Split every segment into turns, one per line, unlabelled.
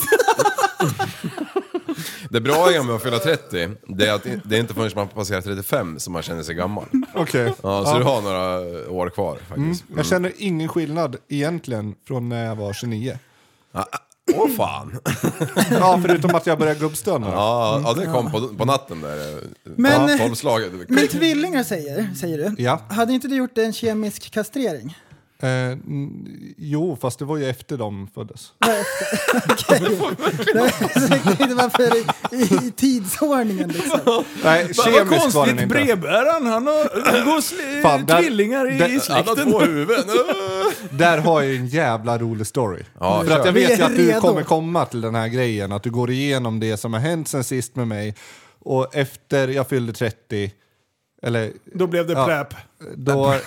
det bra är med att fylla 30, det är att i- det är inte förrän man passerar 35 som man känner sig gammal.
Okej.
Ja, så du har några år kvar faktiskt.
Mm,
Mm.
Jag känner ingen skillnad egentligen från när jag var 29.
Åh fan!
Ja, förutom att jag började gubbstöna. då.
Ja, ja det kom på, på natten där.
Men-
ja, tolvslaget.
Men tvillingar säger, säger du.
Ja.
Hade inte du gjort en kemisk kastrering?
Eh, n- jo, fast det var ju efter de föddes.
det var för i, i tidsordningen liksom.
Nej,
Va, vad
kemiskt var den
konstigt,
inte.
brevbäraren han har han går sl-
Fan, där-
tvillingar i
där-
Han har
släkten.
två huvuden.
Där har jag en jävla rolig story.
Ja,
För att jag
kör.
vet
Vi
ju
är
att du
redo.
kommer komma till den här grejen, att du går igenom det som har hänt sen sist med mig. Och efter jag fyllde 30, eller
Då blev det
Ja.
pläp.
då...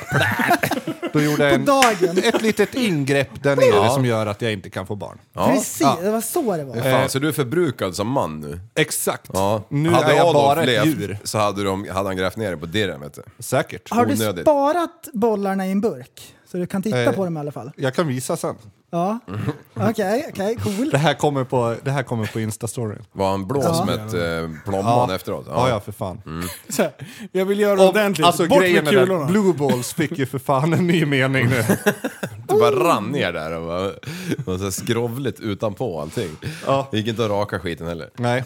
då gjorde jag en,
Dagen.
ett litet ingrepp där nere som gör att jag inte kan få barn.
Precis, det var så det var.
Fan, så du är förbrukad som man nu?
Exakt.
Ja.
Nu
hade
är jag
Adolf
bara ett
levt
djur.
Så hade, de, hade han grävt ner det på dirren vet du.
Säkert.
Har du
onödigt.
sparat bollarna i en burk? Så du kan titta
Eh.
på dem i alla fall?
Jag kan visa sen.
Ja. Okej, okej, cool.
Det här kommer på, det här kommer på Insta-storyn.
Var han blå som ett eh, plommon efteråt?
Ja, ja, för fan.
Så här, Jag vill göra
Om,
ordentligt.
alltså,
Bort
grejen
med
är
kulorna.
den, Blue Balls fick ju för fan en ny mening nu.
Det bara rann ner där och var, var så här skrovligt utanpå allting.
Ja.
Gick inte att raka skiten heller.
Nej.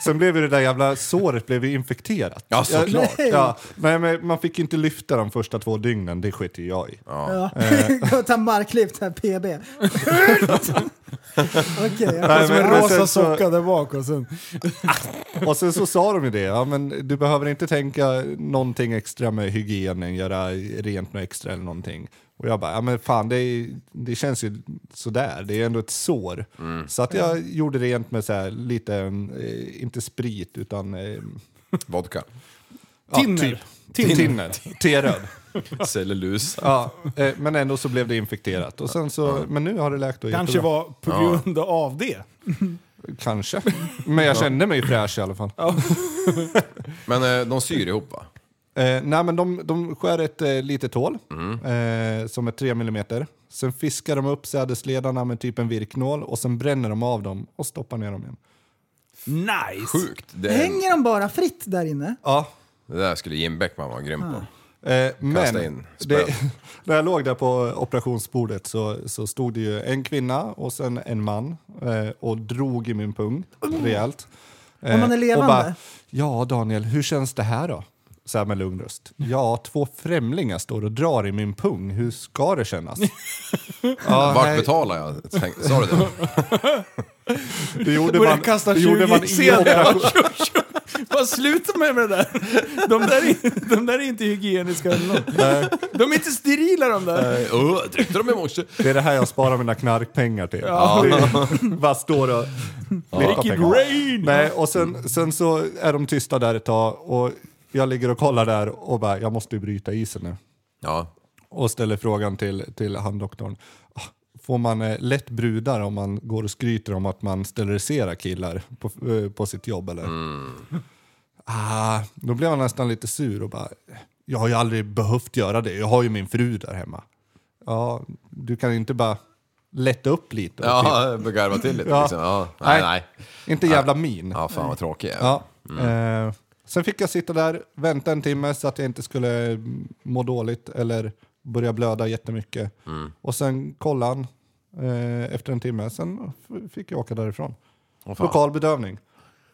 Sen blev ju det där jävla såret blev ju infekterat.
Ja, såklart.
Jag- Ja, nej, men man fick ju inte lyfta de första två dygnen, det skiter ju jag i.
Ja.
Eh.
Ta marklyft här, PB. Okej, ja.
Nej,
Som en
men- men
rosa
sen så-
socka där bak och sen...
Och sen så sa de ju det, ja, men du behöver inte tänka någonting extra med hygienen, göra rent något extra eller någonting. Och jag bara, ja men fan det, är, det känns ju sådär, det är ändå ett sår. Så att jag gjorde rent med så här, lite, eh, inte sprit utan eh,
Vodka.
typ
Tinner. Tinner.
Tinner. T-röd.
Cellulosa.
Ja, eh, men ändå så blev det infekterat. Och sen så, men nu har det läkt och
Kanske
jättebra.
var på grund av det.
Kanske. Men jag kände mig fräsch i alla fall.
Men eh, de syr ihop va?
Eh, nej, men de, de skär ett eh, litet hål eh, som är 3 millimeter. Sen fiskar de upp sädesledarna med typ en virknål och sen bränner de av dem och stoppar ner dem igen.
Nice!
Sjukt. Det,
Hänger de bara fritt där inne?
Ja,
det där skulle Jim Beckman vara grym på.
Eh, men
in spön.
det, när jag låg där på operationsbordet så, så stod det ju en kvinna och sen en man eh, och drog i min pung rejält. Eh,
Om man är
och
levande?
bara, ja, Daniel, hur känns det här då? Så här med lugn röst. Ja, två främlingar står och drar i min pung. Hur ska det kännas? ja,
Vart
nej,
betalar jag? Tänk, sa du det?
det gjorde
Börja
man,
kasta
det gjorde
20
man i
sedlar.
operation.
Vad sluta med det där. De där, är, de där är inte hygieniska eller något. De är inte sterila de där.
Öh, tryckte de i morse?
Det är det här jag sparar mina knarkpengar till. Det är- Bara står och letar
Make it
pengar.
rain!
Nej, och sen, sen så är de tysta där ett tag och jag ligger och kollar där och bara, jag måste ju bryta isen nu.
Ja.
Och ställer frågan till, till han doktorn. "Ah, Får man eh, lätt brudar om man går och skryter om att man steriliserar killar på, eh, på sitt jobb eller?
Mm.
Ah, då blev han nästan lite sur och bara, jag har ju aldrig behövt göra det, jag har ju min fru där hemma. Ja, du kan inte bara lätta upp lite? och typ-
Ja, garva till lite
Ja.
liksom. Ja. Nej, nej.
Inte jävla min.
Ja, fan vad tråkig jag är.
Ja.
Mm.
Eh, sen fick jag sitta där, vänta en timme så att jag inte skulle mm, må dåligt eller börja blöda jättemycket.
Mm.
Och sen kollade han eh, efter en timme, sen f- fick jag åka därifrån.
Åh, fan.
Lokal bedövning.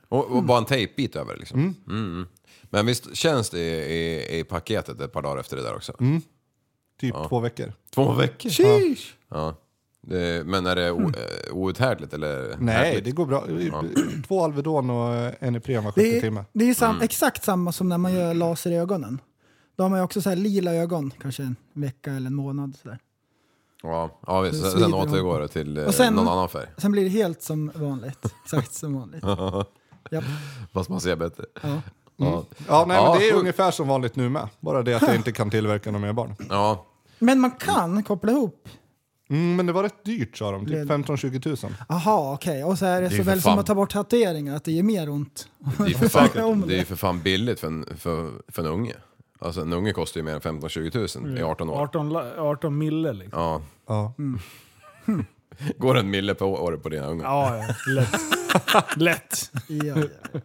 Och, och bara en tejpbit över liksom. Mm. mm. Men visst känns det i, i, i paketet ett par dagar efter det där också?
Typ två veckor.
Två veckor?
Sheesh.
Ja. Det, men är det o,
Mm.
eh, outhärdligt eller?
Nej,
härligt?
det går bra. Två Alvedon och eh, en Mm. Ipren var
Det
70
är,
timmar.
det är ju sam, exakt samma som när man gör laser i ögonen. Då har man ju också så här lila ögon, kanske en vecka eller en månad. Så där.
Ja, ja visst.
Det
Sen,
svider
sen
om.
återgår det till eh,
Och sen-
någon annan färg.
Sen blir det helt som vanligt. Exakt som vanligt. Japp.
Fast man ser bättre.
Mm. Ja.
Ja.
Ja, nej,
Ja,
men det är
sjukt.
ungefär som vanligt nu med. Bara det att jag inte kan tillverka några mer barn.
ja.
Men man kan koppla ihop.
Mm, men det var rätt dyrt sa de, typ
Led-
15-20 tusen.
Aha, okej. Och så är det,
är
så
för
väl som
fan-
att ta bort tatueringar, att det gör mer ont.
Det är ju för
Om
fan,
det.
det är ju för fan billigt för en, för, för en unge. Alltså en unge kostar ju mer än 15-20 000
Mm.
i 18 år.
18, la- 18 mille liksom.
Ja.
Ja.
Går en mille per år på dina ungar?
Ja, ja. Lätt. Lätt.
Ja, ja,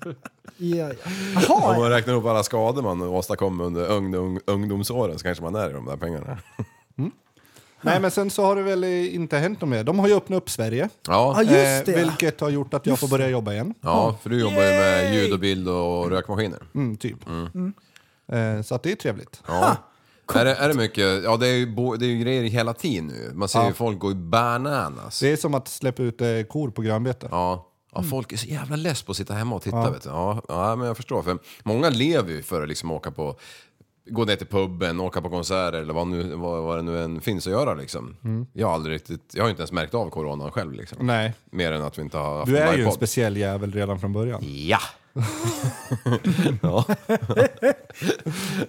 ja. ja.
Om
Jaha,
man räknar upp alla skador man åstadkom under ungdom, ungdomsåren så kanske man är i de där pengarna.
Nej, men sen så har det väl eh, inte hänt något mer. De har ju öppnat upp Sverige.
ja
Ja,
just
Eh,
det.
vilket har gjort att jag får börja jobba igen.
ja för du jobbar ju med ljud och bild och rökmaskiner.
Mm, typ.
Mm.
Eh, så att det är trevligt.
Ja. Är det, är det mycket? Ja, det är, ju bo, det är ju grejer hela tiden nu. Man ser ju folk gå i bananas.
Det Mm. är som att släppa ut eh, kor på grönbete.
Ja. Ja, folk är så jävla less på att sitta hemma och titta. Vet du. Ja, ja, men jag förstår. För många lever ju för att liksom åka på, gå ner till puben, åka på konserter eller vad, nu, vad, vad det nu än finns att göra. Liksom. Jag, har aldrig riktigt, jag har ju inte ens märkt av coronan själv. Liksom.
Mm. Nej,
Mer än att vi inte har haft
du är ju en
livepodd.
speciell jävel redan från början.
Ja! ja.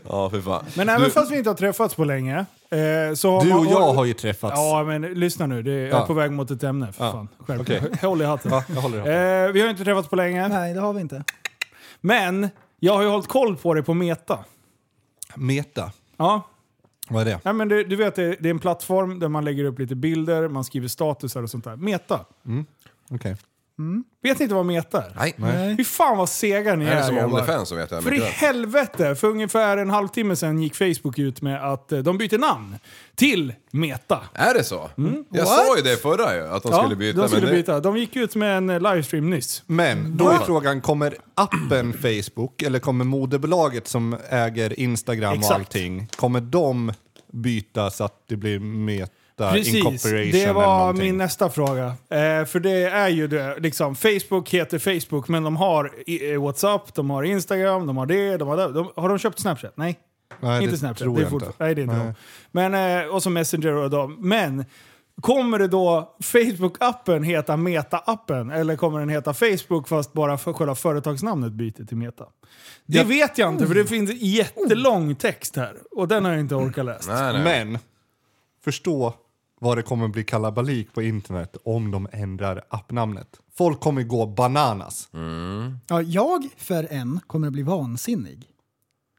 ja, för fan.
Men även fast vi inte har träffats på länge. Eh, så har
Du
man,
och jag har ju träffats.
Ja, men lyssna nu. Det, jag är
Ja.
på väg mot ett ämne. För
Ja.
fan. Skärp
Okej.
dig. Håll i hatten.
Ja, jag håller i hatten.
Eh, vi har inte träffats på länge.
Nej, det har vi inte.
Men jag har ju hållit koll på dig på Meta.
Meta,
Ja,
vad är det?
Nej, men du, du vet, det, det är en plattform där man lägger upp lite bilder, man skriver statusar och sånt där. Meta.
Okej.
Vet ni inte vad meta är?
Nej.
Nej.
Fy fan vad sega ni
Det
är.
är som
grabbar.
Onlyfans som vet jag
För i
mycket väl.
helvete, för ungefär en halvtimme sedan gick Facebook ut med att eh, de byter namn till Meta.
Är det så?
Mm.
Jag sa ju det förra ju, att de skulle byta.
de
men
skulle
det-
byta. Mm. De gick ut med en eh, livestream nyss.
Men då är frågan, kommer appen Facebook eller kommer moderbolaget som äger Instagram och
Exakt.
allting, kommer de byta så att det blir Meta
Precis,
Incorporation
det
eller
var
någonting?
min nästa fråga. Eh, för det är ju det, liksom, Facebook heter Facebook, men de har i- eh, Whatsapp, de har Instagram, de har det, de har det. De, har de köpt Snapchat? Nej.
Nej,
inte
det
Snapchat.
tror
det är
jag
fortfar-
inte.
Nej, det är inte
Nej.
de. Men, eh, och så Messenger och dem. Men Kommer det då Facebook-appen heta Meta-appen? Eller kommer den heta Facebook fast bara för själva företagsnamnet byter till Meta? Det vet jag inte för
Mm.
det finns jättelång text här. Och den har jag inte orkat läsa.
Nej, nej.
Men förstå vad det kommer bli kalabalik på internet om de ändrar appnamnet. Folk kommer gå bananas.
Ja, jag för en kommer att bli vansinnig.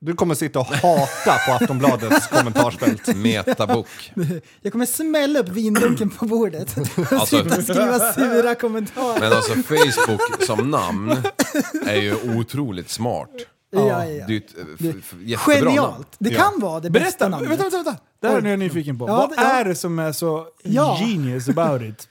Du kommer sitta och hata på Aftonbladets kommentarsfält.
Metabok.
Jag kommer smälla upp vindunken på bordet och
typ
Alltså-
sitta och skriva sura kommentarer.
Men alltså Facebook som namn är ju otroligt smart.
Ja, ja,
Det
ja.
är ju ett eh, f- f- jättebra namn.
Genialt! Det kan vara det bästa
Berätta!
namnet.
Vänta, vänta, vänta! Det här är jag nyfiken på.
Ja,
Vad
det- ja.
är det som är så
Ja.
genius about it?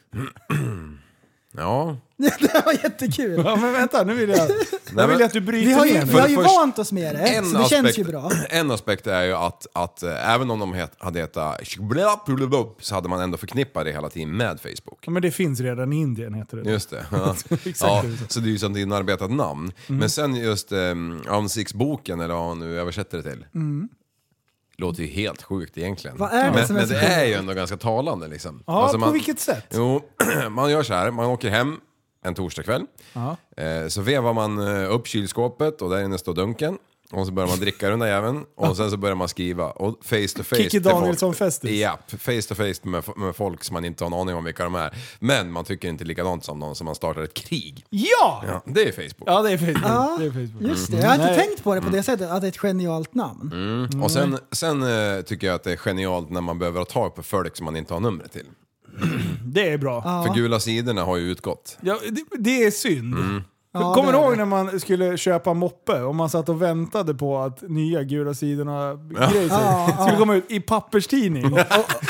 Ja.
det var jättekul.
Ja, men vänta, nu vill jag...
Nej,
Jag
men-
vill att du bryter
Vi har ju,
ner
vi
mig.
har ju
För det första-
vant oss med det, så det känns ju bra.
en aspekt är ju att, att eh, även om de het, hade hetat Shkblabblabblab, så hade man ändå förknippat det hela tiden med Facebook.
Ja, men det finns redan i Indien heter det.
Just det. Ja. ja, så det är ju som ett inarbetat namn.
Mm.
Men sen just um, ansiktsboken, eller vad han nu översätter det till. Låter ju helt sjukt egentligen.
Mm. Vad är det
men
som är
men
så
det
sjukt?
är ju ändå ganska talande liksom.
Ja,
Alltså,
på
man-
vilket sätt?
Jo, man gör så här, man åker hem en torsdagkväll. Eh, så vevar man eh, upp kylskåpet och där inne står dunken. Och så börjar man dricka den där jäveln och sen så börjar man skriva. Och face to face
Kikki
till folk.
Danielsson-festis.
Ja, face to face med, fo- med folk som man inte har en aning om vilka de är. Men man tycker inte likadant som någon som man startar ett krig.
Ja!
Ja, det är Facebook.
Ja, det är Facebook.
Ja,
Det är Facebook.
Mm.
Just det, jag har inte
Nej.
tänkt på det på det sättet, att det är ett genialt namn.
Och
Mm.
sen, sen eh, tycker jag att det är genialt när man behöver ha tag på folk som man inte har numret till.
Det är bra.
För gula sidorna har ju utgått.
Ja, det, det är synd.
Ja,
Kommer
det
du
är
ihåg
det.
när man skulle köpa moppe och man satt och väntade på att nya gula sidorna-grejer
Ja, ja.
skulle komma ut i papperstidning?
Och,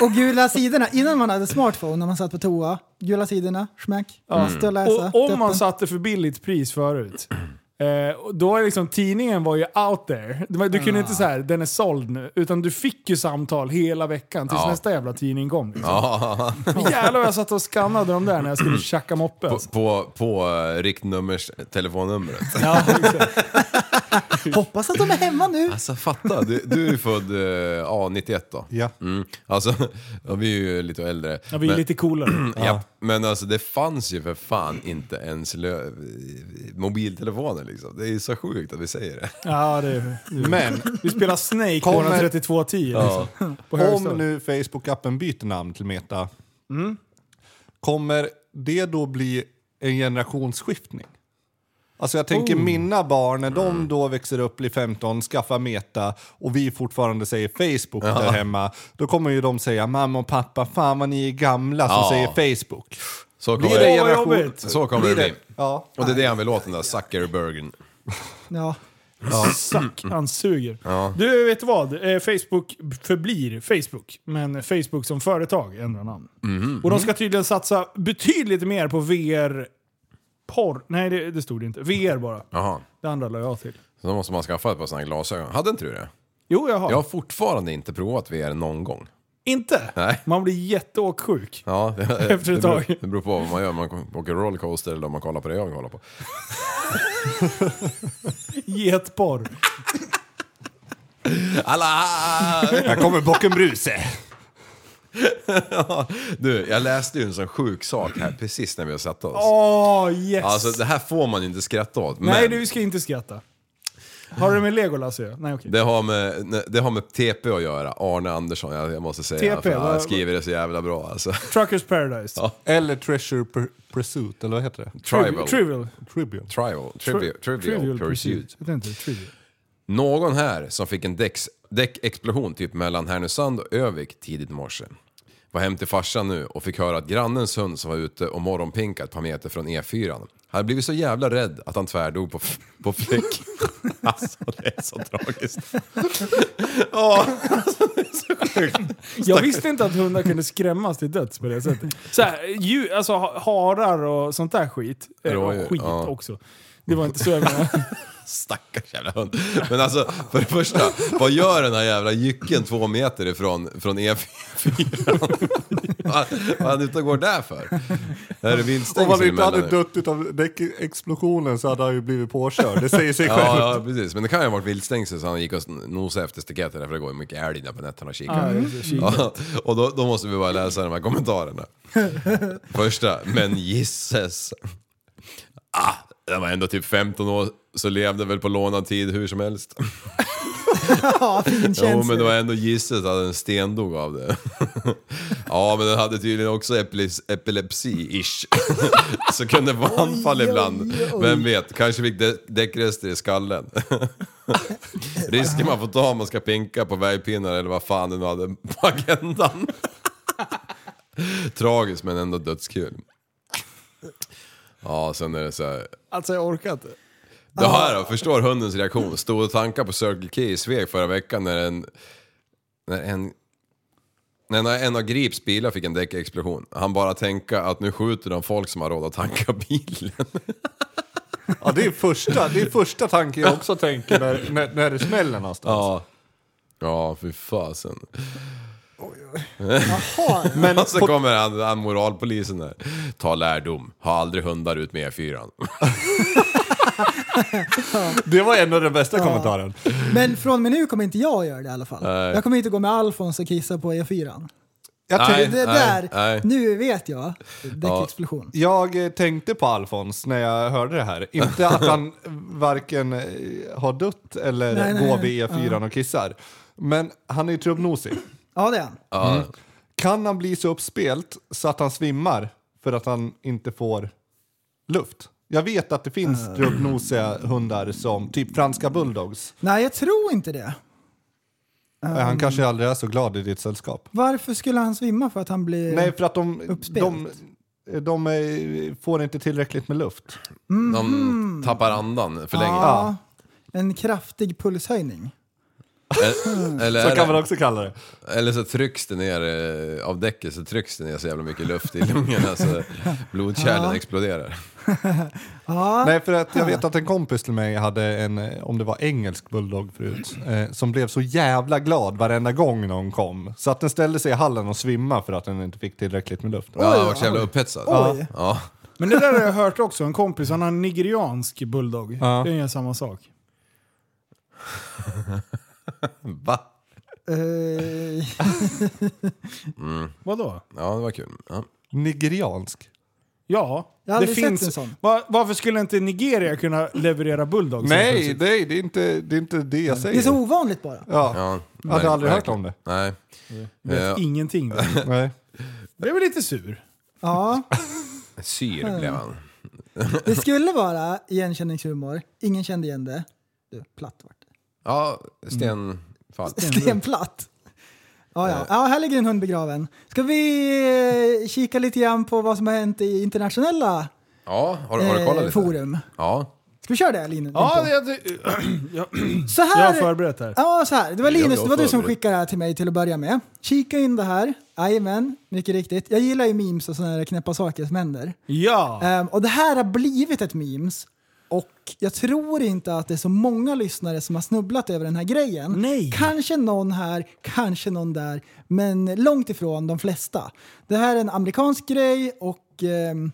och gula sidorna, innan man hade smartphone när man satt på toa, gula sidorna, smack, måste jag läsa.
Mm. Och om man
Tuppen.
satte för billigt pris förut, eh, och då är liksom tidningen var ju out there. Det var- Du kunde inte säga den är såld nu, utan du fick ju samtal hela veckan tills
Ja.
nästa jävla tidning kom. Liksom.
Ja,
Jävlar vad jag satt och skannade de där när jag skulle tjacka moppe. alltså.
på, på, på eh, riktnummers telefonnumret.
Ja, exakt.
Hoppas att de är hemma nu.
Alltså fatta, du, du är ju född eh, ja, 91 då.
Ja.
Mm. Alltså, ja, vi är ju lite äldre.
ja, vi är
Men-
lite coolare.
Ja. Men alltså det fanns ju för fan inte ens lö- mobiltelefoner liksom. Det är ju så sjukt att vi säger det.
Ja, det är,
Men
vi spelar Snake på
Kommer-
3210. Liksom, på
Om
högstadiet.
nu Facebook-appen byter namn till Meta, kommer det då bli en generationsskiftning? Alltså jag tänker
Oh.
mina barn, när de då växer upp, blir 15, skaffar Meta och vi fortfarande säger Facebook där hemma, då kommer ju de säga mamma och pappa, fan vad ni är gamla som
Ja.
säger Facebook.
Så
Blir
kommer
det
det,
en generation?
jobbigt.
så kommer det bli.
Ja.
Och det är det han vill åt den där Zuckerbergen.
Ja.
Suck,
Mm.
han suger. Du, vet du vad? Eh, Facebook förblir Facebook, men Facebook som företag ändrar namn.
Mhm.
Och de
Mm.
ska tydligen satsa betydligt mer på VR... Porr? Nej, det, det stod det inte. VR bara.
Jaha.
Det andra la jag till.
Så då måste man skaffa ett par sådana här glasögon. Hade inte du det?
Jo, jag har.
Jag har fortfarande inte provat VR någon gång.
Inte?
Nej.
Man blir jätteåksjuk.
Ja, det,
Efter ett
det, beror,
tag.
det beror på vad man gör. Man åker rollercoaster eller om man kollar på det jag kollar på.
Getporr.
Alla!
Här kommer bocken Bruse.
Du, jag läste ju en sån sjuk sak här precis när vi har satt oss.
Åh, yes!
Alltså det här får man ju inte skratta åt.
Nej,
men
du ska inte skratta. Har du med Legolas att göra? Nej, okej.
det, har med, nej, det har med TP att göra, Arne Andersson. Jag, jag måste säga,
TP,
för han
vad-
skriver det så jävla bra alltså.
Truckers Paradise.
Ja.
Eller Treasure Pur- Pursuit, eller vad heter det?
Tribal.
Trivial.
Trivial.
Trivial. Trivial. Trivial, Pursuit.
Jag tänkte trivial.
Någon här som fick en däcks, däckexplosion typ mellan Härnösand och Övik tidigt i morse. Var hem till farsan nu och fick höra att grannens hund som var ute och morgonpinkade ett par meter från E4 hade blivit så jävla rädd att han tvärdog på, f- på fläck. Alltså det är så tragiskt.
Jag visste inte att hundar kunde skrämmas till döds på det sättet. Så här, djur, alltså ha- harar och sånt där skit. Eh,
Rådjur,
skit
ja.
också. Det var inte så jag menade.
Stackars jävla hund. Men alltså, för det första, vad gör den här jävla jycken två meter ifrån från E4? vad vad han ute och går där för? Är det
Om han
viltstängsel
inte hade
emellan nu?
dött utav däckexplosionen så hade han ju blivit påkörd. Det säger sig självt.
Ja, ja, precis. Men det kan ju ha varit viltstängsel så han gick och nosade efter staketet där, för det går ju mycket älg där på nätterna och kikar. Ja, och då, då måste vi bara läsa de här kommentarerna. Första, men gisses. Ah, den var ändå typ 15 år, så levde väl på lånad tid hur som helst.
Ja, fin
Jo,
känsla.
men det var ändå gisset att en sten dog av det. ja, men den hade tydligen också epilis- epilepsi-ish. så kunde vara anfall ibland. Vem vet, kanske fick dä- däckrester i skallen. Risken man får ta om man ska pinka på vägpinnar eller vad fan den hade på agendan. Tragiskt men ändå dödskul. Ja, sen är det så här.
Alltså jag orkar inte.
Det här då, förstår hundens reaktion. Stod och tankade på Circle K i Sveg förra veckan när en... När en... När en- en av Grips bilar fick en däckexplosion. Han bara tänka att nu skjuter de folk som har råd att tanka bilen.
Ja, det är första, det är första tanken jag också tänker när, när, när det smäller någonstans.
Ja. Ja, fy fasen.
Jaha,
Men och så kommer han, han moralpolisen där. Ta lärdom, ha aldrig hundar ut med E E4.
Det var en av den bästa kommentaren.
men från och med nu kommer inte jag göra det i alla fall. Jag kommer inte gå med Alfons och kissa på E E4.
Jag,
Nej.
tänk,
Det där,
nej.
nu vet jag. Däckexplosion.
jag eh, tänkte på Alfons när jag hörde det här. Inte att han varken eh, har dött eller
Nej, nej,
går
nej.
vid E4 och kissar. Men han är ju trubbnosig.
Ja, det är han.
Ja.
Kan han bli så uppspelt så att han svimmar för att han inte får luft? Jag vet att det
Ah.
finns trubbnosiga hundar som typ franska bulldogs.
Nej, jag tror inte det. Ah.
Han kanske aldrig är så glad i ditt sällskap.
Varför skulle han svimma för att han blir...
Nej, för att de,
Uppspelt.
de, de eh, får inte tillräckligt med luft.
De tappar andan för länge.
ja, en kraftig pulshöjning.
Eller, eller, är
Så
det-
kan man också kalla det.
Eller så trycks det ner eh, av däcket så trycks det ner så jävla mycket luft i lungorna så blodkärlen exploderar.
Nej, för att jag vet att en kompis till mig hade en, eh, om det var engelsk bulldog förut, eh, som blev så jävla glad varenda gång någon kom. Så att den ställde sig i hallen och svimma för att den inte fick tillräckligt med luft.
Ja, jag har varit så jävla upphetsad.
Oj.
Ja.
Men det där har jag hört också. En kompis, han har en nigeriansk bulldog. Den gör samma sak.
Va?
Eh,
Vadå?
Ja, det var kul. Ja.
Nigeriansk.
Ja,
Jag har aldrig sett en sån.
Va- varför skulle inte Nigeria kunna leverera bulldogs?
Nej, nej det, är inte, det är inte det jag säger.
det är så ovanligt bara.
Ja,
Ja,
jag hade aldrig hört
verkligen.
om det.
Nej. Eh,
Vet Ingenting.
Nej.
Det är väl lite sur.
Ja,
Eh, Syr blev han.
det skulle vara igenkänningshumor. Ingen kände igen det. Du, platt vart det.
Ja, stenfall.
Stenplatt. Ja, ja. ja, här ligger en hund begraven. Ska vi eh, kika lite grann på vad som har hänt i internationella
Ja, har, har du kollat
eh,
lite?
forum?
Ja.
Ska vi köra det, Linus?
Ja,
Limpo?
jag, jag,
så
jag
här,
har förberett här.
Ja, så här. Det var
Jag-
Linus,
jag
det var du som
förberett.
skickade det här till mig till att börja med. Kika in det här. Jajamän, mycket riktigt. Jag gillar ju memes och sådana här knäppa saker som händer.
Ja,
Ehm, och det här har blivit ett memes. Och jag tror inte att det är så många lyssnare som har snubblat över den här grejen.
Nej.
Kanske någon här, kanske någon där, men långt ifrån de flesta. Det här är en amerikansk grej och ehm,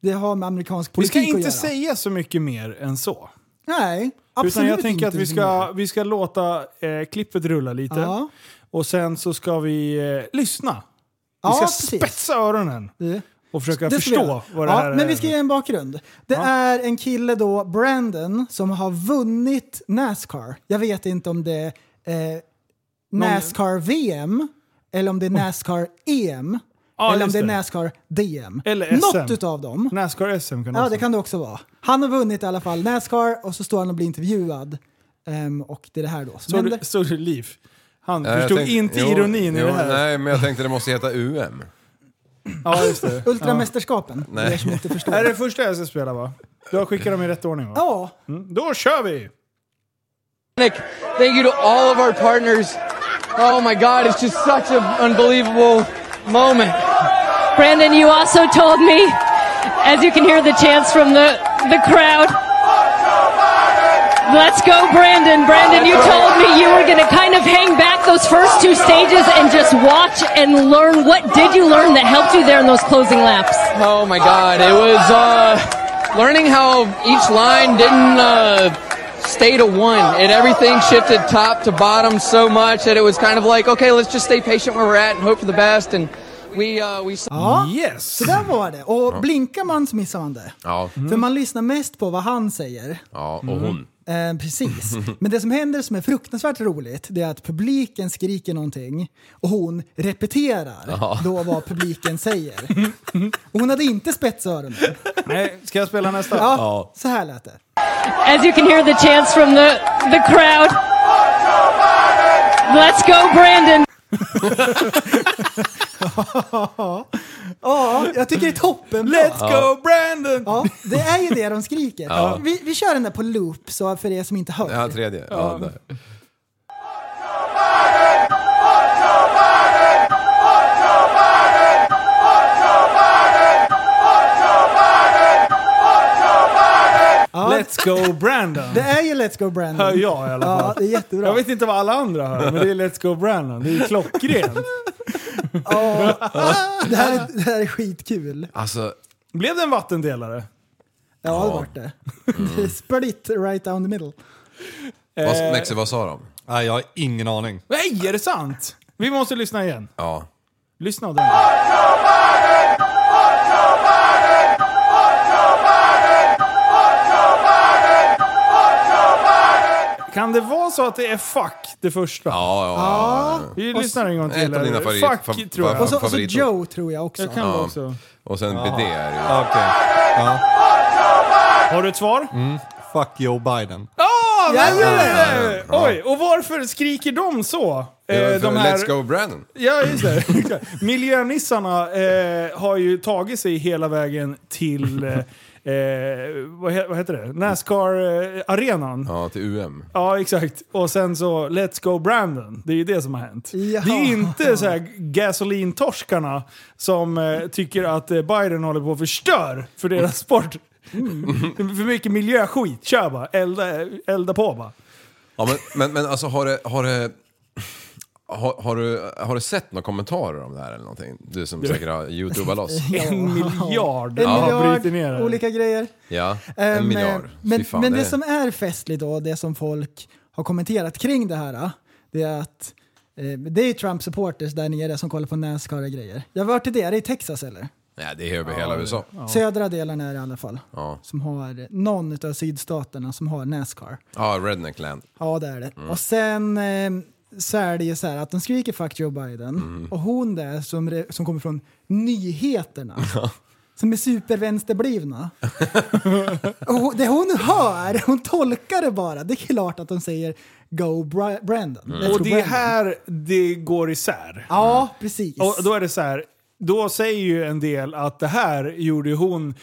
det har med amerikansk
vi
politik
ska
att göra.
inte säga så mycket mer än så.
Nej, absolut
Utan jag tänker att
inte
vi
så mycket.
ska, vi ska låta eh, klippet rulla lite.
Ja.
Och sen så ska vi eh, lyssna. Vi
Ja,
ska
precis.
spetsa öronen
Det-
och försöka
Det ska vi
förstå
göra.
vad det
ja,
här är.
Men vi ska ge en bakgrund. Det är en kille då, Brandon, som har vunnit Nascar. Jag vet inte om det är eh, Nascar-VM eller om det är Nascar-EM.
Ja,
eller om
just
det är
det.
Nascar-DM.
Eller
Något
SM.
utav dem.
Nascar SM kan
Ja,
också.
det kan det också vara. Han har vunnit i alla fall Nascar och så står han och blir intervjuad. Ehm, och det är det här då som
Såg
händer.
du- Såg du Liv? Han
Nej, Eh, jag
förstod
tänkte-
inte
jo,
ironin i
jo,
det här.
Nej, men jag tänkte det måste heta UM.
Ja, just det.
Ultramästerskapen, för er som
Det
inte
här är
förstår.
det första jag ska spela va? Du har skickat dem i rätt ordning va?
Ja,
Mm, Då kör vi!
Thank you to all of our partners. Oh my God, it's just such an unbelievable moment.
Brandon, you also told me, as you can hear the chants from the, the crowd, Let's go, Brandon. Brandon, you told me you were going to kind of hang back those first two stages and just watch and learn. What did you learn that helped you there in those closing laps?
Oh my God, it was uh, learning how each line didn't uh, stay to one, and everything shifted top to bottom so much that it was kind of like, okay, let's just stay patient where we're at and hope for the best. And we uh, we
Ja, så där var det. Och blinkar man så missar man det.
Ja.
För man lyssnar mest på vad han säger.
Ja, och
Mm.
hon.
Eh, precis. Men det som händer som är fruktansvärt roligt det är att publiken skriker någonting och hon repeterar
Ja.
då vad publiken säger. Och hon hade inte spetsöronen.
Nej, ska jag spela nästa?
Ja, Så här lät det.
As you can hear the chants from the, the crowd. Let's go, Brandon.
Ja, jag tycker det är toppen.
Let's go,
Brandon! Ja, det är ju det de skriker.
Ja.
Vi, vi kör den där på loop så för er som inte hör.
Ja, tredje. Ja, där.
Let's go Brandon.
Det är ju Let's Go Brandon.
Hör jag i alla fall.
Ja, det är jättebra.
Jag vet inte vad alla andra hör, men det är Let's Go Brandon. Det är ju klockrent.
Det här, det här är skitkul.
Alltså,
Blev det en vattendelare?
Ja, det vart det. Det är Split right down the middle.
Vad, Nexi, vad sa de?
Nej, jag har ingen aning.
Nej, är det sant? Vi måste lyssna igen.
Ja.
Lyssna av den. Kan det vara så att det är fuck det första?
Ja, ja, ja.
Vi
Och
lyssnar en gång till.
ett av dina
eller?
favori-
fuck
fa-
tror jag.
fa- Och så- och så favoritord. Joe
tror jag också.
Jag kan
ja.
vara också.
Och sen BD är det ju.
Okej. Ja.
Har du ett svar?
Mm. Fuck Joe Biden.
Ah,
Ja,
nej,
ja,
nej,
ja,
nej.
ja.
Oj, och varför skriker de så?
Det var
Eh,
för
de här-
Let's go Brandon.
Ja, just det. Miljönissarna eh, har ju tagit sig hela vägen till, eh, eh, vad, he- vad heter det? Nascar-arenan.
Ja, till UM.
Ja, exakt. Och sen så Let's Go Brandon. Det är ju det som har hänt. Det är ju inte så här gasolintorskarna som eh, tycker att eh, Biden håller på att förstör för deras sport. för mycket miljöskit. Kör bara. Elda, elda på bara.
Ja, men, men, men alltså har det... Har det... Har, har, du, har du sett några kommentarer om det här eller någonting? Du som
Du-
säkert har youtubat loss.
En miljard.
En
Ja.
miljard
Bryter ner det.
olika grejer.
Ja,
Eh,
en
men-
miljard. Fy
Men,
fan,
men det,
är-
som är festligt då, det som folk har kommenterat kring det här, det är att eh, det är Trump-supporters där nere som kollar på Nascar och grejer. Jag var till det, är det i Texas eller?
Nej, det är över hela USA.
Södra delen är det i alla fall.
Ja.
Som har någon av sydstaterna som har Nascar.
ja, Redneck Land.
Ja, det är det.
Mm.
Och sen eh, så är det ju så här att de skriker “fuck Joe Biden”
Mm.
och hon där som, re- som kommer från nyheterna, som är supervänsterblivna. och hon- det hon hör, hon tolkar det bara. Det är klart att de säger “go Bra- Brandon”.
Mm.
Let's
Och
go
det är
Brandon.
här det går isär.
Ja, precis.
Och då är det så här, då säger ju en del att det här gjorde ju hon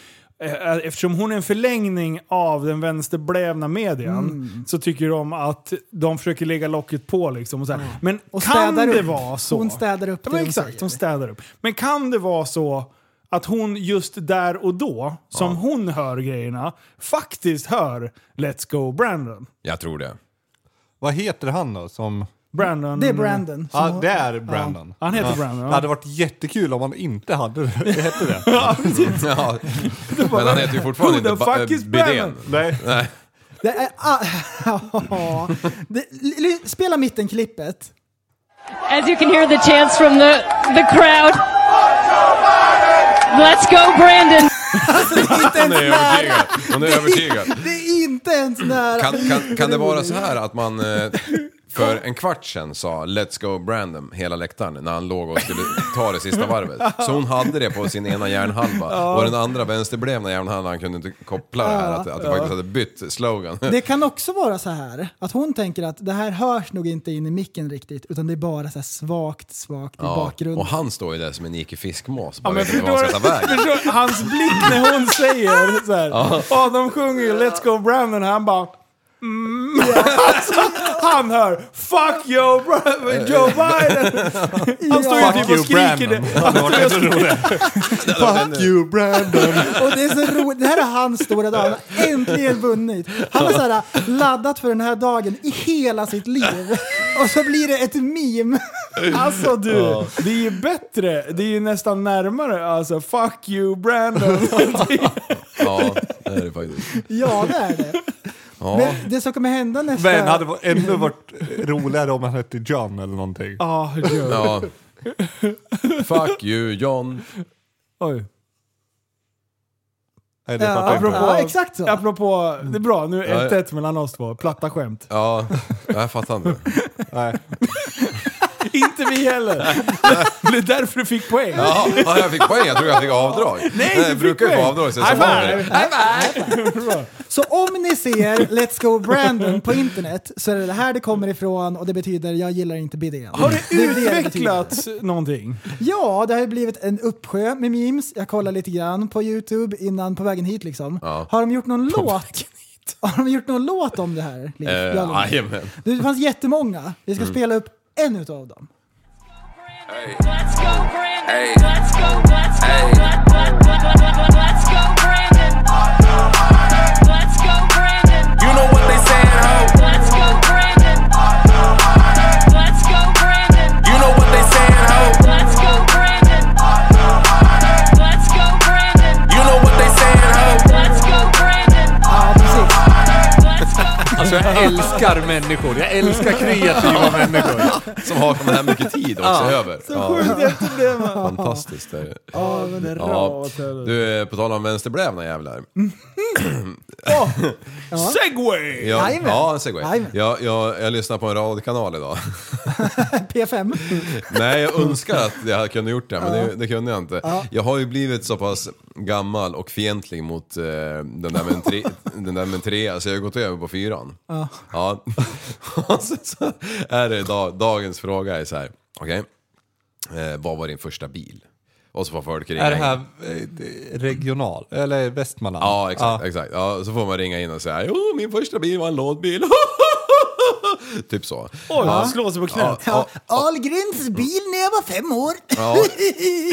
eh, Eftersom hon är en förlängning av den vänsterblävna median
Mm.
så tycker de att de försöker lägga locket på. Liksom och så här. Men kan
städar
det
upp.
vara så?
Hon städar upp
ja,
det
men
hon
Exakt,
säger.
hon städar upp. Men kan det vara så att hon just där och då, som hon hör grejerna, faktiskt hör Let's Go Brandon?
Jag tror det.
Vad heter han då som...
Brandon.
Det är
Mm.
Brandon.
Ja,
Som-
det är Brandon.
Ja, han heter
ja.
Brandon, ja.
Det hade varit jättekul om han inte hade det. hette det.
Ja, precis.
Ja. Men han heter ju fortfarande
Who the
inte ba-
fuck is
eh, Bidén.
Brandon?
Nej.
Nej.
Det är, ah, ja. det, l- l- spela mittenklippet.
As you can hear the chants from the, the crowd. Let's go, Brandon.
Hon är övertygad. Hon är övertygad.
Det är inte ens nära.
Kan, kan, kan det vara så här att man eh, för en kvart sedan sa “Let's go Brandon” hela läktaren när han låg och skulle ta det sista varvet? Så hon hade det på sin ena hjärnhalva
Ja.
och den andra vänsterblevna hjärnhalvan kunde inte koppla det här att, att det
Ja.
faktiskt hade bytt slogan.
Det kan också vara så här att hon tänker att det här hörs nog inte in i micken riktigt utan det är bara så här svagt, svagt i
Ja,
bakgrunden.
och han står ju där som en icke fiskmås
Ja,
bara
men
vet inte vart han ska ta vägen.
förstår, hans blick när hon säger så här.
Ja.
Ja. de sjunger ju Let's Go Brandon. Han bara... Mm. Alltså, Han hör “Fuck yo, bro-
Eh,
Joe Biden!” Han står ju
Fuck
typ
you,
och skriker
Brandon.
det.
Han har varit rolig. Fuck you Brandon.
Och det är så roligt, det här är hans stora dag. Han har äntligen vunnit. Han har så här laddat för den här dagen i hela sitt liv. Och så blir det ett meme.
Alltså du, det är ju bättre. Det är ju nästan närmare. Alltså “Fuck you, Brandon!”
Ja, det är det faktiskt.
Ja, det är det.
Ja.
Men det som kommer hända nästa...
Men hade varit- ännu varit roligare om han hette John eller någonting.
Ja,
Ja. Fuck you John.
Oj.
Nej, det
Ja,
fattar jag inte.
apropå,
Ja, exakt så.
Apropå, det är bra. Nu
Ja.
är 1-1 mellan oss två. Platta skämt.
Ja, jag fattar inte.
Nej.
Inte vi heller. det är därför du fick poäng.
Ja, ja, jag fick poäng. Jag tror jag fick avdrag.
Nej, du
jag
fick
brukar ju få
poäng.
avdrag. Så jag
High
sa aldrig
five!
det.
High five!
Så om ni ser Let's Go Brandon på internet så är det det här det kommer ifrån och det betyder jag gillar inte bidén.
Har det
är betyder.
utvecklats någonting?
Ja, det har ju blivit en uppsjö med memes. Jag kollar lite grann på YouTube innan på vägen hit liksom.
Ja.
Har de gjort någon låt? Har de gjort någon låt om det här? Liv?
Eh,
Jag lovar.
jajamän. Mm.
det fanns jättemånga. Vi ska spela upp en utav dem.
Let's go, Brandon. Let's go, let's go, let- let- let- let- let- let's go, Brandon. Let's go, Brandon. You know what they saying, ho? Let's go, Brandon. Let's go, Brandon. You know what they saying, ho? Let's go, Brandon. Let's go, Brandon. You know what they saying, ho? Let's go, Brandon.
Ja, precis.
Let's go,
Alltså jag älskar människor. Jag älskar kreativa människor.
Som har så här mycket tid också
Ja.
över.
Så
Ja.
Det blev man.
Fantastiskt. Det. är-
Ja, men det är
Ja.
rart. hörru.
Du, eh, på tal om vänsterbrävna jävlar.
Segway!
Jag,
Jajamän.
ja, en segway.
Jajamän.
Jag, jag, jag lyssnade på en radiokanal idag.
P5.
Nej, jag önskar att jag hade kunnat gjort det, men det, det kunde jag inte. Jag har ju blivit så pass gammal och fientlig mot eh, den där med en tre- den där med en trea, så jag har gått över på fyran. Ja. Och så, så är det dag, dagens fråga är så här, okej, eh, vad var din första bil? Och så får folk ringa
Är det
in.
här eh, regional? Eller Västmanland?
Ja, exakt. exakt. Ja, så får man ringa in och säga jo, min första bil var en lådbil. typ så.
Oj,
Ja.
han slår sig på knät.
Ja,
Ahlgrens bil när jag var fem år.
Ja,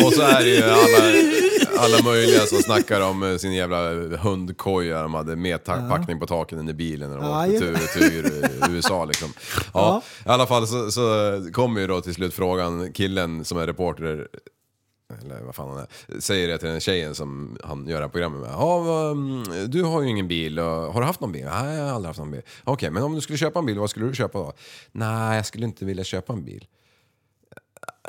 och så är det ju alla, alla möjliga som snackar om eh, sin jävla hundkoja de hade med ta- packning på taken i bilen när de
Ja,
åkte
ju-
tur tur eh, USA liksom. Ja, I alla fall så, så kommer ju då till slut frågan, killen som är reporter eller vad fan han är, säger det till den tjejen som han gör det här programmet med. Ja, vad, mm, du har ju ingen bil, och, har du haft någon bil? Nej, jag har aldrig haft någon bil. Okej, men om du skulle köpa en bil, vad skulle du köpa då? Nej, jag skulle inte vilja köpa en bil.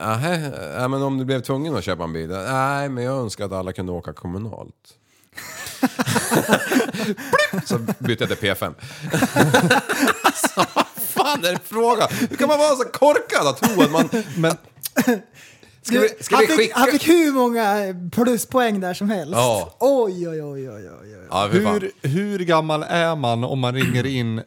Nähä, ja, men om du blev tvungen att köpa en bil? Nej, men jag önskar att alla kunde åka kommunalt. Blipp! så bytte jag till P5. så, vad fan är det fråga? Hur kan man vara så korkad att tro att man... Men, ska vi, ska
han,
vi
fick,
skicka...
han fick hur många pluspoäng där som helst.
Ja.
Oj, oj, oj, oj, oj. oj.
Ja, fy fan.
Hur, hur gammal är man om man ringer in eh,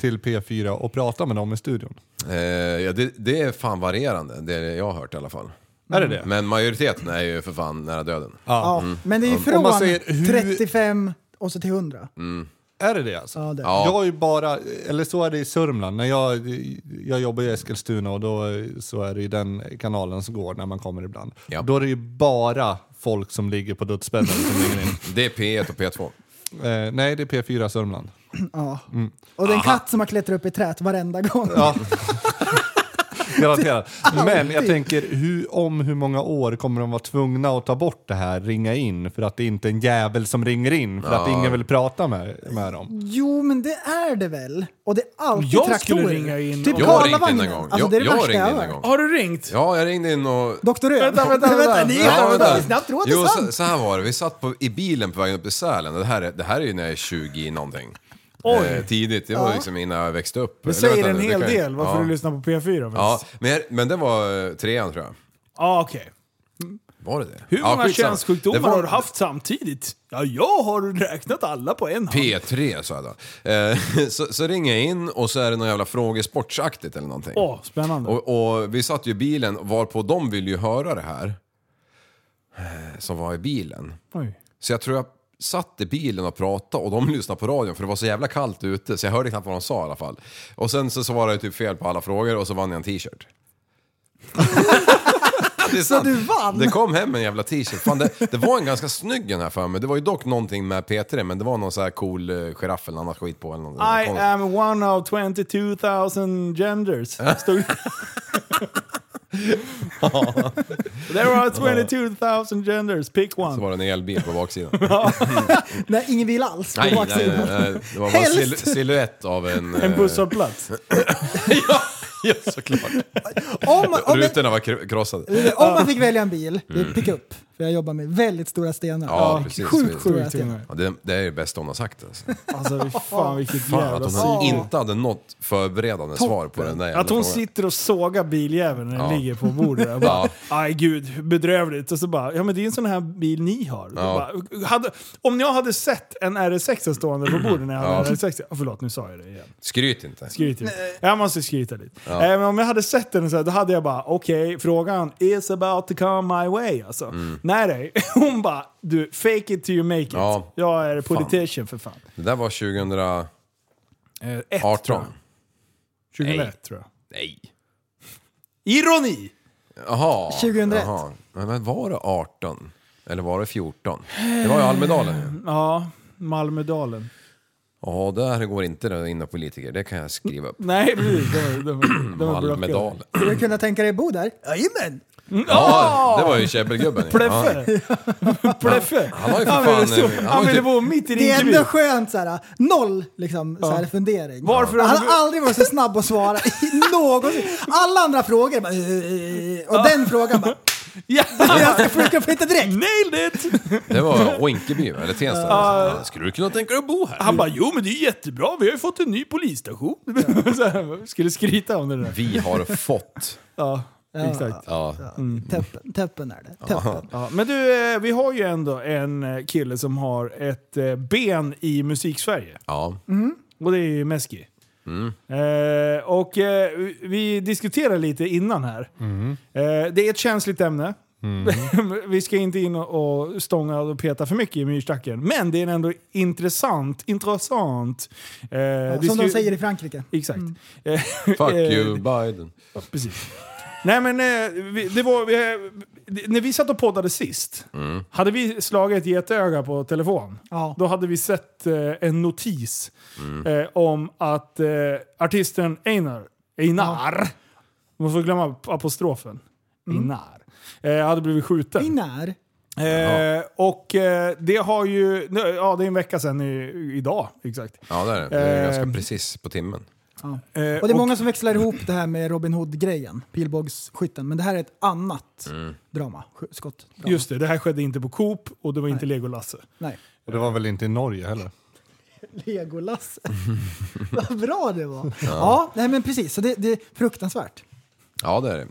till P4 och pratar med dem i studion?
Eh, ja, det, det är fan varierande, det är det jag har hört i alla fall.
Är det det?
Men majoriteten är ju för fan nära döden.
Ja,
Mm.
Men det är ju
Om
från
man säger hur-
35 och så till 100.
Mm.
Är det det alltså?
Ja, det är.
Ja.
Jag är ju bara, eller så är det i Sörmland. När jag, jag jobbar i Eskilstuna och då så är det ju den kanalen som går när man kommer ibland.
Ja.
Då är det ju bara folk som ligger på dödsbädden som ringer in.
Det är P1 och P2.
Eh, nej, det är P4 Sörmland.
Ja. Och det är en katt som har klättrat upp i träet varenda gång.
Ja. Garanterat. Men jag
Alltid.
tänker, hur, om hur många år kommer de vara tvungna att ta bort det här, ringa in, för att det inte är en jävel som ringer in, för att ingen vill prata med, med dem?
Jo, men det är det väl? Och det är alltid
Jag skulle
traktorer.
ringa in
Typ
och-
Jag
Karlavagnen.
ringde in en gång.
Alltså, det är det
jag jag
värsta
ringde
jag
in
hört.
en gång.
Har du ringt?
Ja, jag ringde in och...
Doktor Ö.
Vänta, vänta,
Nej,
vänta.
ni-
Ja,
vänta,
vänta.
ni snabbt råd
Jo,
är
så,
sant.
så här var det. Vi satt på, i bilen på vägen upp till Sälen. Det här, är- det här är ju när jag är 20 någonting. Eh, tidigt. Det var liksom innan jag växte upp.
Det
Eller
säger
vänta
en
nu, det
hel
kan ju-
del varför
ja.
du lyssnar på P4. men-
Ja, men, jag- men det var eh, trean tror jag.
Ja, okej.
Var det det?
Hur
Ja,
många
skitsamma.
könssjukdomar
Det var-
har du haft samtidigt? Ja, jag har räknat alla på en hand.
P3 sa jag då. Eh, så, så ringer jag in och så är det någon jävla frågesportsaktigt eller någonting.
Åh, spännande.
Och, och vi satt ju i bilen, varpå de ville ju höra det här. eh, Som var i bilen.
Oj.
Så jag tror jag satt i bilen och pratade och de lyssnade på radion för det var så jävla kallt ute så jag hörde knappt vad de sa i alla fall. Och sen så svarade jag typ fel på alla frågor och så vann jag en t-shirt. Det är sant.
du vann?
Det kom hem en jävla t-shirt. Fan, det, det var en ganska snygg den här för mig. Det var ju dock någonting med P3 men det var någon så här cool eh, giraff eller annat skit på. Eller något,
I
eh.
am one of 22,000 genders. Stod There are 22,000 genders, pick
Så
one.
var det en elbil på baksidan.
Nej, ingen bil alls på
Nej, nej,
baksidan.
nej, nej. Det var bara en sil
Helst.
siluett av en...
En
eh,
busshållplats.
Ja, såklart.
Om, om,
Rutorna var kro- krossade.
om man fick välja en bil, det är
Mm.
pickup. För jag jobbar med väldigt stora stenar.
Ja, precis.
Sjukt
precis.
stora stenar.
Ja, det, det är det bästa hon har sagt. Alltså.
Alltså fy fan vilket
Fan
jävla
att hon
psyk.
inte hade något förberedande svar på den där jävla
Att hon
frågan.
sitter och sågar biljäveln när den
Ja.
ligger på bordet. Jag bara, Aj gud, bedrövligt. Och så bara, ja men det är en sån här bil ni har.
Ja.
Jag Bara, hade, om jag hade sett en RS6 stående på bordet när jag hade
Ja.
en RS6. Oh, förlåt, nu sa jag det igen.
Skryt inte.
Skryt lite. Jag måste skryta lite.
Ja.
Eh, men om jag hade sett den så här, då hade jag bara, okej, frågan is about to come my way. Alltså.
Mm.
Nej, nej. Hon bara, du, fake it till you make it.
Ja.
Jag är
Fan.
politician för fan.
Det där var 2018.
2001
Nej.
tror jag.
Nej.
Ironi!
Jaha.
2001.
Jaha. Men, men var det 18? Eller var det 14? Det var ju Almedalen ju.
Ja, Malmödalen.
Ja, där går inte det in politiker. Det kan jag skriva upp.
Nej, precis. De, de, de, de är blockerade.
Almedalen.
Skulle du kunna tänka dig bo där? Jajamän!
Ja, det var ju käbbelgubben. ju.
Pleffe. Pleffe.
Han har
Han ville
ju för fan...
stå-
eh,
han
har ju
ville
typ-
bo mitt i
Det är
Rinkeby.
ändå skönt såhär, noll liksom,
Ja.
så här fundering.
Varför har
han
du-
har aldrig varit så snabb att svara i någonsin. Alla andra frågor bara, eh, och den frågan bara...
Ja.
Jag ska försöka flytta direkt!
Nailed it!
Det var Rinkeby, eller Tensta.
Ja.
Ja, Skulle du kunna tänka dig att bo här?
Han bara, jo men det är jättebra, vi har ju fått en ny polisstation. Så här, Skulle skryta om det där.
Vi har fått.
Ja,
Ja.
exakt.
Ja.
Teppen, teppen är det. Teppen.
Ja, men du, eh, vi har ju ändå en eh, kille som har ett eh, ben i musiksverige.
Ja.
Och det är ju Meski.
Mm.
Eh, och eh, vi- vi diskuterade lite innan här.
Mm.
Eh, det är ett känsligt ämne. vi ska inte in och och stånga och peta för mycket i myrstacken. Men det är ändå intressant. intressant. Eh,
Ja,
det
som de
ska-
säger Mm. i Frankrike.
Exakt.
Fuck
Eh,
you Biden.
Precis. Nej men, eh, vi, det var, vi, eh, det- när vi satt och poddade sist,
Mm.
hade vi slagit ett getöga på telefon,
Ja.
då hade vi sett eh, en notis
Mm.
eh, om att eh, artisten Einar, Einar, man får glömma ap- apostrofen, Einar, eh, hade blivit skjuten.
Einar?
Eh, och eh, det har ju, nu- ja det är en vecka sedan i, idag exakt.
Ja, det är det. Det är
Eh,
ganska precis på timmen.
Ja.
Eh,
Och det är många som växlar ihop det här med Robin Hood-grejen, pilbågsskytten. Men det här är ett annat
Mm.
drama, sk- skott.
Just det, det här skedde inte på Coop och det var inte Lego-Lasse.
Nej.
Och det var väl inte i Norge heller?
Legolas. Vad bra det var! Ja, nej men precis. Så det, det är fruktansvärt.
Ja, det är det.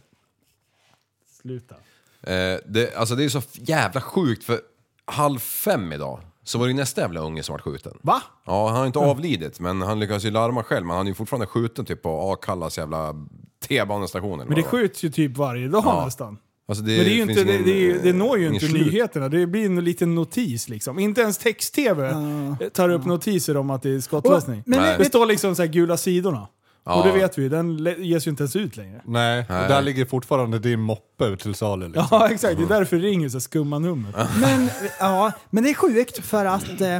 Sluta.
Eh, det, alltså det är så jävla sjukt för halv fem idag så var det ju nästa jävla unge som vart skjuten.
Va? Mm.
Ja, han har inte avlidit men han lyckades ju larma själv men han är ju fortfarande skjuten typ på Akallas jävla T-banestation eller
Men det
vad var.
skjuts ju typ varje dag
Ja.
nästan.
Alltså
men det, är ju
finns
inte, det,
ingen,
det, är ju- det når ju
ingen
inte
slut.
nyheterna. Det blir en liten notis liksom. Inte ens text-tv eh, tar upp notiser om att det är skottlossning.
Och- men Nej.
det
vet-
står liksom så här gula sidorna.
Ja.
Och det vet vi, den le- ges ju inte ens ut längre.
Nej, och
Nej.
där ligger fortfarande din moppe till salu. Liksom.
Ja exakt, det är därför det ringer så här skumma nummer.
Men, ja, men det är sjukt för att eh,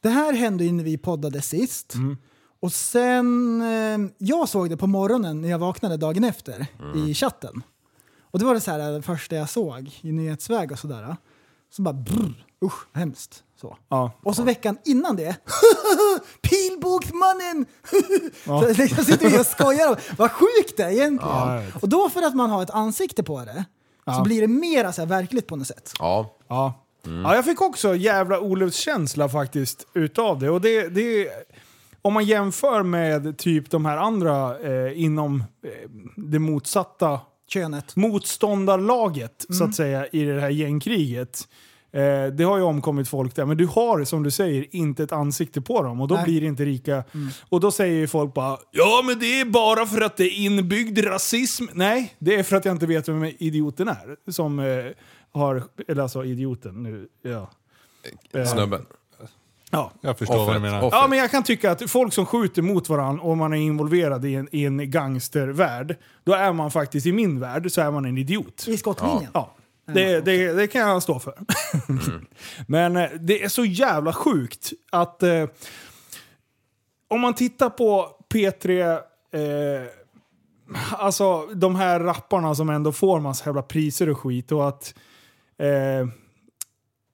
det här hände ju när vi poddade sist. Och sen, eh, jag såg det på morgonen när jag vaknade dagen efter i chatten. Och det var det så här, eh, det första jag såg i nyhetsväg och sådär. Så bara brr, usch, hemskt. Så.
Ja.
Och så veckan innan det, pilbågsmannen! så liksom sitter vi och skojar om vad sjukt det är egentligen.
Ja, jag vet.
och då för att man har ett ansikte på det
Ja.
så blir det mera så här verkligt på något sätt.
Ja.
Ja. Ja, jag fick också jävla olustkänsla faktiskt utav det. Och det, det om man jämför med typ de här andra eh, inom eh, det motsatta
könet.
motståndarlaget så att säga i det här gängkriget. Eh, det har ju omkommit folk där, men du har som du säger inte ett ansikte på dem och då
Nej.
blir det inte rika. Och då säger ju folk bara “Ja men det är bara för att det är inbyggd rasism”. Nej, det är för att jag inte vet vem idioten är. Som eh, har, eller alltså idioten nu, ja. Eh,
Snubben.
Ja.
Jag förstår vad du menar.
Ja, men jag kan tycka att folk som skjuter mot varandra och man är involverad i en, i en gangstervärld, då är man faktiskt i min värld så är man en idiot.
I skottlinjen?
Ja. Det, det, det kan jag stå för.
Mm.
Men eh, det är så jävla sjukt att eh, om man tittar på P3, eh, alltså de här rapparna som ändå får massa jävla priser och skit och att eh,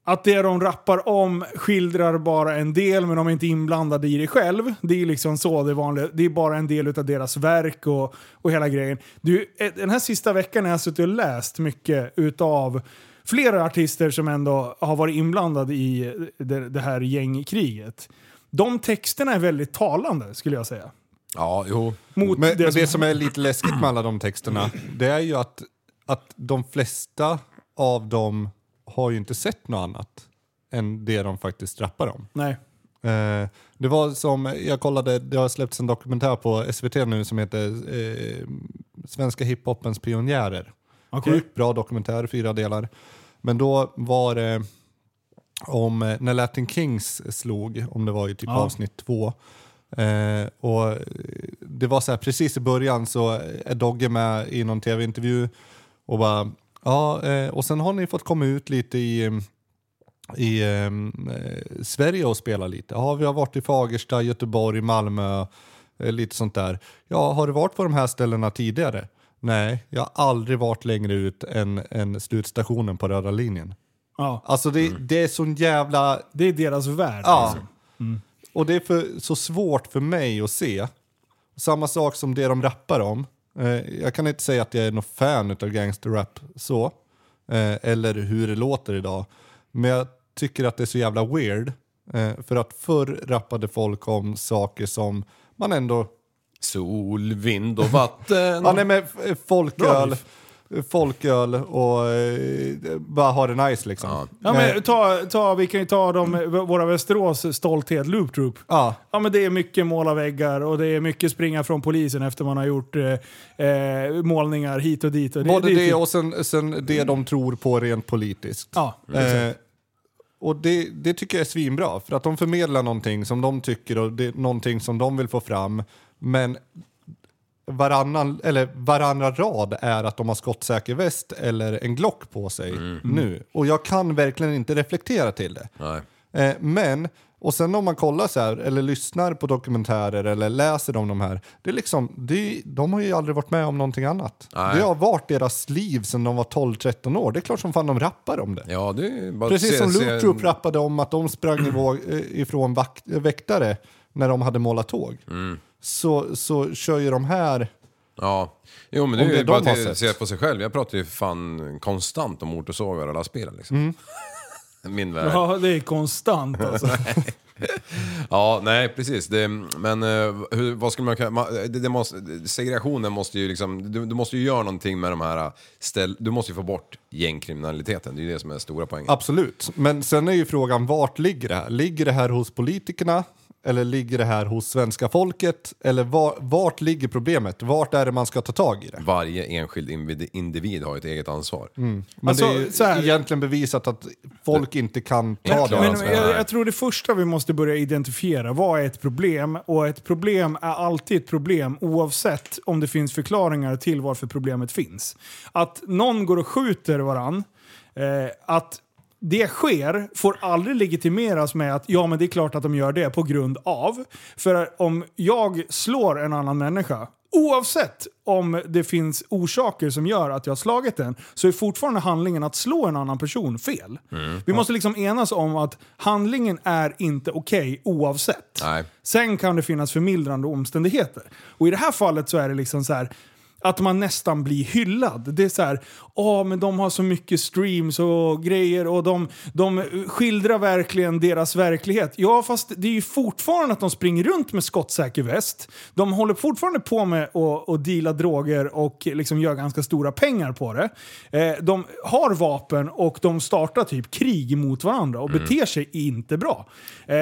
att det de rappar om skildrar bara en del men de är inte inblandade i det själv. Det är ju liksom så det är vanligt. Det är bara en del av deras verk och, och hela grejen. Du, eh, den här sista veckan har jag suttit och läst mycket utav flera artister som ändå har varit inblandade i det, det här gängkriget. De texterna är väldigt talande skulle jag säga.
Ja,
jo.
Mot
men,
det
men
som-
det som är lite läskigt med alla de texterna, det är ju att, att de flesta av dem har ju inte sett något annat än det de faktiskt rappar om.
Nej.
Eh, det var som, jag kollade, det har släppts en dokumentär på SVT nu som heter eh, Svenska hiphopens pionjärer.
Okej.
Sjukt bra dokumentär, fyra delar. Men då var det om eh, när Latin Kings slog, om det var i typ
Ja.
avsnitt två. Eh, och eh, det var så här, precis i början så är Dogge med i någon tv-intervju och bara, ja, eh, och sen har ni fått komma ut lite i eh, i ehm, eh, Sverige och spela lite. Ja, vi har varit i Fagersta, Göteborg, Malmö, eh, lite sånt där. Ja, har du varit på de här ställena tidigare? Nej, jag har aldrig varit längre ut än, än slutstationen på röda linjen.
Ja.
Alltså det, det är sån jävla...
Det är deras värld.
Ja. Mm.
liksom.
Och det är för, så svårt för mig att se. Samma sak som det de rappar om. Eh, jag kan inte säga att jag är någon fan av gangsterrap så. Eh, eller hur det låter idag. Men jag tycker att det är så jävla weird. Eh, för att förr rappade folk om saker som man ändå...
Sol, vind och vatten.
Mm.
ja, nej, men f- eh, folköl, folköl och eh, bara ha det nice liksom.
Ja,
Eh,
men ta, ta, vi kan ju ta de, våra Västerås stolthet, Loop Troop.
Ja.
men det är mycket måla väggar och det är mycket springa från polisen efter man har gjort eh, eh, målningar hit och dit. Och
Både det,
är- typ-
och sen, sen det de tror på rent politiskt.
Ja,
eh, och det, det tycker jag är svinbra, för att de förmedlar någonting som de tycker och det, någonting som de vill få fram. Men varannan, eller varannan rad är att de har skottsäker väst eller en Glock på sig nu. Och jag kan verkligen inte reflektera till det.
Nej.
Eh, men, och sen om man kollar så här, eller lyssnar på dokumentärer eller läser om de här, det är liksom, det, är- de har ju aldrig varit med om någonting annat.
Nej.
Det har varit deras liv sedan de var 12-13 år. Det är klart som fan de rappar om det.
Ja, det är bara
Precis
se-
som
se-
Loop Troop rappade om att de sprang ivå- eh, ifrån vakt, eh, väktare när de hade målat tåg.
Mm.
Så, så kör ju de här...
Ja, jo men
Om
det är
det
ju
de
bara
har
att
sett.
se på sig själv. Jag pratar ju fan konstant om motorsågar och lastbilar liksom.
Mm.
Min värld.
Ja, det är konstant alltså.
Ja, nej precis. Det, men eh, hur, vad skulle man kunna... man- Det, det måste, det- segregationen måste ju liksom... Du, du måste ju göra någonting med de här... eh, Ställ, du måste ju få bort gängkriminaliteten. Det är ju det som är stora poängen.
Absolut, men sen är ju frågan vart ligger det här? Ligger det här hos politikerna? Eller ligger det här hos svenska folket? Eller var, vart ligger problemet? Vart är det man ska ta tag i det?
Varje enskild invid- individ har ett eget ansvar.
Men det är ju egentligen bevisat att folk inte kan ta
Ja,
det
men-
ansvaret.
Men jag, jag tror det första vi måste börja identifiera, vad är ett problem? Och ett problem är alltid ett problem oavsett om det finns förklaringar till varför problemet finns. Att någon går och skjuter varann, eh, att det sker får aldrig legitimeras med att ja men det är klart att de gör det på grund av. För om jag slår en annan människa Oavsett om det finns orsaker som gör att jag har slagit den så är fortfarande handlingen att slå en annan person fel. Vi måste liksom enas om att handlingen är inte okej oavsett.
Nej.
Sen kan det finnas förmildrande omständigheter. Och i det här fallet så är det liksom så här att man nästan blir hyllad. Det är så här, åh men de har så mycket streams och grejer och de, de skildrar verkligen deras verklighet. Ja fast det är ju fortfarande att de springer runt med skottsäker väst. De håller fortfarande på med att att deala droger och liksom gör ganska stora pengar på det. Eh, De har vapen och de startar typ krig mot varandra och
Mm.
beter sig inte bra. Eh,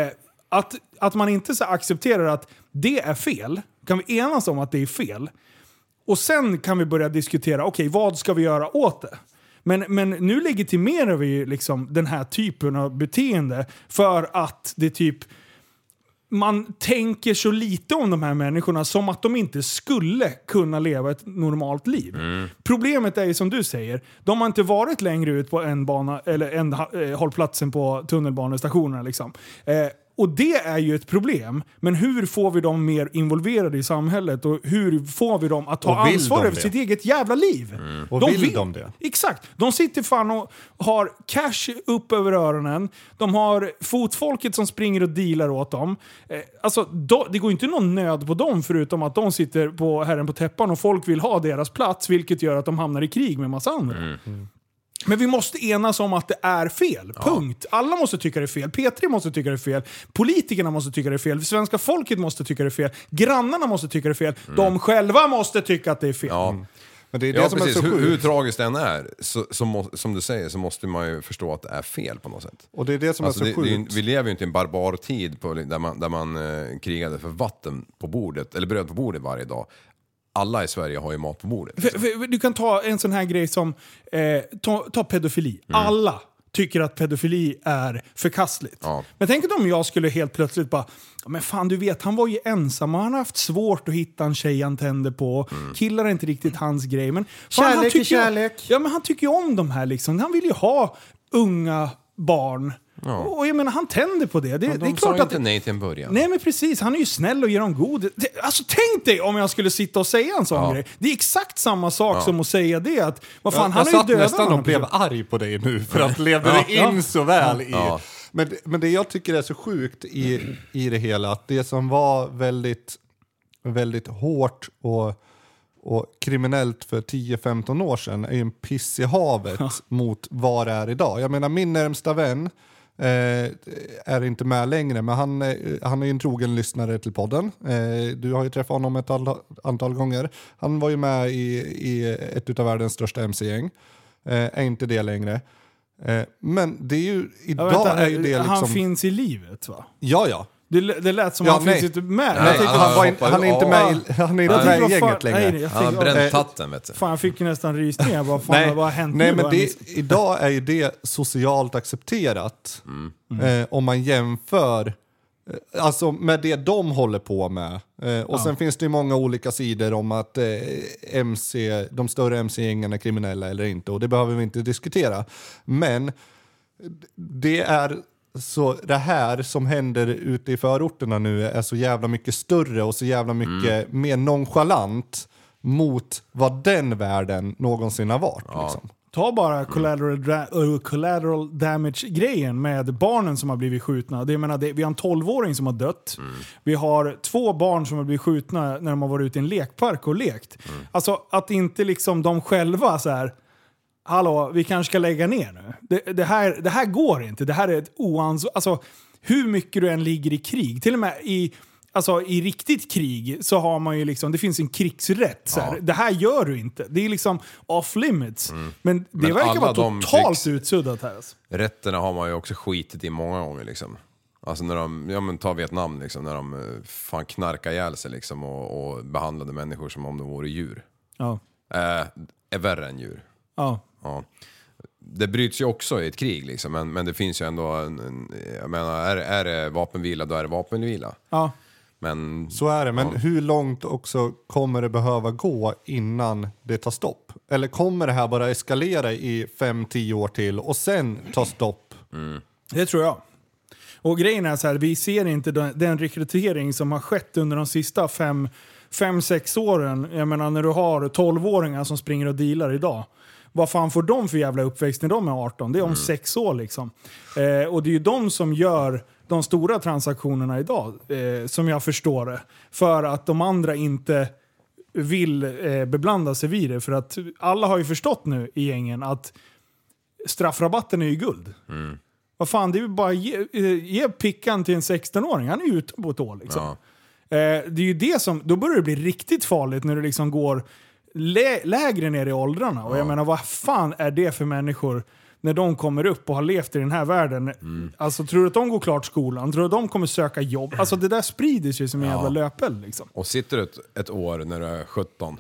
att, att man inte så accepterar att det är fel, kan vi enas om att det är fel? Och sen kan vi börja diskutera, okej vad ska vi göra åt det? Men, men nu legitimerar vi ju liksom den här typen av beteende för att det typ man tänker så lite om de här människorna som att de inte skulle kunna leva ett normalt liv.
Mm.
Problemet är ju som du säger, de har inte varit längre ut på en bana, eller en, eh, hållplatsen på tunnelbanestationerna. Liksom. Eh, och det är ju ett problem. Men hur får vi dem mer involverade i samhället och hur får vi dem att ta
Och vill
ansvar
de
över
det? Mm.
sitt eget jävla liv?
Och vill de det?
Exakt. De sitter fan och har cash upp över öronen. De har fotfolket som springer och dealar åt dem. Eh, alltså, då- det går ju inte någon nöd på dem förutom att de sitter på herren på täppan och folk vill ha deras plats vilket gör att de hamnar i krig med massa andra. Men vi måste enas om att det är fel. Punkt. Alla måste tycka det är fel. P3 måste tycka det är fel. Politikerna måste tycka det är fel. Svenska folket måste tycka det är fel. Grannarna måste tycka det är fel. De själva måste tycka att det är fel.
Mm. Men det är det
ja,
som är
precis.
så
hur,
sjukt.
hur tragiskt det än är, så, så må, som du säger, så måste man ju förstå att det är fel på något sätt. Alltså,
Och det är det som är så
det, det ju-
sjukt.
vi lever ju inte i en barbar tid på, där man, där man eh, krigade för vatten på bordet, eller bröd på bordet varje dag. Alla i Sverige har ju mat på bordet.
För, för, du kan ta en sån här grej som, eh, ta, ta pedofili.
Mm.
Alla tycker att pedofili är förkastligt. Men tänk om jag skulle helt plötsligt bara, "Ja, men fan du vet han var ju ensam och han har haft svårt att hitta en tjej han tände på.
Mm.
Killar är inte riktigt hans grej. Men fan,
Kärlek
han
är
tycker ju-
kärlek.
Ja men han tycker ju om de här liksom. Han vill ju ha unga barn. Och jag menar han tänder på det. Det,
Men
det
de
är
sa
klart
ju
att
inte nej till en början.
Nej men precis, han är ju snäll och ger dem god... Det- Alltså tänk dig om jag skulle sitta och säga en sån
Ja.
grej. Det är exakt samma sak
Ja.
som att säga det att, vad fan
jag,
han
jag
har ju
satt
dödat
nästan
någon
och blev
person.
arg på dig nu för att levde
Ja.
det in
Ja.
så väl i...
Ja.
Men, men det jag tycker är så sjukt i, i det hela, att det som var väldigt, väldigt hårt och, och kriminellt för 10-15 år sedan är ju en piss i havet mot vad det är idag. Jag menar min närmsta vän eh, är inte med längre, men han, eh, han är ju en trogen lyssnare till podden. Eh, du har ju träffat honom ett all, antal gånger. Han var ju med i, i ett av världens största mc-gäng. Eh, är inte det längre. Eh, men det är ju,
Ja,
idag
vänta,
är ju det liksom...
Han finns i livet va?
Ja, ja.
Det, l- det lät som han finns inte med.
Nej,
Jag tyckte-
han, var in, han är inte med i, han är inte
Jag tyckte,
med i
vad
gänget
fan-
längre.
nej, jag tyckte-
bränt
Eh,
tatten, vet du.
Fan jag fick ju nästan rysningar. Vad fan
nej,
vad har hänt
nej
nu?
men
Vad har
det, idag är ju det socialt accepterat. Eh, om man jämför eh, Alltså med det de håller på med. Eh, och
Ja.
sen finns det ju många olika sidor om att eh, MC, de större MC-gängen är kriminella eller inte och det behöver vi inte diskutera. Men det är så det här som händer ute i förorterna nu är så jävla mycket större och så jävla mycket mer nonchalant mot vad den världen någonsin har varit. Liksom.
Ta bara collateral, dra- uh, collateral damage-grejen med barnen som har blivit skjutna. Det, jag menar, det, vi har en 12-åring som har dött. Vi har två barn som har blivit skjutna när de har varit ute i en lekpark och lekt. Alltså att inte liksom de själva så här... Hallå, vi kanske ska lägga ner nu. Det, det, här, det här går inte. Det här är ett oansvarigt... Alltså, hur mycket du än ligger i krig, till och med i... Alltså i riktigt krig så har man ju liksom, det finns en krigsrätt. Så här. Det här gör du inte. Det är liksom off limits. Men det
Mm. Men
verkar
alla
vara
de
totalt
krigs-
utsuddat här. Alltså.
Rätterna har man ju också skitit i många gånger liksom. Alltså när de, ja men ta Vietnam liksom, när de eh, fan knarkade ihjäl sig liksom och, och behandlade människor som om de vore djur.
Ja.
Eh, är värre än djur.
Ja.
Ja. Det bryts ju också i ett krig liksom, men, men det finns ju ändå en, en jag menar, är, är det vapenvila då är det vapenvila.
Ja.
Men,
Så är det, men hur långt också kommer det behöva gå innan det tar stopp? Eller kommer det här bara eskalera i 5-10 år till och sen ta stopp?
Det tror jag. Och grejen är så här, vi ser inte den, den rekrytering som har skett under de sista fem, fem, sex åren. Jag menar när du har 12-åringar som springer och dealar idag. Vad fan får de för jävla uppväxt när de är 18? Det är om sex år liksom. Eh, och det är ju de som gör de stora transaktionerna idag, eh, som jag förstår det. För att de andra inte vill eh, beblanda sig vid det. För att alla har ju förstått nu i gängen att straffrabatten är ju guld. Vad fan, det är ju bara ge, eh, ge pickan till en 16-åring. Han är ju ute på ett år liksom. Eh, det är ju det som, då börjar det bli riktigt farligt när du liksom går lä, lägre ner i åldrarna. Och jag menar, vad fan är det för människor när de kommer upp och har levt i den här världen? Alltså, tror du att de går klart skolan? Tror du att de kommer söka jobb? Alltså det där sprider sig som en jävla löpeld liksom.
Och sitter du ett, ett år när du är 17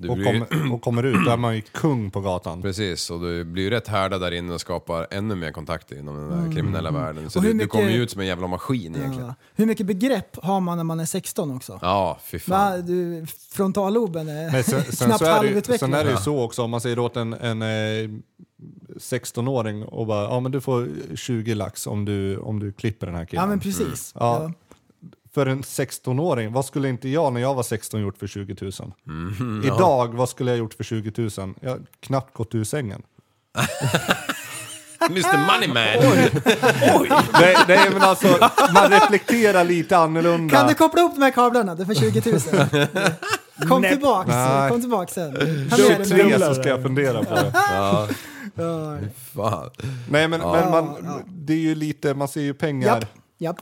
Du
och,
blir-
kommer, och kommer ut, då är man ju kung på gatan.
Precis, och du blir ju rätt härdad där inne och skapar ännu mer kontakter inom den där
Mm.
kriminella världen. Så
Och
du,
hur
du kommer ju
mycket-
ut som en jävla maskin egentligen.
Ja. Hur mycket begrepp har man när man är 16 också?
Ja, fy fan.
Va? Du, frontalloben är
Men sen, sen,
knappt
så är det, ju-
halvutvecklad.
sen är det ju så också, om man säger åt en, en eh, 16-åring och bara, ja men du får 20 lax om du, om du klipper den här killen.
Ja, men precis.
Mm. Ja.
Ja.
För en 16-åring, vad skulle inte jag när jag var 16 gjort för 20 000? Mm,
Mhm, ja.
Idag, vad skulle jag gjort för 20 000? Jag har knappt gått ur sängen.
Mr Moneyman!
nej, nej men alltså, man reflekterar lite annorlunda.
Kan du koppla ihop de här kablarna? Det är för 20 000. Kom
Nej.
tillbaks,
Nej.
kom tillbaks sen. Ta med dig
23
den.
så ska jag fundera på det.
Ja.
Ja.
Fan.
Nej men,
Ja.
men man, det är ju lite, man ser ju pengar.
Japp.
Japp.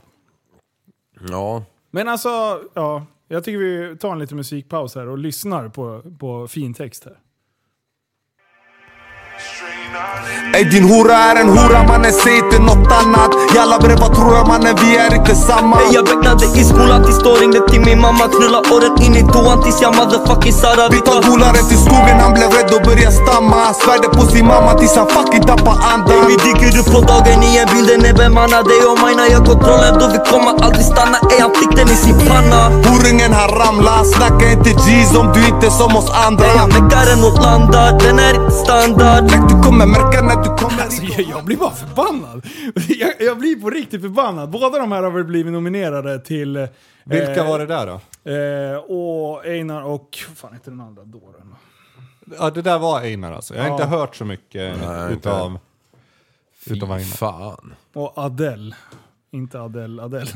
Ja.
Men alltså, ja. Jag tycker vi tar en liten musikpaus här och lyssnar på, på fin text här.
Ey din hora är en hora mannen, säg inte något annat Jalla bre vad tror jag mannen, vi är inte samma
Ey jag vägnade i skolan tills då ringde till min mamma Knulla året in i tvåan tills jag motherfucking Sara Vi tar
Polaren till skogen, han blev rädd och började stamma Svärde på sin mamma tills han fucking tappade andan
Vi dyker upp på dagen i en bilden är bemanna Dig och mig när jag kontrollen då vi kommer aldrig stanna Ey han fick den i sin panna
Horungen han ramla, snacka inte G's om du inte är som oss andra
Ey han väckar en åt landa, den är inte standard
Du kommer märka när du kommer
Alltså, jag, jag blir bara förbannad. Jag, jag blir på riktigt förbannad. Båda de här har väl blivit nominerade till... eh,
Vilka var det där då?
Eh, och Einar och... Vad fan heter den andra dåren?
Ja, det där var Einar alltså. Jag har
Ja.
inte hört så mycket
Nej, inte.
utav, utav Einar.
fan.
Och Adele. Inte Adele, Adele.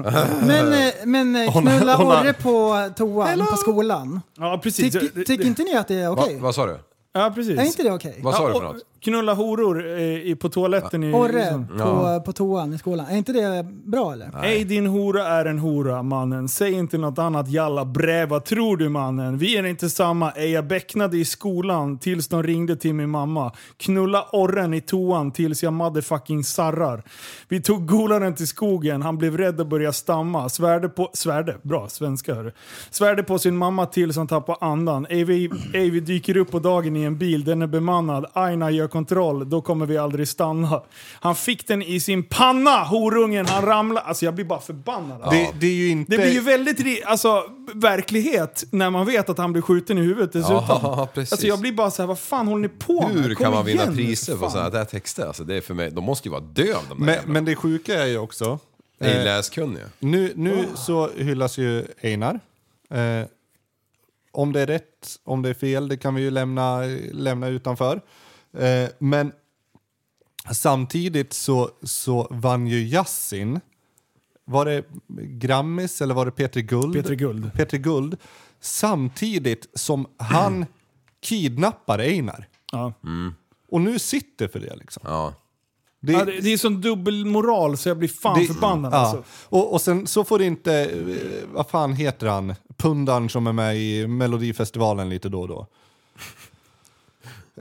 Men, eh, men eh,
Hon-
knulla
hon har-
Orre på toan på skolan.
Ja, precis.
Tyck-
Det-
Tycker
det-
inte ni att det är okej?
Va, vad sa du?
Ja, precis.
Är inte det okej?
Vad sa du
och
för något?
Knulla horor eh, i, på toaletten i...
Orre
liksom.
på, på toan i skolan. Är inte det bra eller?
Ej din hora är en hora mannen, säg inte något annat jalla brä, vad tror du mannen? Vi är inte samma, ej jag bäcknade i skolan tills de ringde till min mamma. Knulla orren i toan tills jag motherfucking sarrar. Vi tog golaren till skogen, han blev rädd och började stamma. Svärde på, svärde, bra svenska hörru. Svärde på sin mamma tills han tappade andan. Ej vi, ej vi dyker upp på dagen i en bil, den är bemannad. Aina gör kontroll, då kommer vi aldrig stanna. Han fick den i sin panna, horungen, han ramlade. Alltså jag blir bara förbannad.
Det, det är ju inte...
Det blir ju väldigt ri- alltså, verklighet när man vet att han blir skjuten i huvudet dessutom.
Ja, precis.
Alltså jag blir bara så här, vad fan håller ni på med?
Hur kan
Kom
man vinna
igen nu,
priser
fan.
på sådana här texter? Alltså, det är för mig, de måste ju vara döv de där.
men, men det sjuka är ju också...
Ej läskunniga.
Nu, nu
Ah.
så hyllas ju Einar. Eh, om det är rätt, om det är fel, det kan vi ju lämna, lämna utanför. Eh, men samtidigt så, så vann ju Yassin. Var det Grammis eller var det Peter Guld?
P3 Guld.
Peter Guld. Samtidigt som han kidnappar Einar.
Ja.
Mm.
Och nu sitter för det liksom.
Det, ja, det, det är sån dubbelmoral så jag blir fan
Det-
förbannad
ja.
alltså.
och, och sen så får det inte, eh, vad fan heter han, pundan som är med i Melodifestivalen lite då och då.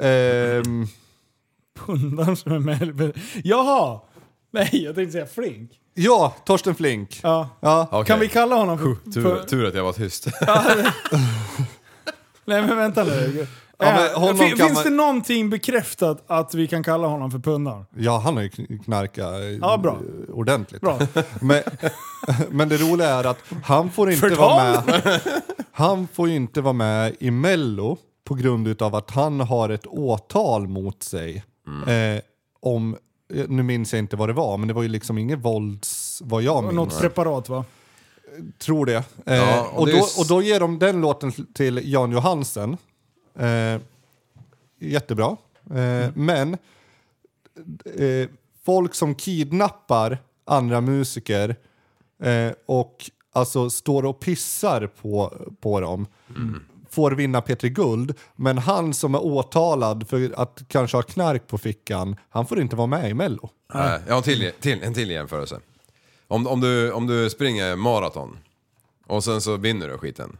Ehm,
Pundan som är med. Jaha! Nej, jag tänkte säga Flink.
ja, Torsten Flink.
Ja.
Okej.
Kan vi kalla honom för...
Huh, Tur,
för
tur att jag var tyst.
nej men vänta nu. Eh,
Ja, men honom
fin,
kan
finns
man-
det någonting bekräftat att vi kan kalla honom för pundan?
Ja, han har ju kn- knarkat eh,
Ja, bra.
ordentligt.
Bra.
Men, men det roliga är att han får inte
Förtal!
vara med. Han får ju inte vara med i Mello på grund av att han har ett åtal mot sig. Eh, om, eh, nu minns jag inte vad det var, men det var ju liksom inget vålds, vad jag minns.
Något preparat va?
Tror det. Eh,
Ja, och
och,
det är
då,
s-
och då ger de den låten till Jan Johansen. Eh, jättebra. Eh,
Mm.
Men eh, folk som kidnappar andra musiker eh, och alltså står och pissar på, på dem
Mm.
får vinna P3 Guld, men han som är åtalad för att kanske ha knark på fickan, han får inte vara med i Mello.
Nej, jag har en till, till, en till jämförelse. Om, om, du, om du springer maraton och sen så vinner du skiten.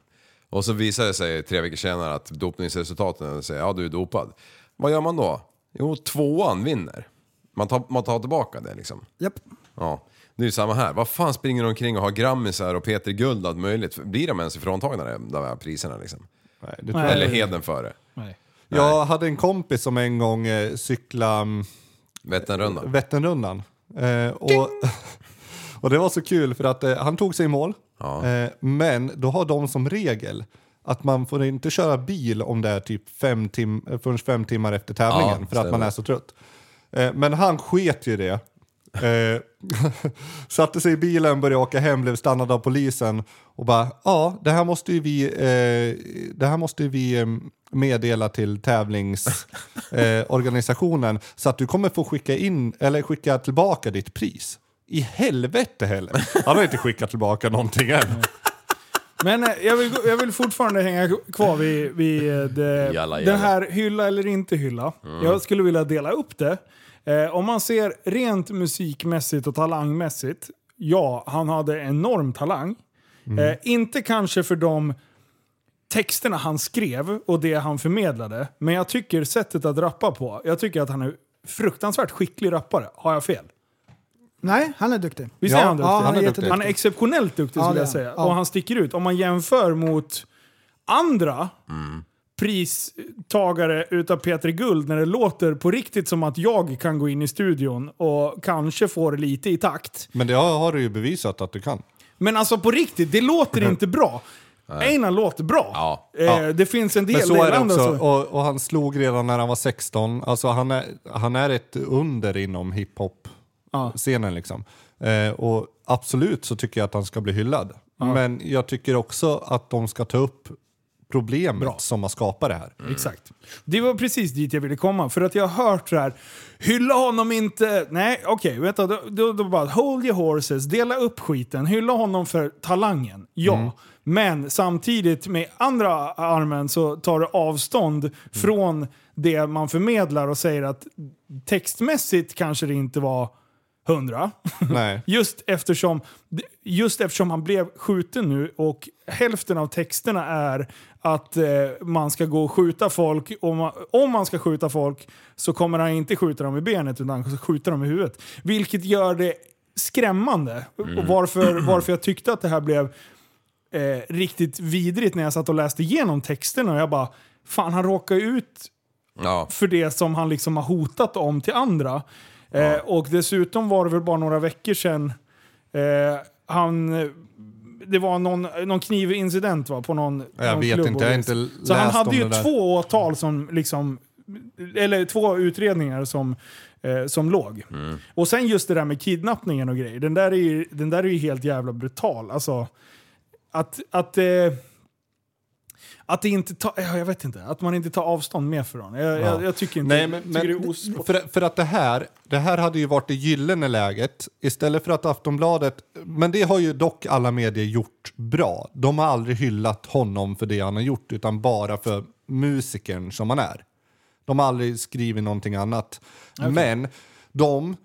Och så visar det sig tre veckor senare att dopningsresultaten säger ja du är dopad. Vad gör man då? Jo, tvåan vinner. Man tar, man tar tillbaka det liksom.
Japp.
Ja, det är ju samma här. Vad fan springer de omkring och har grammisar och Peter Guld och allt möjligt? Blir de ens ifråntagna de där priserna liksom?
Nej, det tror jag
Eller
inte.
Hedenföre.
Jag hade en kompis som en gång eh, cyklade mm,
Vätternrundan.
Vätternrundan. Eh, och, och det var så kul för att eh, han tog sig i mål. Eh, men då har de som regel att man får inte köra bil om det är typ fem, tim eh, förrän fem timmar efter tävlingen
Ja,
för att man
stämmer.
är så trött. Eh, men han sket ju i det. Eh, satte sig i bilen, började åka hem, blev stannad av polisen och bara ja, det här måste ju vi, eh, det här måste ju vi eh, meddela till tävlingsorganisationen eh, organisationen, så att du kommer få skicka in eller skicka tillbaka ditt pris. I helvete heller. Han har inte skickat tillbaka någonting än.
Men eh, jag vill, jag vill fortfarande hänga kvar vid, vid eh, det,
Jalla, jalla.
den här hylla eller inte hylla.
Mm.
Jag skulle vilja dela upp det. Eh, om man ser rent musikmässigt och talangmässigt. Ja, han hade enorm talang. Eh, inte kanske för de texterna han skrev och det han förmedlade. Men jag tycker sättet att rappa på. Jag tycker att han är fruktansvärt skicklig rappare. Har jag fel?
Nej, han är duktig.
Visst är han duktig?
Ja, han är jätteduktig.
Han är exceptionellt duktig
Ja,
skulle
det är
jag säga.
han. Ja.
Och han sticker ut. Om man jämför mot andra pristagare utav P3 Guld när det låter på riktigt som att jag kan gå in i studion och kanske får lite i takt.
Men det har, har du ju bevisat att du kan.
Men alltså på riktigt, det låter inte bra. Einar låter bra. Eh,
Ja.
Det finns en
Men
del
så är det
andra
också.
som-
Och, och han slog redan när han var 16. Alltså han är, han är ett under inom hiphop-scenen liksom. Eh, och absolut så tycker jag att han ska bli hyllad. Men jag tycker också att de ska ta upp problemet som har skapat det här.
Exakt. Det var precis dit jag ville komma. För att jag har hört så här, hylla honom inte. Nej, okej, vänta. Då, då, då bara, hold your horses, dela upp skiten, hylla honom för talangen. Ja.
Mm.
Men samtidigt med andra armen så tar du avstånd från det man förmedlar och säger att textmässigt kanske det inte var hundra.
Nej.
Just eftersom, just eftersom han blev skjuten nu och hälften av texterna är att eh, man ska gå och skjuta folk. Om man, om man ska skjuta folk så kommer han inte skjuta dem i benet utan han ska skjuta dem i huvudet. Vilket gör det skrämmande.
Mm.
Och varför, varför jag tyckte att det här blev eh, riktigt vidrigt när jag satt och läste igenom texterna och jag bara, fan han råkar ju ut
Ja.
för det som han liksom har hotat om till andra. Eh, och dessutom var det väl bara några veckor sedan eh, han... eh, Det var någon, någon knivincident va, på någon
Jag
någon
vet
klubb
inte, jag har
och det.
inte
Så han
läst
hade
om
ju
det där.
två åtal som liksom... Eller två utredningar som, eh, som
Mm.
låg. Och sen just det där med kidnappningen och grejer. Den där är ju, den där är ju helt jävla brutal. Alltså, att... att eh, att, det inte ta, ja, jag vet inte, att man inte tar avstånd mer från det. Jag,
Ja.
jag, jag tycker inte
Nej, men,
jag tycker
men,
det är osport.
för, för att det här, det här hade ju varit det gyllene läget istället för att Aftonbladet, men det har ju dock alla medier gjort bra. De har aldrig hyllat honom för det han har gjort utan bara för musikern som han är. De har aldrig skrivit någonting annat.
Okej.
Men de,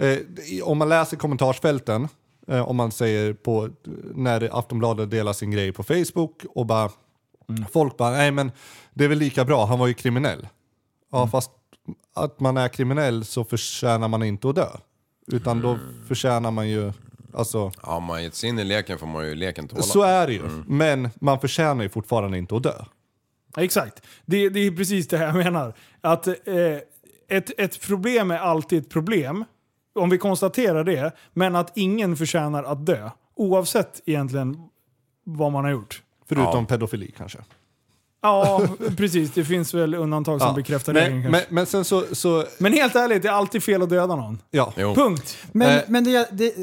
eh, om man läser kommentarsfälten, eh, om man säger på, när Aftonbladet delar sin grej på Facebook och bara,
Mm.
folk bara, nej men det är väl lika bra, han var ju kriminell. Ja, fast att man är kriminell så förtjänar man inte att dö. Utan då förtjänar man ju, alltså,
Ja, om man gett sig in i leken får man ju leken tåla.
så är det ju.
Mm.
Men man förtjänar ju fortfarande inte att dö.
Ja, Exakt. Det, det är precis det här jag menar. Att eh, ett, ett problem är alltid ett problem. Om vi konstaterar det. Men att ingen förtjänar att dö. Oavsett egentligen vad man har gjort.
Förutom pedofili kanske.
Ja, precis. Det finns väl undantag som
Ja.
bekräftar
Men-
regeln kanske.
men, men sen så, så
Men helt ärligt, det är alltid fel att döda någon.
ja.
Punkt.
Men,
Eh,
men det, det...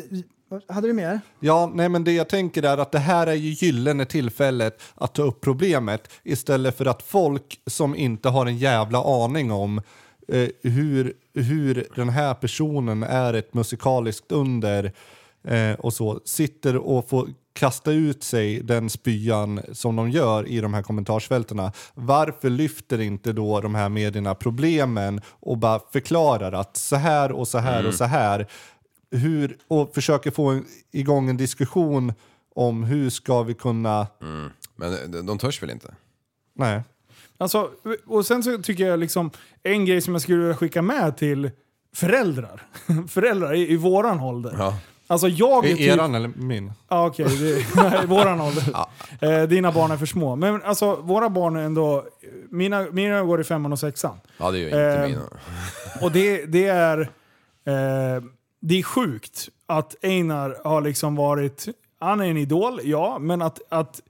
Hade du mer?
Ja, nej men det jag tänker är att det här är ju gyllene tillfället att ta upp problemet istället för att folk som inte har en jävla aning om eh, hur, hur den här personen är ett musikaliskt under eh, och så sitter och får kasta ut sig den spyan som de gör i de här kommentarsfältena. Varför lyfter inte då de här medierna problemen och bara förklarar att så här och så här
Mm.
och så här hur, och försöker få en- igång en diskussion om hur ska vi kunna...
Men de- de törs väl inte?
Nej.
Alltså, och sen så tycker jag liksom, en grej som jag skulle vilja skicka med till föräldrar, föräldrar i, i våran ålder. Alltså jag är
I
typ...
eran eller min?
Ja, okej. det- Nej, våran ålder. Eh, dina barn är för små. Men alltså, våra barn är ändå... Mina, mina går i femman och sexan.
Ja, det är ju inte
Eh,
mina.
Och det, det är... Eh, det är sjukt att Einar har liksom varit... Han är en idol, ja, men att, att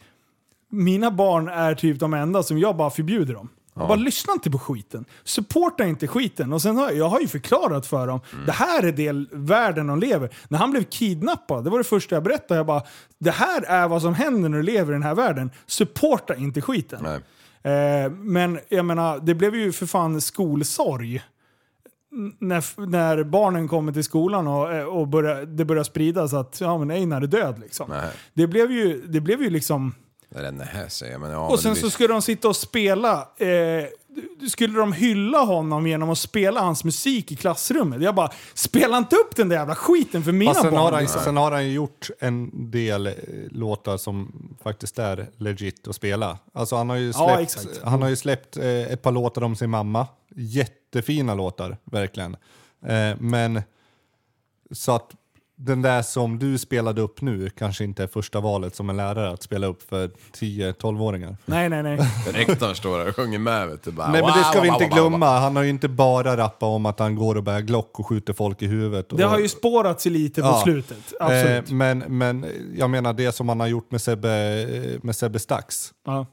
mina barn är typ de enda som jag bara förbjuder dem. Jag bara lyssna inte på skiten. Supporta inte skiten. Och sen har jag, jag har ju förklarat för dem. Det här är del världen de lever. När han blev kidnappad, det var det första jag berättade. Jag bara, det här är vad som händer när du lever i den här världen. Supporta inte skiten. Eh, men jag menar, det blev ju för fan skolsorg. N- När, f- när barnen kommer till skolan och, eh, och börjar, det börjar spridas att ja, men Einar är död. Liksom. Det, blev ju, det blev ju liksom...
Det är den här säger jag, men ja,
Och sen
men
så
visst.
skulle de sitta och spela. Eh, skulle de hylla honom genom att spela hans musik i klassrummet? Jag bara, spela inte upp den där jävla skiten för mina
Fast sen,
barn.
har han,
liksom.
sen har han ju gjort en del eh, låtar som faktiskt är legit att spela. Alltså han har ju
Ja,
släppt,
exakt.
han har ju släppt eh, ett par låtar om sin mamma. Jättefina låtar, verkligen. Eh, men så att den där som du spelade upp nu kanske inte är första valet som en lärare att spela upp för 10-12-åringar.
Nej, nej, nej.
Rektorn står där och sjunger med vet du. Bara,
Nej men det ska
wow,
vi
wow,
inte
wow, wow, wow.
glömma. Han har ju inte bara rappat om att han går och bär Glock och skjuter folk i huvudet.
Det
och,
har ju spårat sig lite på
Ja.
slutet. Absolut.
Eh, men, men jag menar det som han har gjort med Sebbe, eh, med Sebbe Stax.
Ja.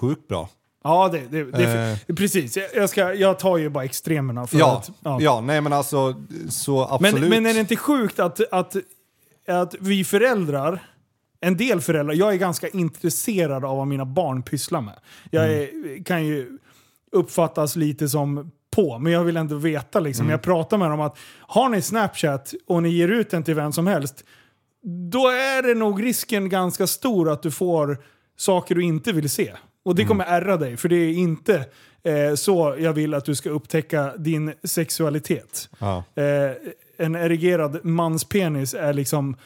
Sjukt bra.
Ja, det, det, det,
Eh.
precis. Jag- Jag, ska, jag tar ju bara extremerna. För
Ja,
att,
ja. nej men alltså så absolut.
Men, men är det inte sjukt att, att, att vi föräldrar, en del föräldrar, jag är ganska intresserad av vad mina barn pysslar med. Jag är, kan ju uppfattas lite som på, men jag vill ändå veta liksom.
Mm.
Jag pratar med dem att har ni Snapchat och ni ger ut den till vem som helst, då är det nog risken ganska stor att du får saker du inte vill se. Och det kommer ärra dig, för det är inte eh, så jag vill att du ska upptäcka din sexualitet.
Ja.
Eh, en erigerad manspenis är liksom...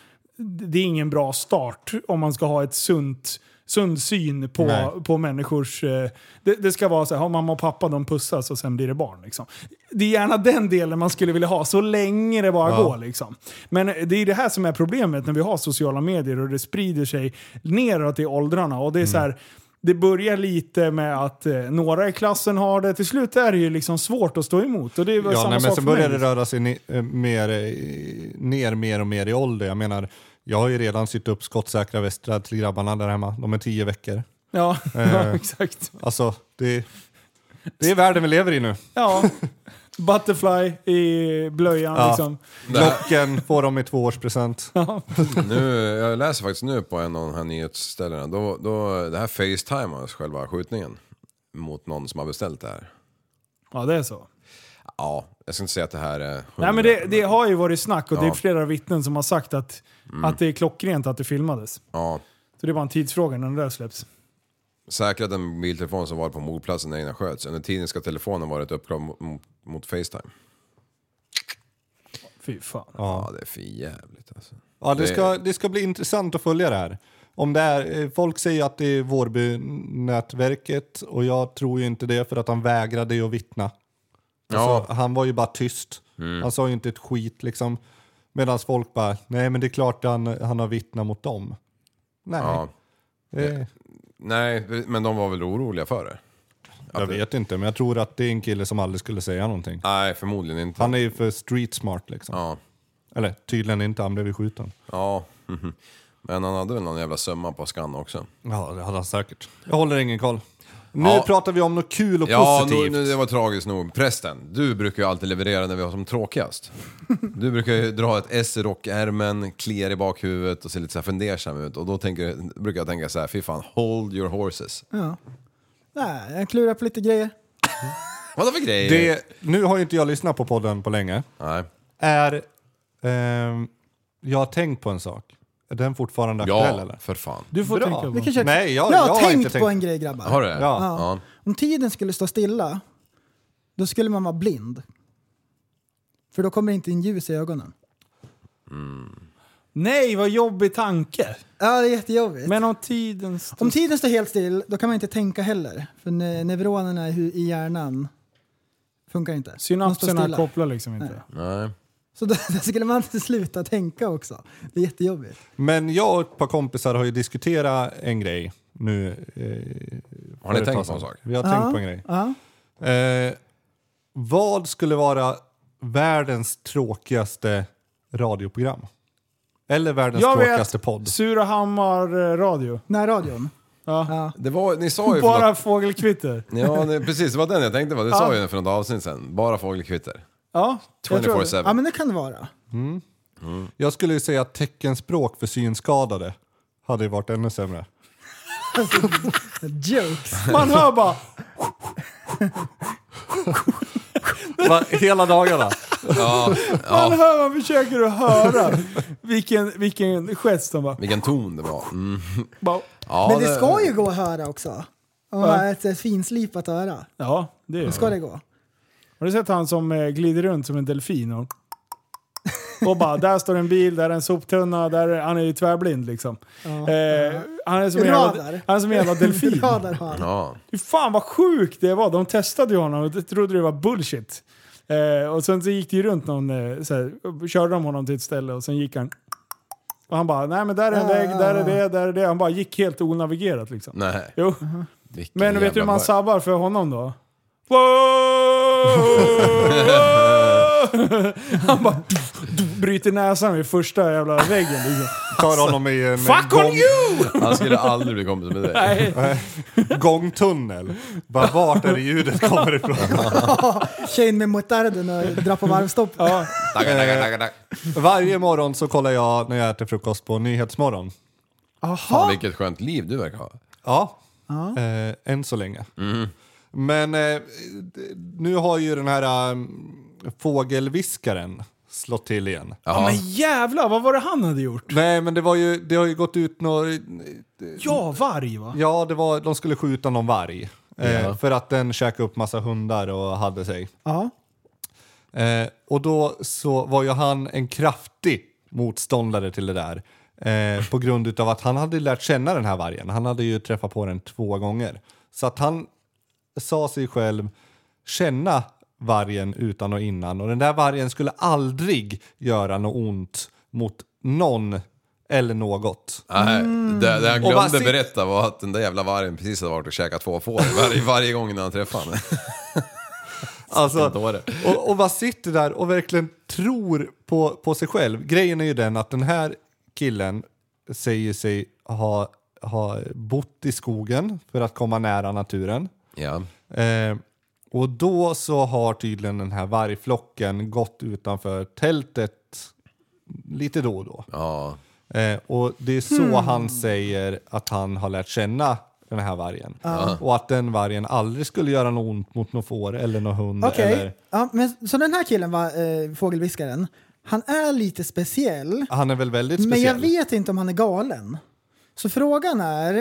Det är ingen bra start om man ska ha ett sunt sund syn
Nej.
på, på människors... Eh, det, det ska vara så här, har mamma och pappa de pussas och sen blir det barn. Liksom. Det är gärna den delen man skulle vilja ha, så länge det bara
Ja.
går. Liksom. Men det är det här som är problemet när vi har sociala medier och det sprider sig neråt i åldrarna. Och det är så
Mm.
här, det börjar lite med att eh, några i klassen har det, till slut är det ju liksom svårt att stå emot. Och det är väl
Ja,
samma
nej, men
sak
sen
för
börjar
mig.
det röra sig ni- eh, mer, eh, ner mer och mer i ålder. Jag menar, jag har ju redan sytt upp skottsäkra västar till grabbarna där hemma. De är tio veckor.
Ja, ja,
Eh,
exakt.
Alltså, det, det är världen vi lever i nu.
Ja. Butterfly i blöjan
Ja.
liksom.
Glocken får de i tvåårspresent.
nu, jag läser faktiskt nu på en av de här nyhetsställena. Då, då, det här facetimar själva skjutningen mot någon som har beställt det här.
Ja, det är så.
Ja, jag ska inte säga att det här är...
Nej, men det, det har ju varit snack och det är
Ja.
flera vittnen som har sagt att,
Mm.
att det är klockrent att det filmades.
Ja.
Så det är bara en tidsfråga när den där släpps.
Säkrat en mobiltelefon som var på mordplatsen när Einar sköts. Under tiden ska telefonen varit uppkopplad mot, mot, mot Facetime.
Fy fan.
Ja, det är för jävligt alltså.
Ja, det
Det-
ska, det ska bli intressant att följa det här. Om det är, eh, folk säger att det är Vårbynätverket och jag tror ju inte det för att han vägrade ju att vittna. Alltså, Han var ju bara tyst.
Mm.
Han sa ju inte ett skit liksom. Medan folk bara, nej men det är klart han, han har vittnat mot dem. Nej.
Ja.
Eh.
Nej, men de var väl oroliga för det?
Jag vet inte, men jag tror att det är en kille som aldrig skulle säga någonting.
Nej, förmodligen inte.
Han är ju för street smart liksom. Eller tydligen inte, han blev ju skjuten.
Ja, mhm. men han hade väl någon jävla summa på skann också.
Ja, det hade han säkert. Jag håller ingen koll. Nu
Ja.
pratar vi om något kul och
Ja, nu,
positivt.
nu, det var tragiskt nog. Prästen, du brukar ju alltid leverera när vi har som tråkigast. Du brukar ju dra ett S i rockärmen, kliar i bakhuvudet och ser lite så här fundersam ut. Och då tänker, brukar jag tänka så här, fy fan, hold your horses.
Ja. Nej, jag klurar på lite grejer.
Vadå för grejer?
Det, nu har ju inte jag lyssnat på podden på länge.
Nej.
Är... ehm, jag har tänkt på en sak. Är den fortfarande
Ja,
aktuell eller?
för fan.
Du får tänka på- Vi kan köra-
Nej, jag,
Jag har
har
tänkt
inte
på en grej, grabbar.
Har du det?
Ja.
Ja.
Om tiden skulle stå stilla, då skulle man vara blind. För då kommer det inte in ljus i ögonen.
Nej, vad jobbig tanke!
Ja, det är jättejobbigt.
Men om tiden står...
Om tiden står helt still, då kan man inte tänka heller. För ne- neuronerna i hu- i hjärnan funkar inte. De står
Synapserna
stilla.
kopplar liksom inte.
Nej.
Så då, då skulle man sluta tänka också. Det är jättejobbigt.
Men jag och ett par kompisar har ju diskuterat en grej nu. Eh,
Har ni
för
tänkt
ett tag
på en
sedan.
sak?
Vi har
Ja,
tänkt på en grej.
ja.
Eh, vad skulle vara världens tråkigaste radioprogram? Eller världens
Jag
tråkigaste
vet,
podd?
Surahammar eh, radio.
Närradion?
Ja.
Det var, ni sa ju för
Bara
något-
fågelkvitter.
Ja, det, precis. Det var den jag tänkte på. Det sa
Ja.
ju jag för något avsnitt sen. Bara fågelkvitter.
Ja,
jag tror det. 24/7. Ja, men
det kan det vara.
Mm. Jag skulle ju säga att teckenspråk för synskadade hade ju varit ännu sämre.
Jokes.
Man hör bara...
Va, hela dagarna?
Ja,
Man hör, man försöker att höra vilken, vilken gest de bara...
Vilken ton det var. Mm.
bara
Ja,
Men det ska ju gå att höra också. Om man
Ja.
har ett, ett finslipat öra.
Ja, det är
Då ska det gå.
Har du sett han som eh, glider runt som en delfin? Och, och bara, där står en bil, där är en soptunna, där är, han är ju tvärblind liksom.
Ja.
Eh, han är som en jävla,
Radar.
han är som en jävla delfin.
Radar har han.
Ja.
Fy fan vad sjukt det var. De testade ju honom och det trodde det var bullshit. Eh, och sen så gick det ju runt någon, eh, så här, och körde de honom till ett ställe och sen gick han. Och han bara, nej men där är en
Ja,
vägg,
ja,
där är
ja.
det, där är det. Han bara gick helt onavigerat liksom.
Nej.
Jo.
Vilken
Men vet du
jävla
hur man
mör-
sabbar för honom då? Han bara bryter näsan vid första jävla väggen. Liksom.
Tar honom i en
Fuck on
gång-
you!
Han skulle aldrig bli kompis med dig.
Nej.
Gångtunnel. Bara vart är det ljudet kommer ifrån?
Tjejen med motarden och drar på varvstopp. Ja.
Tackar, tackar, tackar, tackar.
Varje morgon så kollar jag när jag äter frukost på Nyhetsmorgon.
Fan, vilket skönt liv du verkar ha.
Ja, eh, än så länge. Men eh, d- nu har ju den här eh, fågelviskaren slått till igen.
Ja, men jävlar, vad var det han hade gjort?
Nej, men det, var ju, det har ju gått ut några...
Ja, varg va?
Ja, det var, de skulle skjuta någon varg. Eh,
Ja.
För att den käkade upp massa hundar och hade sig. Eh, och då så var ju han en kraftig motståndare till det där. Eh, på grund utav att han hade lärt känna den här vargen. Han hade ju träffat på den två gånger. Så att han sa sig själv känna vargen utan och innan. Och den där vargen skulle aldrig göra något ont mot någon eller något.
Nej, det, det han
Och bara
glömde
sit-
berätta var att den där jävla vargen precis hade varit och käkat två får varje, varje gång när han träffade henne.
Alltså,
Vilken dåre.
och, och bara sitter där och verkligen tror på, på sig själv. Grejen är ju den att den här killen säger sig ha, ha bott i skogen för att komma nära naturen.
Ja.
Eh, och då så har tydligen den här vargflocken gått utanför tältet lite då och då. Eh, och det är så
Hmm.
han säger att han har lärt känna den här vargen.
Ja.
Och att den vargen aldrig skulle göra något ont mot någon får eller någon hund.
Okej.
Eller,
Ja, men så den här killen, va, eh, fågelviskaren, han är lite speciell.
han är väl väldigt
Men jag
speciell.
vet inte om han är galen. Så frågan är,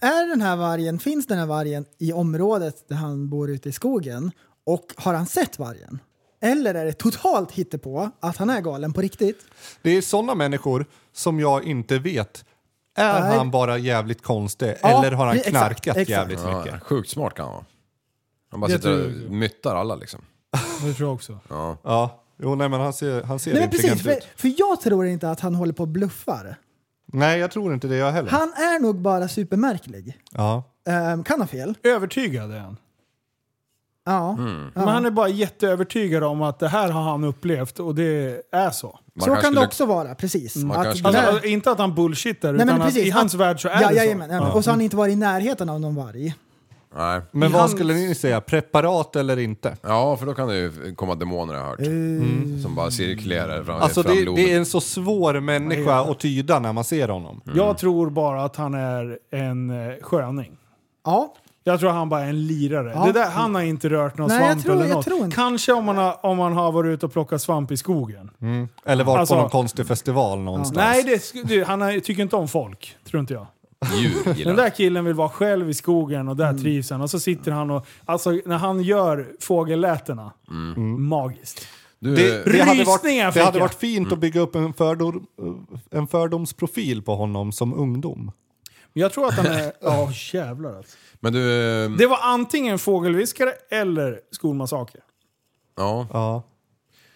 är den här vargen, finns den här vargen i området där han bor ute i skogen? Och har han sett vargen? Eller är det totalt hittepå att han är galen på riktigt?
Det är sådana människor som jag inte vet. Är
Nej.
han bara jävligt konstig
Ja,
eller har han
exakt,
knarkat
exakt.
jävligt
Ja,
mycket?
Sjukt smart kan han vara. Han bara
Det
sitter
tror
och myttar alla liksom.
Det tror jag också.
Ja.
ja. Jo, nej men han ser, han ser
Nej, men
intelligent
precis, för,
ut.
för jag tror inte att han håller på och bluffar.
Nej, jag tror inte det jag heller.
Han är nog bara supermärklig.
Ja.
Ehm, kan ha fel.
Övertygad är han.
Ja.
Mm,
Ja.
Men han är bara jätteövertygad om att det här har han upplevt och det är så.
så kan det också vara, precis.
Mm.
Att
Alltså,
där-
alltså, inte att han bullshittar,
Nej,
utan
men
att
precis.
i hans
Att-
värld så är
ja,
det så.
jajamän, jajamän. Och så har han inte varit i närheten av någon varg.
Nej.
Men
I
vad
hans-
skulle ni säga? Preparat eller inte?
Ja, för då kan det ju komma demoner har jag hört. Som bara cirkulerar fram,
Alltså
fram
det,
loben.
det är en så svår människa
Ja.
att tyda när man ser honom.
Jag tror bara att han är en eh, sköning.
Ja.
Jag tror han bara är en lirare.
Ja.
Det där, han har inte rört någon
Nej, jag
svamp
tror-
eller
jag
något.
tror
Kanske om man, har, om man har varit ute och plockat svamp i skogen.
Mm. Eller varit
Alltså-
på någon konstig festival någonstans.
Nej, det, sk- det, han har, tycker inte om folk. Tror inte jag.
Djur gillar
Den där killen vill vara själv i skogen och där
Mm.
trivs han. Och så sitter han och... Alltså när han gör fågellätena.
Mm.
Magiskt.
Du,
det hade varit,
Rysningar
det
fick
hade
jag.
varit fint att bygga upp en, fördom, en fördomsprofil på honom som ungdom.
Jag tror att han är... Ja, jävlar alltså.
Men du... eh,
Det var antingen fågelviskare eller skolmassaker.
Ja.
ja.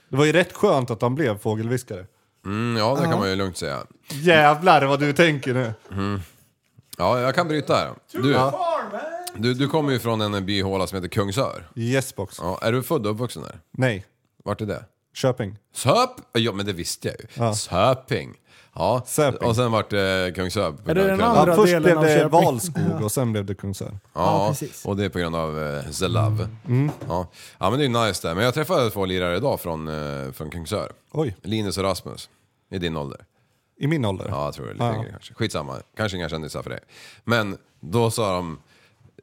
Det var ju rätt skönt att han blev fågelviskare.
Mm, ja, det
Ja.
kan man ju lugnt säga.
Jävlar vad du tänker nu.
Mm. Ja, jag kan bryta här. Du, du, du kommer ju från en bihåla som heter Kungsör.
Yes box.
Ja, är du född och uppvuxen där?
Nej.
Vart är det?
Köping.
Söp? Ja, men det visste jag ju. Söping. Ja, och sen vart det Kungsör.
Är det den andra Ja, först delen blev av det Köping? Valskog och sen blev det Kungsör.
Ja,
Ja, precis. Mm.
och det är på grund av uh, The Love. Ja. ja, men det är ju nice där. Men jag träffade två lirare idag från, eh, från Kungsör.
Oj.
Linus och Rasmus. I din ålder.
I min ålder?
Ja, jag tror det. Lite
Ja.
yngre kanske. Skitsamma, kanske inga kändisar för dig. Men då sa de,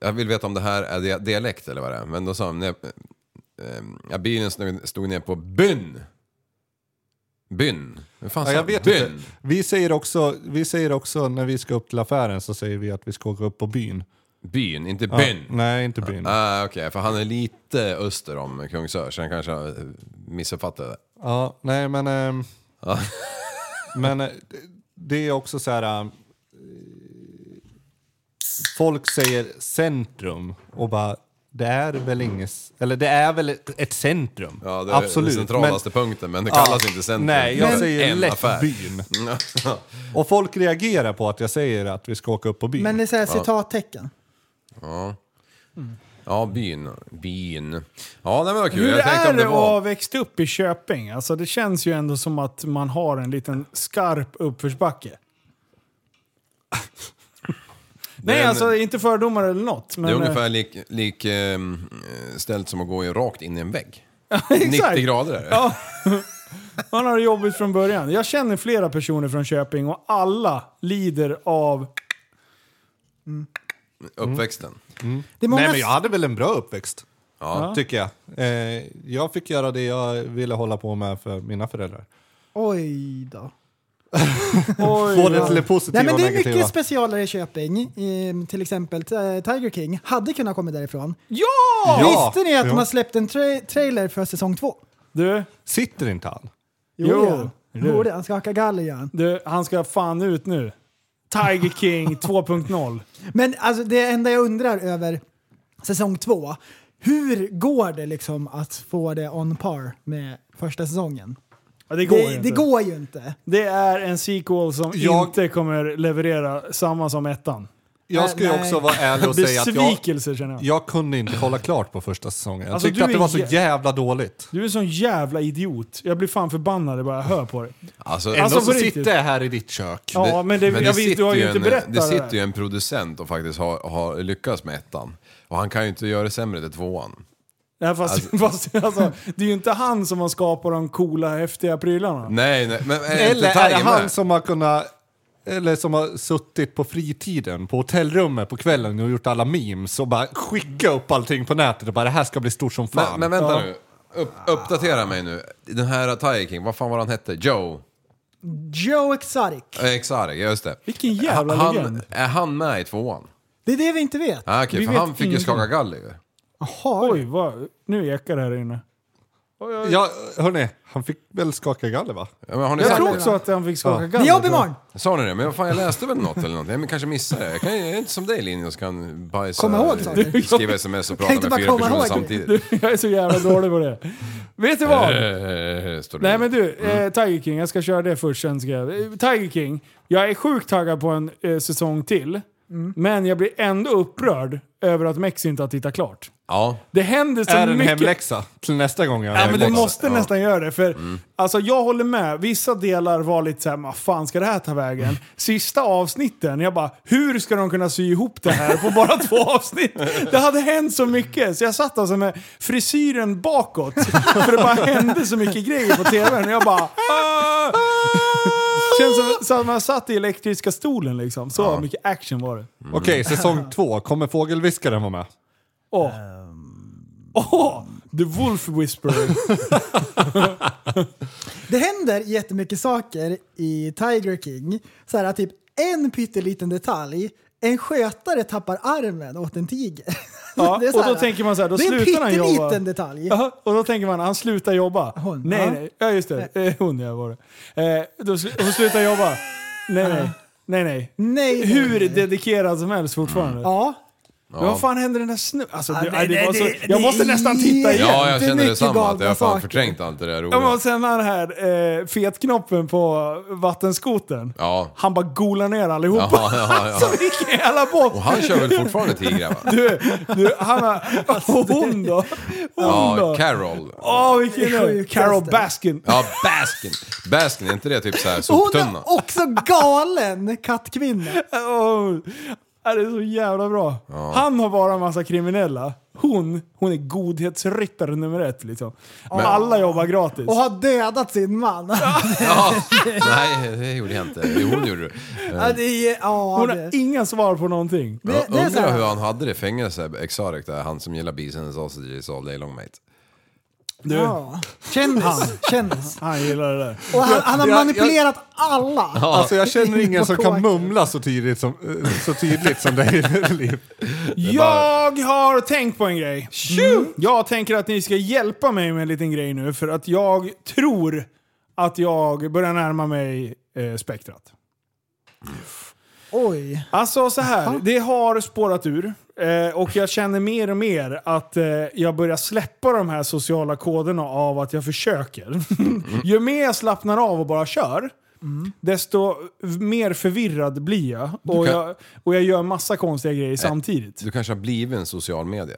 jag vill veta om det här är dia- dialekt eller vad det är. Men då sa de, nej, eh, ja, bilen stod, stod ner på byn. Byn? Hur fan
Ja,
sa
jag
de?
vet
byn?
inte. Vi säger, också, vi säger också när vi ska upp till affären så säger vi att vi ska åka upp på byn.
Byn, inte
Ja, Mm.
byn.
nej, inte byn.
Ah, Okej, för han är lite öster om Kungsör, så han kanske eh, missuppfattade det.
Ja, nej men... ehm, men eh, det är också så här... eh, folk säger centrum och bara det är väl inget, eller det är väl ett, ett centrum.
Ja, det är
Absolut.
den centralaste punkten, men det kallas inte centrum.
Nej, jag
Det är
säger
en
lätt
affär.
byn. och folk reagerar på att jag säger att vi ska åka upp på byn.
Men det är så här
Ja.
citattecken.
Ja. Ja, byn. Byn. Ja, nej, men vad kul.
Hur
jag tänkte
är
om det
det att
var...
ha växt upp i Köping? Alltså, det känns ju ändå som att man har en liten skarp uppförsbacke. Nej,
Den-
alltså inte fördomar eller något. Men, eh,
det är ungefär lik, lik ehm, ställt som att gå i- rakt in i en vägg.
exakt.
90 grader är det.
Ja. eh, Man har det jobbigt från början. Jag känner flera personer från Köping och alla lider av...
Uppväxten.
Det är många-
Nej men jag hade väl en bra uppväxt.
Ja.
Tycker jag. Eh, jag fick göra det jag ville hålla på med för mina föräldrar.
Oj då.
Både till det positiva
Nej, men det är
och negativa.
mycket specialare i Köping. Ehm, till exempel eh, Tiger King hade kunnat komma därifrån.
Ja!
Ja!
Visste ni att de
Ja.
har släppt en tra- trailer för säsong två?
Du?
Sitter inte han?
Jo,
Jo,
ja.
du.
jo det, han ska hacka galler gör han.
Du, han ska fan ut nu. Tiger King 2.0.
Men alltså, det enda jag undrar över säsong två, hur går det liksom att få det on par med första säsongen?
Ja, det går ju
det,
inte.
det går ju inte.
Det är en sequel som
Jag-
inte kommer leverera samma som ettan.
Jag ska ju också vara ärlig och säga att
Besvikelse
jag,
känner jag.
jag kunde inte hålla klart på första säsongen. Jag
Alltså, du
tyckte att det
är
var så
jä-
jävla dåligt.
Du är en sån jävla idiot. Jag blir fan förbannad bara jag hör på dig.
Alltså,
Ändå så
på
sitter jag här i ditt kök.
Ja, men det, jag vet,
sitter
du har ju
en, eh,
inte berättat
Det sitter
här.
ju en producent och faktiskt har, har lyckats med ettan. Och han kan ju inte göra det sämre till tvåan.
Nej, fast,
Alltså-
fast, alltså, det är ju inte han som har skapat de coola, häftiga prylarna.
Nej, nej. Men, är inte
Eller är det
Tiger
han
med?
som har kunnat... Eller som har suttit på fritiden på hotellrummet på kvällen och gjort alla memes och bara skicka upp allting på nätet och bara det här ska bli stort som fan.
Men, men vänta
Ja.
nu. Upp, uppdatera mig nu. Den här Tiger King, vad fan var han hette? Joe?
Joe Exotic.
Eh, Exarg, just det.
Vilken jävla
han,
legend.
Är han med i tvåan?
Det är det vi inte vet.
Ah, Okej,
Vi
för
vet
han fick ju
ingenting.
skaka galler ju.
Oj, vad, nu ekar det här inne.
Ja, hörni, han fick väl skaka galler va?
Ja, men har ni
Jag
sagt
tror
det?
också att han fick skaka
Ja.
galler.
Vi jobbar imorgon.
Sa ni det? Men vad fan, jag läste väl något eller någonting. Jag kanske missade det. Jag, kan, jag är inte som dig Linus, kan bajsa,
Komma ihåg saker.
skriva sms och
Jag tänkte
prata med
bara
fyra
komma
personer
ihåg.
samtidigt.
Du, jag är så jävla dålig på det. Vet du vad?
Eh, står det.
Nej men du,
Mm.
eh, Tiger King. Jag ska köra det först sen ska jag. eh, Tiger King. Jag är sjukt taggad på en eh, säsong till. Men jag blir ändå upprörd över att Mex inte har tittat klart.
Ja.
Det händer så
är en
mycket...
hemläxa till nästa gång jag
Ja, men du
hemläxa.
måste nästan göra det. För alltså, jag håller med. Vissa delar var lite såhär, vad fan ska det här ta vägen? Sista avsnitten, jag bara, hur ska de kunna sy ihop det här på bara två avsnitt? Det hade hänt så mycket. Så jag satt alltså med frisyren bakåt. För det bara hände så mycket grejer på tvn. Och jag bara... "Ah." Känns som- som att man satt i elektriska stolen liksom. Så mycket action var det.
Okej, säsong två. Kommer fågelviskaren vara med?
Åh! Åh! The Wolf Whisperer.
Det händer jättemycket saker i Tiger King. Så här, typ en pytteliten detalj. En skötare tappar armen åt en tiger.
Ja,
Det är så
och då
här,
tänker man så här, då
det är en
slutar han jobba.
pytteliten detalj.
Jaha, och då tänker man, han slutar jobba. nej,
ja.
nej, ja just det. Eh, Hon ja, var det. Eh, då sl- hon slutar jobba. Nej, nej. Nej, nej.
nej
Hur dedikerad som helst fortfarande.
Ja.
Men vad fan hände den där snubben? Alltså,
Ja,
det,
nej,
det,
nej,
var så,
det-
jag
det
måste
är
nästan titta igen.
Ja, jag
Det är
känner
mycket
detsamma. Att jag
galna
har fan
saker.
förträngt allt det där
Ja, men
roliga.
och sen den här eh, fetknoppen på vattenskoten.
Ja.
Han bara golar ner allihopa.
Ja, ja, ja.
Så vilken jävla bock!
Och han kör väl fortfarande Tigra, va?
Du, du han har... Och hon då? Hon
Ja,
då?
Carol.
Åh, vilken
Det är
är
sjukaste.
Carol Baskin.
Ja, Baskin. Baskin, är inte det typ så här
Hon
soptunna?
är också galen kattkvinna.
oh, det är så jävla bra.
Ja.
Han har bara en massa kriminella. Hon, hon är godhetsryttare nummer ett liksom.
Men-
Alla jobbar gratis.
Och har dödat sin man.
Ja, nej, det gjorde jag inte. Jo, hon gjorde det.
Ja, det är, ja,
Hon
det-
har inga svar på någonting.
Jag undrar hur han hade det i fängelse, Exarek, där han som gillar bison sausages all day long mate.
Du.
Ja. Kändis.
Han.
Kändis.
Han gillar det där.
Och han, han har
Jag- jag-
manipulerat alla.
Alltså jag känner ingen som
På
kan mumla så tidigt som, eh, så tydligt som dig. Liv.
Jag har tänkt på en grej. Mm. Jag tänker att ni ska hjälpa mig med en liten grej nu för att jag tror att jag börjar närma mig eh, spektrat.
Oj.
Alltså så här, det har spårat ur. Eh, och jag känner mer och mer att eh, jag börjar släppa de här sociala koderna av att jag försöker. ju mer jag slappnar av och bara kör, desto mer förvirrad blir jag.
Mm. Du
Och,
kan-
jag, och jag gör massa konstiga grejer samtidigt.
Du kanske har blivit en social media?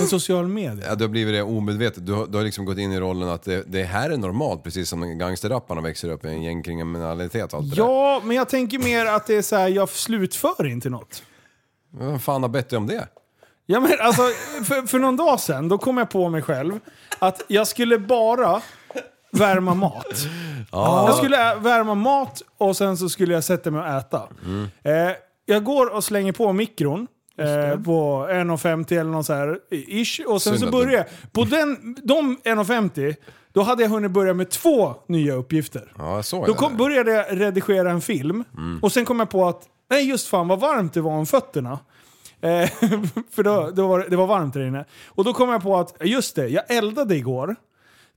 En social media?
Ja, du har blivit det omedvetet. Du har, du har liksom gått in i rollen att det, det här är normalt, precis som gangsterrapparna växer upp i en gängkriminalitet och allt det
Ja, men jag tänker mer att det är så här, jag slutför inte något.
där. Vem fan har bett dig om det?
Ja, men alltså, för, för någon dag sedan, då kom jag på mig själv att jag skulle bara värma mat.
Ja.
Jag skulle ä- värma mat och sen så skulle jag sätta mig och äta.
Mm.
Eh, jag går och slänger på mikron. Eh, på 1,50 eller något så här ish. Och sen
Synd
så
att
börjar
du-
jag. På den, de 1,50, då hade jag hunnit börja med två nya uppgifter.
Ja, jag såg
Då
det.
kom, började jag redigera en film
Mm.
och sen kom jag på att nej just fan vad varmt det var om fötterna. Eh, för då, då var, det- det var varmt där inne. Och då kom jag på att just det, jag eldade igår.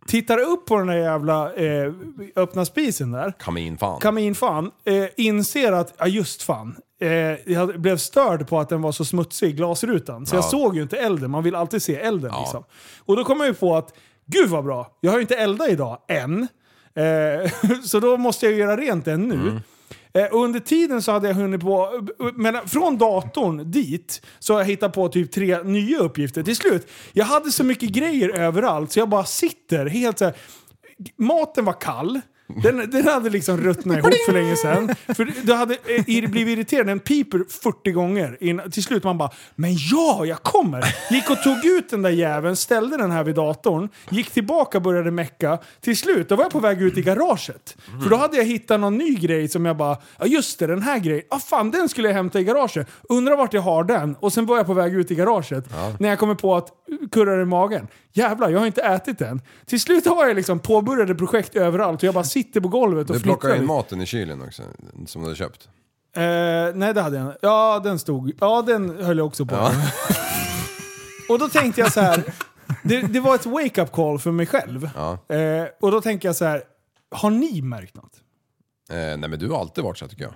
Tittar upp på den där jävla eh, öppna spisen där.
Kaminfan.
Kaminfan. Eh, inser att, ja just fan. Eh, jag blev störd på att den var så smutsig, glasrutan. Så jag
Ja.
såg ju inte elden. Man vill alltid se elden liksom. Och då kom jag ju på att, gud vad bra. Jag har ju inte eldat idag, än. Eh, så då måste jag göra rent den nu. Eh, och under tiden så hade jag hunnit på, men från datorn dit, så har jag hittat på typ tre nya uppgifter. Till slut, jag hade så mycket grejer överallt så jag bara sitter helt så här. Maten var kall. Den, den hade liksom ruttnat ihop för länge sedan. För du hade eh, ir- blivit irriterad. Den piper 40 gånger. In, till slut man bara “Men ja, jag kommer!” Gick och tog ut den där jäveln, ställde den här vid datorn, gick tillbaka började mecka. Till slut, då var jag på väg ut i garaget. För då hade jag hittat någon ny grej som jag bara “Ja just det, den här grejen. Ah, fan, den skulle jag hämta i garaget. Undrar vart jag har den?” Och sen var jag på väg ut i garaget. När jag kommer på att kurrar i magen. Jävlar, jag har inte ätit den. Till slut har jag liksom påbörjade projekt överallt och jag bara sitter på golvet och
Du plockar in
lite.
maten i kylen också, som du har köpt.
Eh, nej, det hade jag inte. Ja, den stod. Ja, den höll jag också på.
Ja.
Och då tänkte jag så här. Det, det var ett wake-up call för mig själv. Eh, och då tänkte jag så här. Har ni märkt något?
Eh, nej men du har alltid varit så här, tycker jag.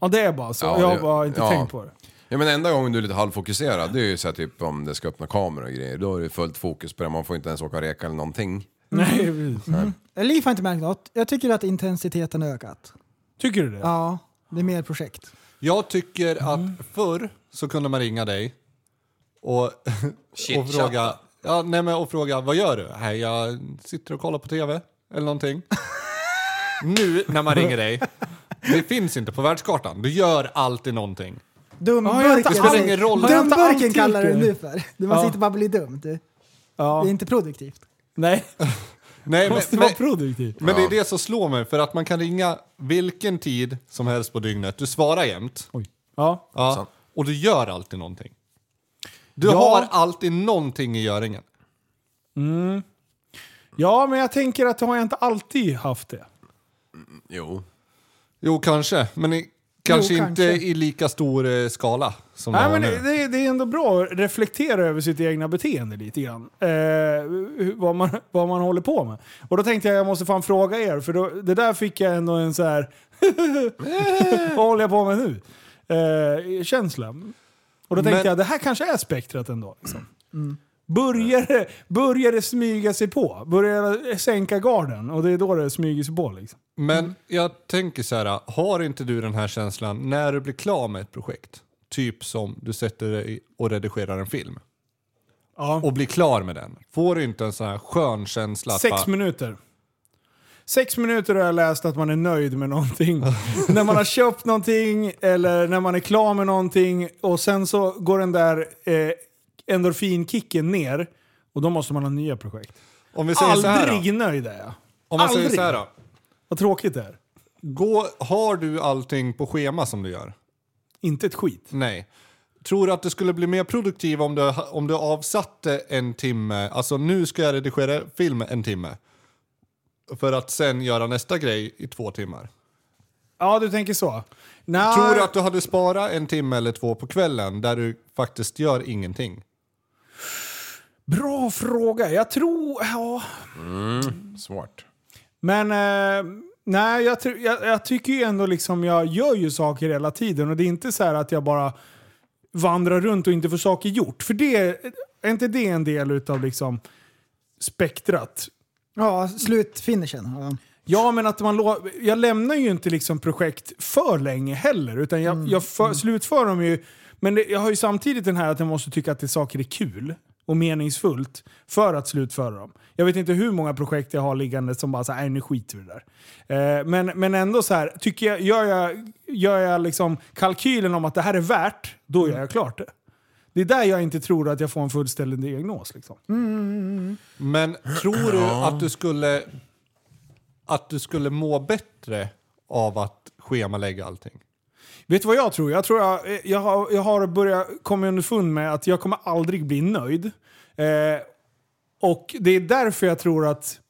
Ja, det är bara så.
Ja,
jag
det-
har bara inte
ja.
tänkt på det.
Ja men enda gången du är lite halvfokuserad det är ju så här, typ om det ska öppna kameror och grejer. Då är det fullt fokus på det, man får inte ens åka och reka eller någonting.
Nej,
Nej.
Liv har inte märkt något. Jag tycker att intensiteten har ökat.
Tycker du det?
Ja, det är mer projekt.
Jag tycker att förr så kunde man ringa dig och, och fråga ja, nej men, och fråga vad gör du? Nej, jag sitter och kollar på tv eller någonting. nu när man ringer dig, det finns inte på världskartan. Du gör alltid någonting.
Dumburken.
Det spelar ingen roll.
Dumburken kallar du det nu för. Du, man
Ja.
sitter bara och blir dum. Du. Det är inte produktivt.
Nej.
Nej,
Måste
men,
vara produktiv.
men det är det som slår mig, för att man kan ringa vilken tid som helst på dygnet. Du svarar jämt.
Ja.
Ja, liksom. och du gör alltid någonting. Du
Ja.
har alltid någonting i göringen.
Mm. Ja, men jag tänker att har jag inte alltid haft det?
Jo.
Jo, kanske. Men i, kanske
Jo,
inte
kanske.
i lika stor eh, skala som du
Nej,
har
men
nu.
det, det, det är ändå bra att reflektera över sitt egna beteende lite grann. Eh, hur- vad, man, vad man håller på med. Och då tänkte jag jag måste fan fråga er, för då, det där fick jag ändå en så här vad håller jag på med nu? Eh, känsla. Och då tänkte
Men-
jag, det här kanske är spektrat ändå. Liksom. Börjar, det- börjar det smyga sig på? Börjar det sänka garden? Och det är då det smyger sig på liksom.
Men jag tänker så här, har inte du den här känslan när du blir klar med ett projekt? Typ som du sätter dig och redigerar en film. Och blir klar med den. Får du inte en sån här skön känsla? att
Sex
bara-
minuter. Sex minuter har jag läst att man är nöjd med någonting. när man har köpt någonting eller när man är klar med någonting och sen så går den där eh, endorfinkicken ner och då måste man ha nya projekt.
Om vi säger så här då.
Aldrig nöjd är jag.
Om man säger
Aldrig.
så här då.
Vad tråkigt det är.
Gå, har du allting på schema som du gör?
Inte ett skit.
Nej. Tror du att du skulle bli mer produktiv om du, om du avsatte en timme, alltså nu ska jag redigera film en timme. För att sen göra nästa grej i två timmar.
Ja, du tänker så. Nej.
Tror du att du hade sparat en timme eller två på kvällen där du faktiskt gör ingenting?
Bra fråga. Jag tror... Ja.
Mm, smart.
Men eh, nej, jag, tr- jag, jag tycker ju ändå liksom, jag gör ju saker hela tiden och det är inte så här att jag bara vandrar runt och inte får saker gjort. För det, är inte det en del utav liksom spektrat?
Ja, slutfinishen. Ja.
Ja, men att man lo- jag lämnar ju inte liksom projekt för länge heller, utan jag, jag för- slutför dem ju. Men det, jag har ju samtidigt den här att jag måste tycka att det, saker är kul och meningsfullt för att slutföra dem. Jag vet inte hur många projekt jag har liggande som bara så här, "Nej, nu skiter vi i det där. Eh, men, men ändå så här, tycker jag, gör jag, gör jag liksom kalkylen om att det här är värt, då gör jag klart det. Det är där jag inte tror att jag får en fullständig diagnos. Liksom.
Men tror du att du skulle att du skulle må bättre av att schemalägga allting?
Vet du vad jag tror? Jag tror jag, eh, jag, har, jag har börjat komma underfund med att jag kommer aldrig bli nöjd. Eh, och det är därför jag tror att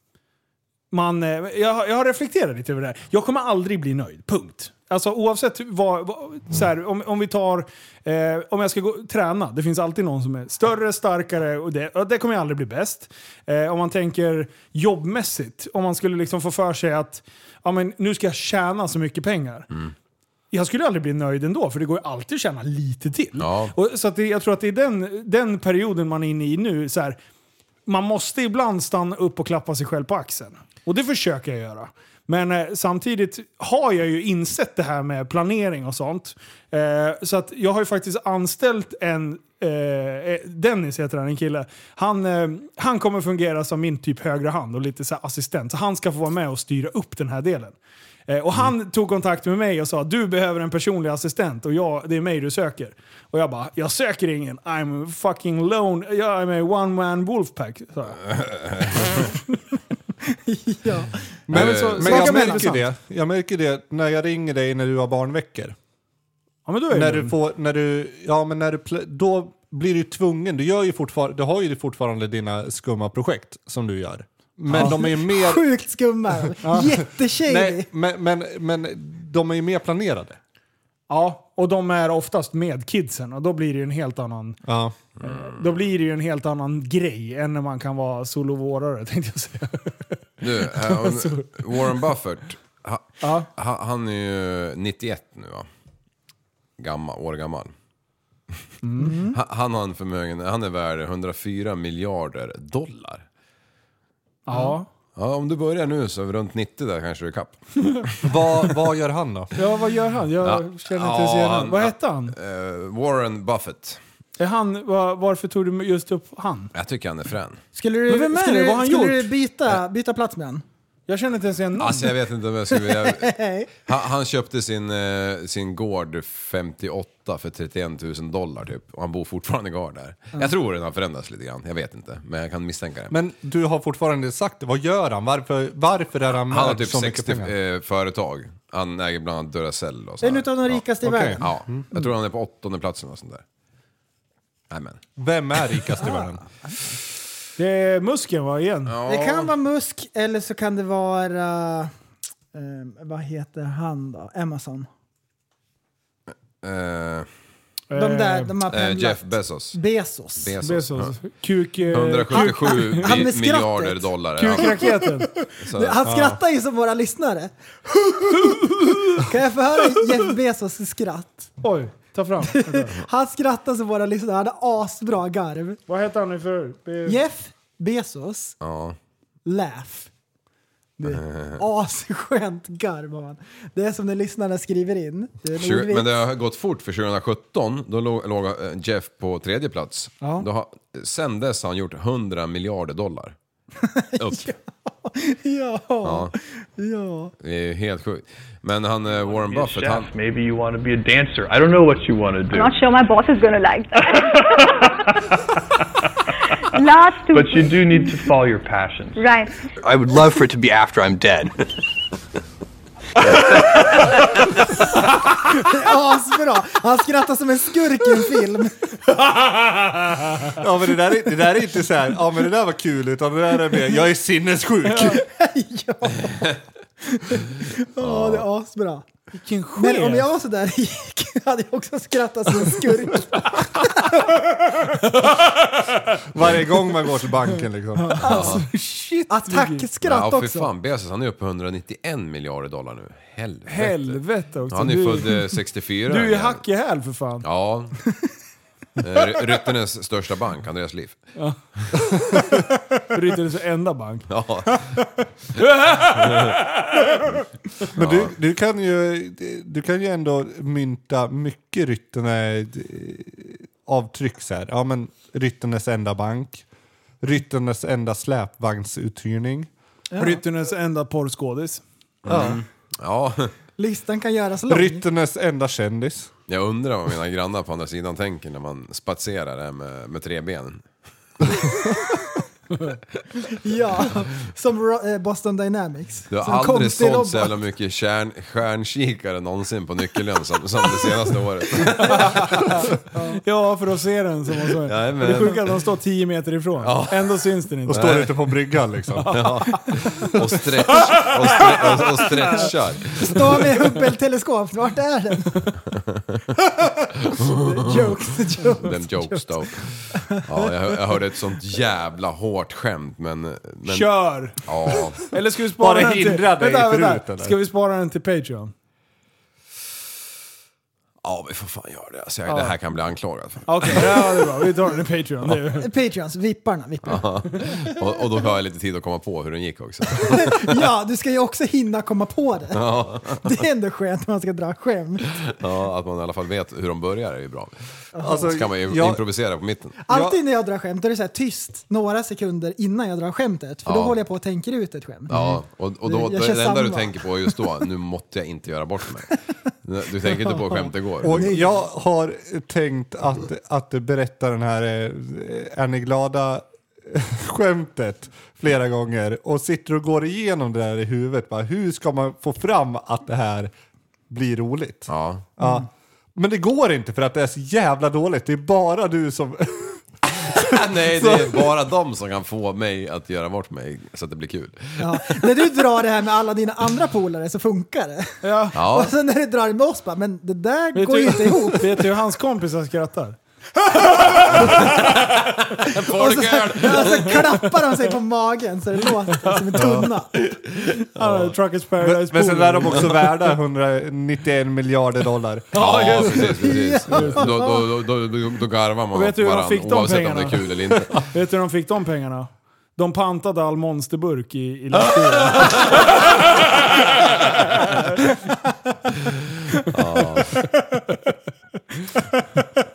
man... Eh, jag, har- jag har reflekterat lite över det här. Jag kommer aldrig bli nöjd, punkt. Alltså oavsett vad... vad så här, om, om vi tar... Eh, om jag ska gå, träna, det finns alltid någon som är större, starkare och det, och det kommer jag aldrig bli bäst. Eh, om man tänker jobbmässigt, om man skulle liksom få för sig att ja, men, nu ska jag tjäna så mycket pengar. Jag skulle aldrig bli nöjd ändå, för det går ju alltid att tjäna lite till. Och, så att det, jag tror att det är den, den perioden man är inne i nu. Så här, man måste ibland stanna upp och klappa sig själv på axeln. Och det försöker jag göra. Men eh, samtidigt har jag ju insett det här med planering och sånt. Eh, så att jag har ju faktiskt anställt en, eh, eh, Dennis heter han, en kille. Han, eh, han kommer fungera som min typ högra hand och lite så här assistent. Så han ska få vara med och styra upp den här delen. Eh, Och han tog kontakt med mig och sa du behöver en personlig assistent och jag, det är mig du söker. Och jag bara, jag söker ingen. I'm fucking lone. Jag är med i one man wolfpack. sa jag. ja.
Men,
Nej, men Eh, så-
men
snacka
jag,
med
märker det,
intressant.
jag märker det när jag ringer dig när du har barnveckor.
Ja, men då är
när
det-
du får, när du, ja, men när du, pl- då blir du tvungen. Du, gör ju fortfar- du har ju fortfarande dina skumma projekt som du gör. Men
Ja.
de är ju mer...
Sjukt skumma. Jätteshady.
Nej, men, men, men de är ju mer planerade.
ja, och de är oftast med kidsen och då blir det ju en helt annan,
Ja.
då blir det ju en helt annan grej än när man kan vara solovårare tänkte jag säga.
Du, eh, om- Warren Buffett. Ha, ha, han är ju 91 nu va? Gammal, år gammal. Ha, han har en förmögenhet, han är värd 104 miljarder dollar.
Ja.
Ja, om du börjar nu så runt 90 där kanske du är kapp.
vad, vad gör han då?
Ja, vad gör han? Jag
Ja.
känner inte ens igen honom. Vad hette han?
Eh, Warren Buffett.
Är han? var- Varför tog du just upp han?
Jag tycker han är frän.
Skulle du,
Men vem är
skulle
det?
du,
Vad har han
skulle
gjort?
du byta, byta plats med honom?
Jag känner inte ens igen
Alltså jag vet inte om jag skulle vilja... Han, han köpte sin, eh, sin gård 58 för 31 000 dollar typ. Och han bor fortfarande kvar där. Jag tror den har förändrats lite grann. Jag vet inte. Men jag kan misstänka det.
Men du har fortfarande sagt det. Vad gör han? Varför, varför är han,
han har
värd
typ
så mycket
60
pengar?
eh, företag. Han äger bland annat Duracell och så
En
här.
utav de rikaste i
Okej.
världen.
Ja.
Mm.
Jag tror han är på åttonde platsen och sånt där. Amen.
Vem är rikast i världen?
Det är muskeln va, igen?
Det kan vara Musk eller så kan det vara... eh, vad heter han då? Amazon.
Eh,
De där, de har
eh,
pendlat.
Jeff Bezos.
Bezos.
Bezos.
Bezos. Kuk... eh,
177
han- han med
mi- miljarder
skrattet.
dollar.
Kukraketen.
Så-
Han
Ja.
skrattar ju som våra lyssnare. kan jag få höra Jeff Bezos skratt?
Oj, Ta fram.
Han skrattade så våra lyssnare hade asbra garv.
Vad heter han nu för? Be-
Jeff Bezos.
Ja. Eh.
Laugh. Det är asskönt garv har man. Det är som när lyssnarna skriver in. Det är en
Tjugo-
ordvits.
Men det har gått fort för 2017, då låg, låg eh, Jeff på tredje plats.
Ja.
Då har, sen dess har han gjort 100 miljarder dollar. Upp.
Ja.
Ja.
ja.
Det är helt sjukt. Men han, eh, Warren Buffett, han...
Maybe you want to be a dancer. I don't know what you want to
I'm
do.
not sure my boss is going to like that. Last two.
But you do need to follow your passions.
Right.
I would love for it to be after I'm dead.
Det är asbra. Han skrattar som en skurk i en film.
Ja men det där, är- det där är inte så här, ja men det där var kul, utan det där är mer, jag är sinnessjuk.
Ja, det är asbra.
Vilken chef.
Men om jag var sådär hade jag också skrattat som en skurk.
Varje gång man går till banken liksom.
Alltså,
shit.
Attackskratt
ja, fy
också.
fan, Bezos han är uppe på 191 miljarder dollar nu. Helvete.
Helvete också.
Han är
Du-
född eh, 64.
Du är ju hack i häl för fan.
Ja. Eh, Ry- Ryttenes största bank, Andreas Liv.
Ja. Bryter sig enda bank.
Ja.
Men du, du, kan ju, du kan ju ändå mynta mycket Ryttene avtryck så här. Ja men Ryttenes enda bank, Ryttenes enda släpvagnsuthyrning.
Ja. Ryttenes Alltså enda porrskådis.
Ja.
Ja.
Listan kan göras lång.
Ryttenes enda kändis.
Jag undrar vad mina grannar på andra sidan tänker när man spatserar där med, med tre ben.
Ja, som Ro- eh, Boston Dynamics.
Du har
som
aldrig
konstig
sålt så
robot.
jävla mycket kärn, stjärnkikare någonsin på Nyckelön som, som det senaste året.
Ja, för att se den som man sa.
Jajamän.
Det sjuka är att de står 10 meter ifrån.
Ja.
Ändå syns den inte.
Och står ute
på bryggan liksom.
Ja. Och, stretch, och, stre, och, och stretchar.
Står med Hubble-teleskop, vart är den? jokes, jokes.
Den jokes då. Ja, jag, hör- jag hörde ett sånt jävla hårt skämt men... men
Kör!
Ja.
Eller ska vi spara
Bara
den till...
hindra dig
Vänta, vänta.
förut, eller?
Ska vi spara den till Patreon?
ja, vi får fan göra det. Alltså, jag,
Ja.
Det här kan bli anklagat för.
Okej, ja, det är bra. Vi tar den till Patreon. Det är-
Eh, Patreons, vipparna. vipparna.
Ja. Och, och då har jag lite tid att komma på hur den gick också.
Ja, du ska ju också hinna komma på det.
Ja.
Det är ändå skönt när man ska dra skämt.
ja, att man i alla fall vet hur de börjar är ju bra.
Alltså,
så kan man ju
jag-
improvisera på mitten.
Alltid när jag drar skämt är det så här tyst några sekunder innan jag drar skämtet. För då
Ja.
håller jag på och tänker ut ett skämt.
Ja, och, och då,
Jag
det
kör
enda du
samma.
tänker på just då, nu måste jag inte göra bort mig. Du tänker inte på hur skämtet går.
Och jag har tänkt att, att berätta den här eh, är ni glada skämtet flera gånger och sitter och går igenom det där i huvudet. Bara, hur ska man få fram att det här blir roligt?
Ja.
ja.
Mm.
Men det går inte för att det är så jävla dåligt. Det är bara du som...
Nej, det är bara de som kan få mig att göra bort mig så att det blir kul.
Ja. När du drar det här med alla dina andra polare så funkar det.
Ja.
Och sen när du drar det med oss bara, men det där
Vet
går
du-
ju inte ihop.
Vet du hur hans kompisar skrattar?
Och så, och så klappar de sig på magen så det låter som en tunna.
Ja. Truckers
Men,
Paradise
men sen är de också
Polen.
värda 191 miljarder dollar.
Ja, precis. precis. Då, då, då, då, då, då garvar man
Och vet du hur de
varandra,
fick de
oavsett
pengarna?
om det är kul eller inte.
Vet du hur de fick de pengarna? De pantade all monsterburk i, i lastbilen.
Ja.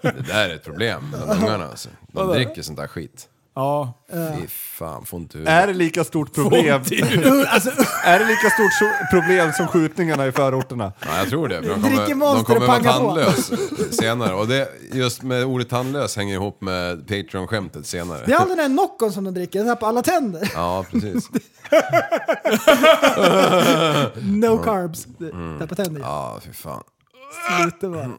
Det där är ett problem bland ungarna alltså. De dricker sånt där skit.
Ja.
Fy fan, får inte
Är det lika stort problem? Alltså- är det lika stort so- problem som skjutningarna i förorterna?
Ja, jag tror det. för De
Dricker
kommer,
Monster
de
och
kommer vara
pangar på.
tandlös senare. Och det, just med ordet tandlös hänger ihop med Patreon-skämtet senare.
Det är all den här Noccon som de dricker, den här på alla tänder.
Ja, precis.
No carbs.
Mm.
Tappa tänder.
Ja, Mm. fy fan.
Sluta bara.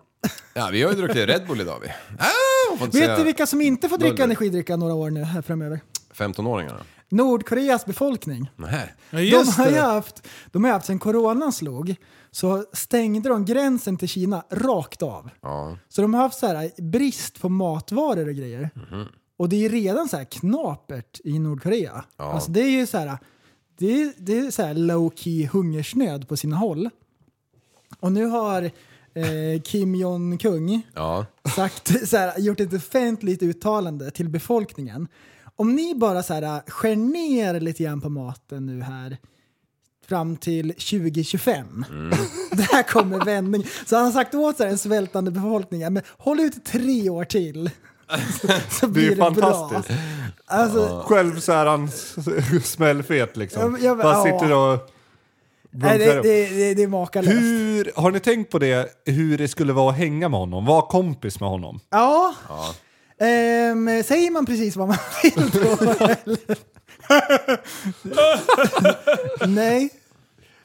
Ja, vi har ju druckit Red Bull idag vi. Ah, man får inte
Vet
säga
du vilka som inte får dricka
buller.
energidricka några år nu här framöver?
15-åringarna?
Nordkoreas befolkning.
Nej.
de, har ju haft, de har ju haft, sen coronan slog, så stängde de gränsen till Kina rakt av.
Ja.
Så de har haft så här, eh, brist på matvaror och grejer.
Mhm.
Och det är redan så här knapert i Nordkorea.
Ja.
Alltså det är ju så här, det är, det är så här low key hungersnöd på sina håll. Och nu har eh, Kim Jong-Kung
Ja.
sagt, så här, gjort ett offentligt uttalande till befolkningen. Om ni bara så här, skär ner lite grann på maten nu här fram till 2025. Där kommer vändning. Så han har sagt åt så här, den svältande befolkningen, men håll ut tre år till. Så
Det är
blir
ju
det
fantastiskt.
bra. Alltså-
Ja. Själv så är han smällfet liksom.
Ja, ja,
Bara
ja.
sitter och...
Nej, det, det, det, det är makalöst.
Hur, har ni tänkt på det, hur det skulle vara att hänga med honom? Vara kompis med honom?
Ja, ehm, säger man precis vad man vill då? eller? Nej.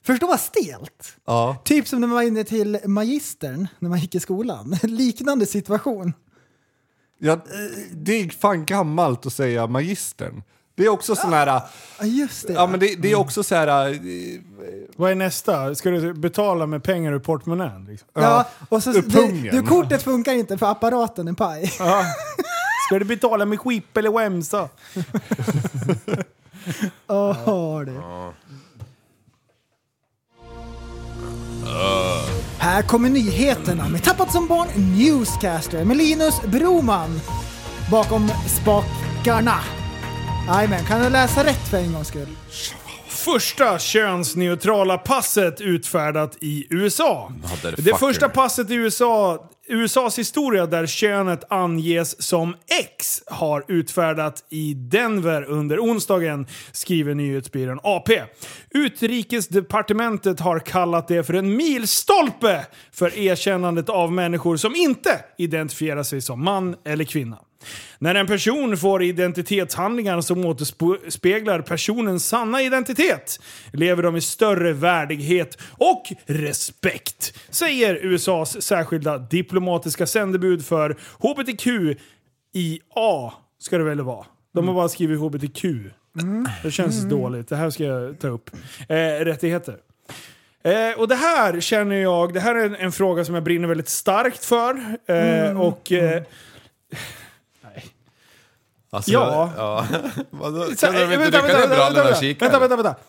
Förstå vad stelt.
Ja.
Typ som när man var inne till magistern när man gick i skolan. Liknande situation.
Ja, det är fan gammalt att säga magistern. Det är också sån här...
Ja, Mm. just det.
Ja, men det, det är också så här...
Vad är nästa? Ska du betala med pengar ur portmonnän? Liksom?
Ja, och så, du, du, kortet funkar inte för apparaten är paj.
Ja. Ska du betala med skip eller wemsa?
Åh, du. Här kommer nyheterna med Tappat som barn Newscaster med Linus Broman bakom spakarna. Jajamän, kan du läsa rätt för en gångs skull?
Första könsneutrala passet utfärdat i USA. Det första passet i USA, USAs historia där könet anges som X har utfärdat i Denver under onsdagen, skriver nyhetsbyrån AP. Utrikesdepartementet har kallat det för en milstolpe för erkännandet av människor som inte identifierar sig som man eller kvinna. När en person får identitetshandlingar som återspeglar personens sanna identitet lever de i större värdighet och respekt, säger USAs särskilda diplomatiska sändebud för HBTQIA, ska det väl vara. De har bara skrivit HBTQ. Det känns
Mm.
dåligt. Det här ska jag ta upp. Eh, rättigheter. Eh, och det här känner jag, det här är en, en fråga som jag brinner väldigt starkt för. Eh,
Mm.
Och eh,
Alltså,
Ja.
ja. Vadå?
Så-
Kunde de
eh,
inte rycka ner brallorna och kika?
vänta, vänta, vänta.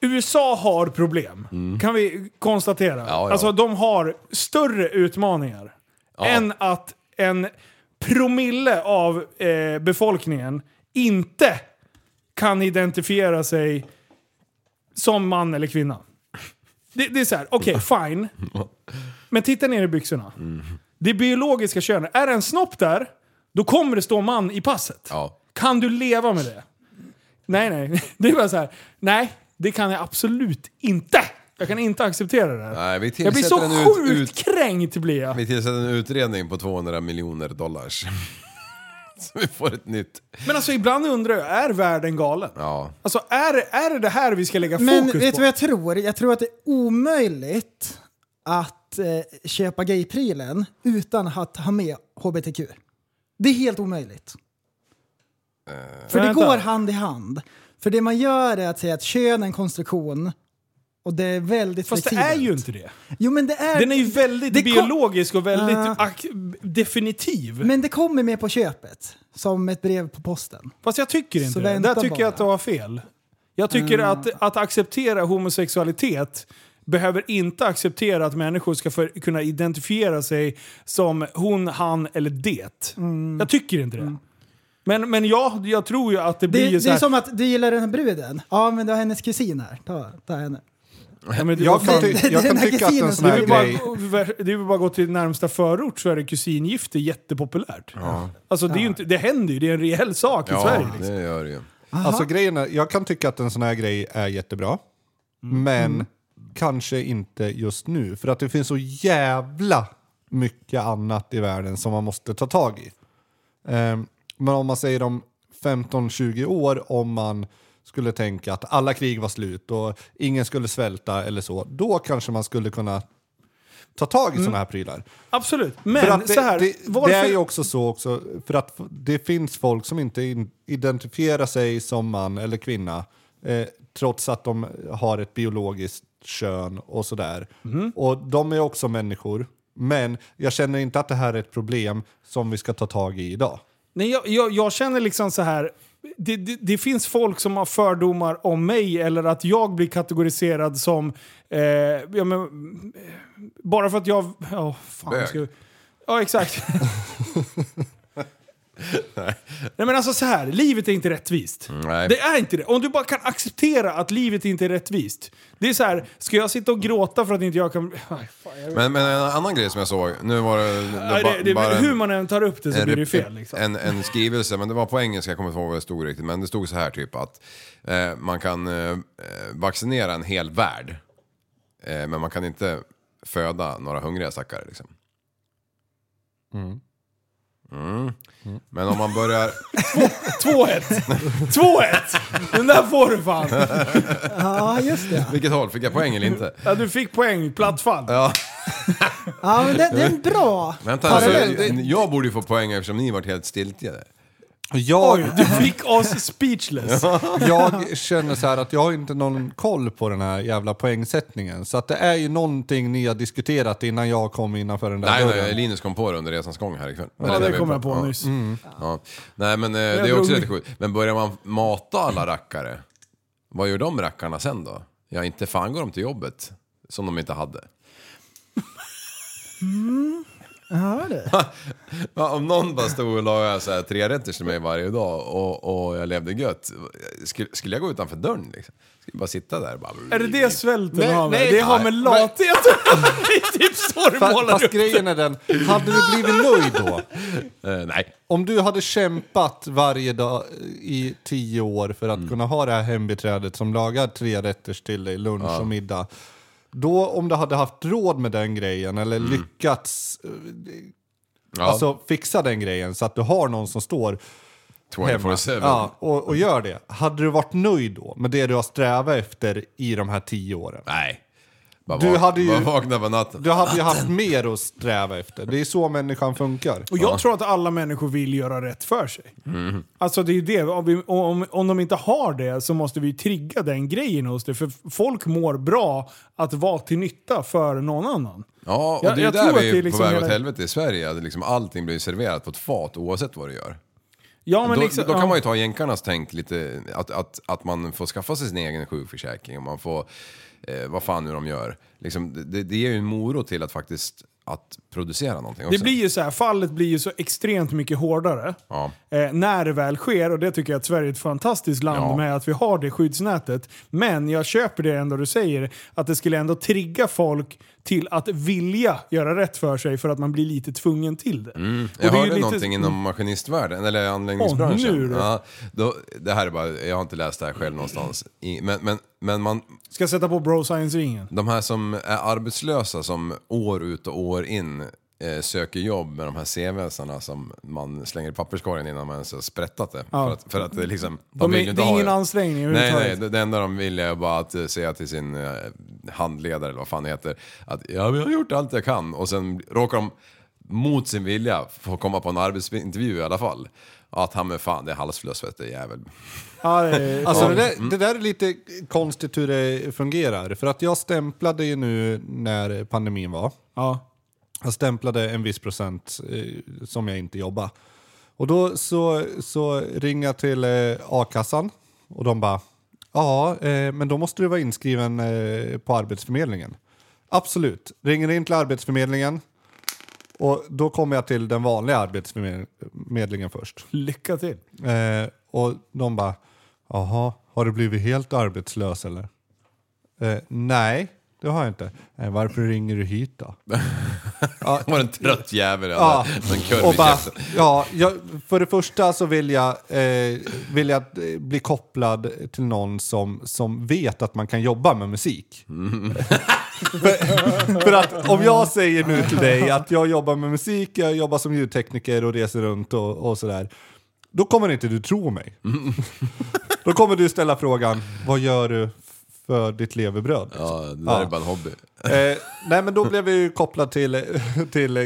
USA har problem, kan vi konstatera.
Mm. ja.
Alltså de har större utmaningar än att en promille av eh, befolkningen inte kan identifiera sig som man eller kvinna. Det, det är så här, okej, fine. Men titta ner i byxorna.
Mm.
Det biologiska könet. Är det en snopp där, då kommer det stå man i passet. Kan du leva med det? Nej, nej. Det är bara så här. Nej, det kan jag absolut inte. Jag kan inte acceptera det. här.
Nej, vi
Jag blir
tillsätter
så
en ut,
sjukt
ut,
kränkt blir jag.
Vi tillsätter en utredning på 200 miljoner dollars. Så vi får ett nytt.
Men alltså ibland undrar jag, är världen galen?
Ja.
Alltså är, det- är det det här vi ska lägga
Men
fokus
vet du
på?
vad jag tror? Jag tror att det är omöjligt att eh, köpa gayprylen utan att ha med hbtq. Det är helt omöjligt.
Eh,
För det
Vänta.
går hand i hand. För det man gör är att säga att kön är en konstruktion och det är väldigt
Fast det
flexibelt.
är ju inte det.
Jo, men det är...
Den är ju väldigt
Det kom-
biologisk och väldigt
Ah.
ak- definitiv.
Men det kommer med på köpet. Som ett brev på posten.
Fast jag tycker inte
Så
det.
vänta
Där tycker jag
bara.
att du har fel. Jag tycker
Mm.
att, att acceptera homosexualitet behöver inte acceptera att människor ska för, kunna identifiera sig som hon, han eller det.
Mm.
Jag tycker inte det. Men, men ja, jag tror ju att det
Det,
blir ju
det
så
är
här,
som att du gillar den här bruden. Ja, men du har hennes kusin här. Ta, ta henne.
Ja, men det var
Jag kan
fan-
ty- jag kan tycka att en sån här
Det är väl bara- Det är väl bara att gå till närmsta förort så är det kusingifte jättepopulärt. Alltså det, är ju inte, det händer ju, det är en reell sak i Sverige. Liksom.
det gör det ju.
Alltså grejen är, jag kan tycka att en sån här grej är jättebra.
Mm.
Men kanske inte just nu. För att det finns så jävla mycket annat i världen som man måste ta tag i. Ehm, men om man säger om 15-20 år, om man skulle tänka att alla krig var slut och ingen skulle svälta eller så, då kanske man skulle kunna ta tag i
Mm.
såna här prylar.
Absolut,
För
men
att det,
så här.
det,
varför-
det är ju också så också, för att det finns folk som inte in, identifierar sig som man eller kvinna eh, trots att de har ett biologiskt kön och sådär.
Mhm.
Och de är också människor. Men jag känner inte att det här är ett problem som vi ska ta tag i idag.
Nej, jag, jag, jag känner liksom så här. det, det, det finns folk som har fördomar om mig eller att jag blir kategoriserad som... Eh, ja, men, bara för att jag... ja fan,
Bög.
ska, jag- ja, exakt.
Nej.
Nej men alltså så här, livet är inte rättvist.
Mm, Nej.
Det är inte det. Om du bara kan acceptera att livet inte är rättvist. Det är så här, ska jag sitta och gråta för att inte jag kan... Aj, fan, jag vet.
Men, men en annan grej som jag såg, nu var det, det,
Nej,
ba-
det, det,
bara en-
hur man än tar upp det så
en
blir det ju
rep-
fel. Liksom.
En, en skrivelse, men det var på engelska, jag kommer inte ihåg vad det stod riktigt. Men det stod så här typ att eh, man kan eh, eh, vaccinera en hel värld. Eh, men man kan inte föda några hungriga stackare liksom. Mm. Men om man börjar...
2-1! 2-1! Den där får du fan!
Ja, just det.
Vilket håll? Fick jag poäng eller inte?
Ja, du fick poäng, plattfall.
Ja.
Ja, men det, det är en bra
Vänta, alltså,
parallell.
jag, jag borde ju få poäng eftersom ni varit helt stiltjade.
Jag,
du fick oss speechless.
jag känner så här att jag har inte någon koll på den här jävla poängsättningen. Så att det är ju någonting ni har diskuterat innan jag kom innanför den där
Nej,
dörren.
nej, Linus kom på det under resans gång här ikväll.
Ja,
Eller
det
när vi-
kom jag på
ja.
nyss.
Mm. Ja. Nej, men eh, det är
drog
också
mig-
lite sjukt. Men börjar man mata alla rackare, vad gör de rackarna sen då? Ja, inte fan går de till jobbet som de inte hade.
Mm. Ja, det.
Ja, om någon bara stod och la så här tre rätter till mig varje dag och, och jag levde gött, skulle, skulle jag gå utanför dörren liksom? Skulle bara sitta där och bara...
Är det det svälten
Nej,
har med?
nej,
Det har
nej.
med lathet Det är typ så du
Fa-
målar
fast
upp det.
grejen är den, hade du blivit nöjd då?
Eh, nej.
Om du hade kämpat varje dag i tio år för
Mm.
att kunna ha det här hembiträdet som lagar tre rätters till dig, lunch
Ja.
och middag. Då om du hade haft råd med den grejen eller
Mm.
lyckats eh,
Ja.
alltså, fixa den grejen så att du har någon som står
24/7.
Ja, och, och gör det. Hade du varit nöjd då med det du har strävat efter i de här tio åren?
Nej. Bara
Du
vak-
hade ju,
bara vakna på natten.
du hade ju haft mer att sträva efter. Det är så människan funkar.
Och jag tror att alla människor vill göra rätt för sig.
Mm.
Alltså det är ju det, om, vi, om, om de inte har det så måste vi trigga den grejen hos det. För f- folk mår bra att vara till nytta för någon annan.
Ja, och
Jag-
det är ju
jag tror
där
att
vi
det
är
är liksom
på väg
hela-
åt helvete i Sverige. att Liksom allting blir serverat på ett fat oavsett vad du gör.
Ja, men
då,
liksom-
då kan
ja.
man ju ta jänkarnas tänk lite, att, att, att man får skaffa sig sin egen sjukförsäkring och man får, eh, vad fan nu de gör. Liksom, det, det ger ju en morot till att faktiskt att producera någonting också.
Det blir ju så här, fallet blir ju så extremt mycket hårdare.
Ja.
Eh, när det väl sker, och det tycker jag att Sverige är ett fantastiskt land
Ja.
med att vi har det skyddsnätet. Men jag köper det ändå du säger, att det skulle ändå trigga folk till att vilja göra rätt för sig för att man blir lite tvungen till det.
Mm.
Och det
Jag
är ju
hörde
lite- Mm.
någonting inom maskinistvärlden, eller
Åh, nu
anläggningsbranschen.
då.
ja, då, det här är bara, jag har inte läst det här själv någonstans. I, men, men, men man,
Ska sätta på bro science-ringen.
De här som är arbetslösa som år ut och år in eh, söker jobb med de här CVsarna som man slänger i papperskorgen innan man ens har sprättat det.
Ja.
För, att, för att det är liksom...
De är-
vill ju inte
det är
ha
ingen ansträngning
Nej,
överhuvudtaget.
nej. Det, det enda de vill är bara att eh, säga till sin eh, handledare eller vad fan det heter att ja, men jag har gjort allt jag kan och sen råkar de mot sin vilja få komma på en arbetsintervju i alla fall. Att han men fan det är halsfluss vet du jävel.
Alltså
Ja.
det, där,
Mm.
det där är lite konstigt hur det fungerar. För att jag stämplade ju nu när pandemin var. Jag stämplade en viss procent eh, som jag inte jobbade. Och då så, så ringer jag till eh, a-kassan och de bara Ja, eh, men då måste du vara inskriven eh, på Arbetsförmedlingen. Absolut. Ringer in till Arbetsförmedlingen och då kommer jag till den vanliga Arbetsförmedlingen först.
Lycka till.
Eh, och de bara, jaha, har du blivit helt arbetslös eller? Eh, nej, det har jag inte. "Eh, varför ringer du hit då? ja,
Var en trött jävel eller
ja,
en kurv
och
i
bara,
käften.
ja, jag, För det första så vill jag, eh, vill jag eh, bli kopplad till någon som, som vet att man kan jobba med musik. för, för att om jag säger nu till dig att jag jobbar med musik, jag jobbar som ljudtekniker och reser runt och, och sådär. Då kommer inte du tro mig.
Mm.
Då kommer du ställa frågan, vad gör du för ditt levebröd?
Ja, det där är bara en hobby.
Eh, nej men då blev vi ju kopplad till, till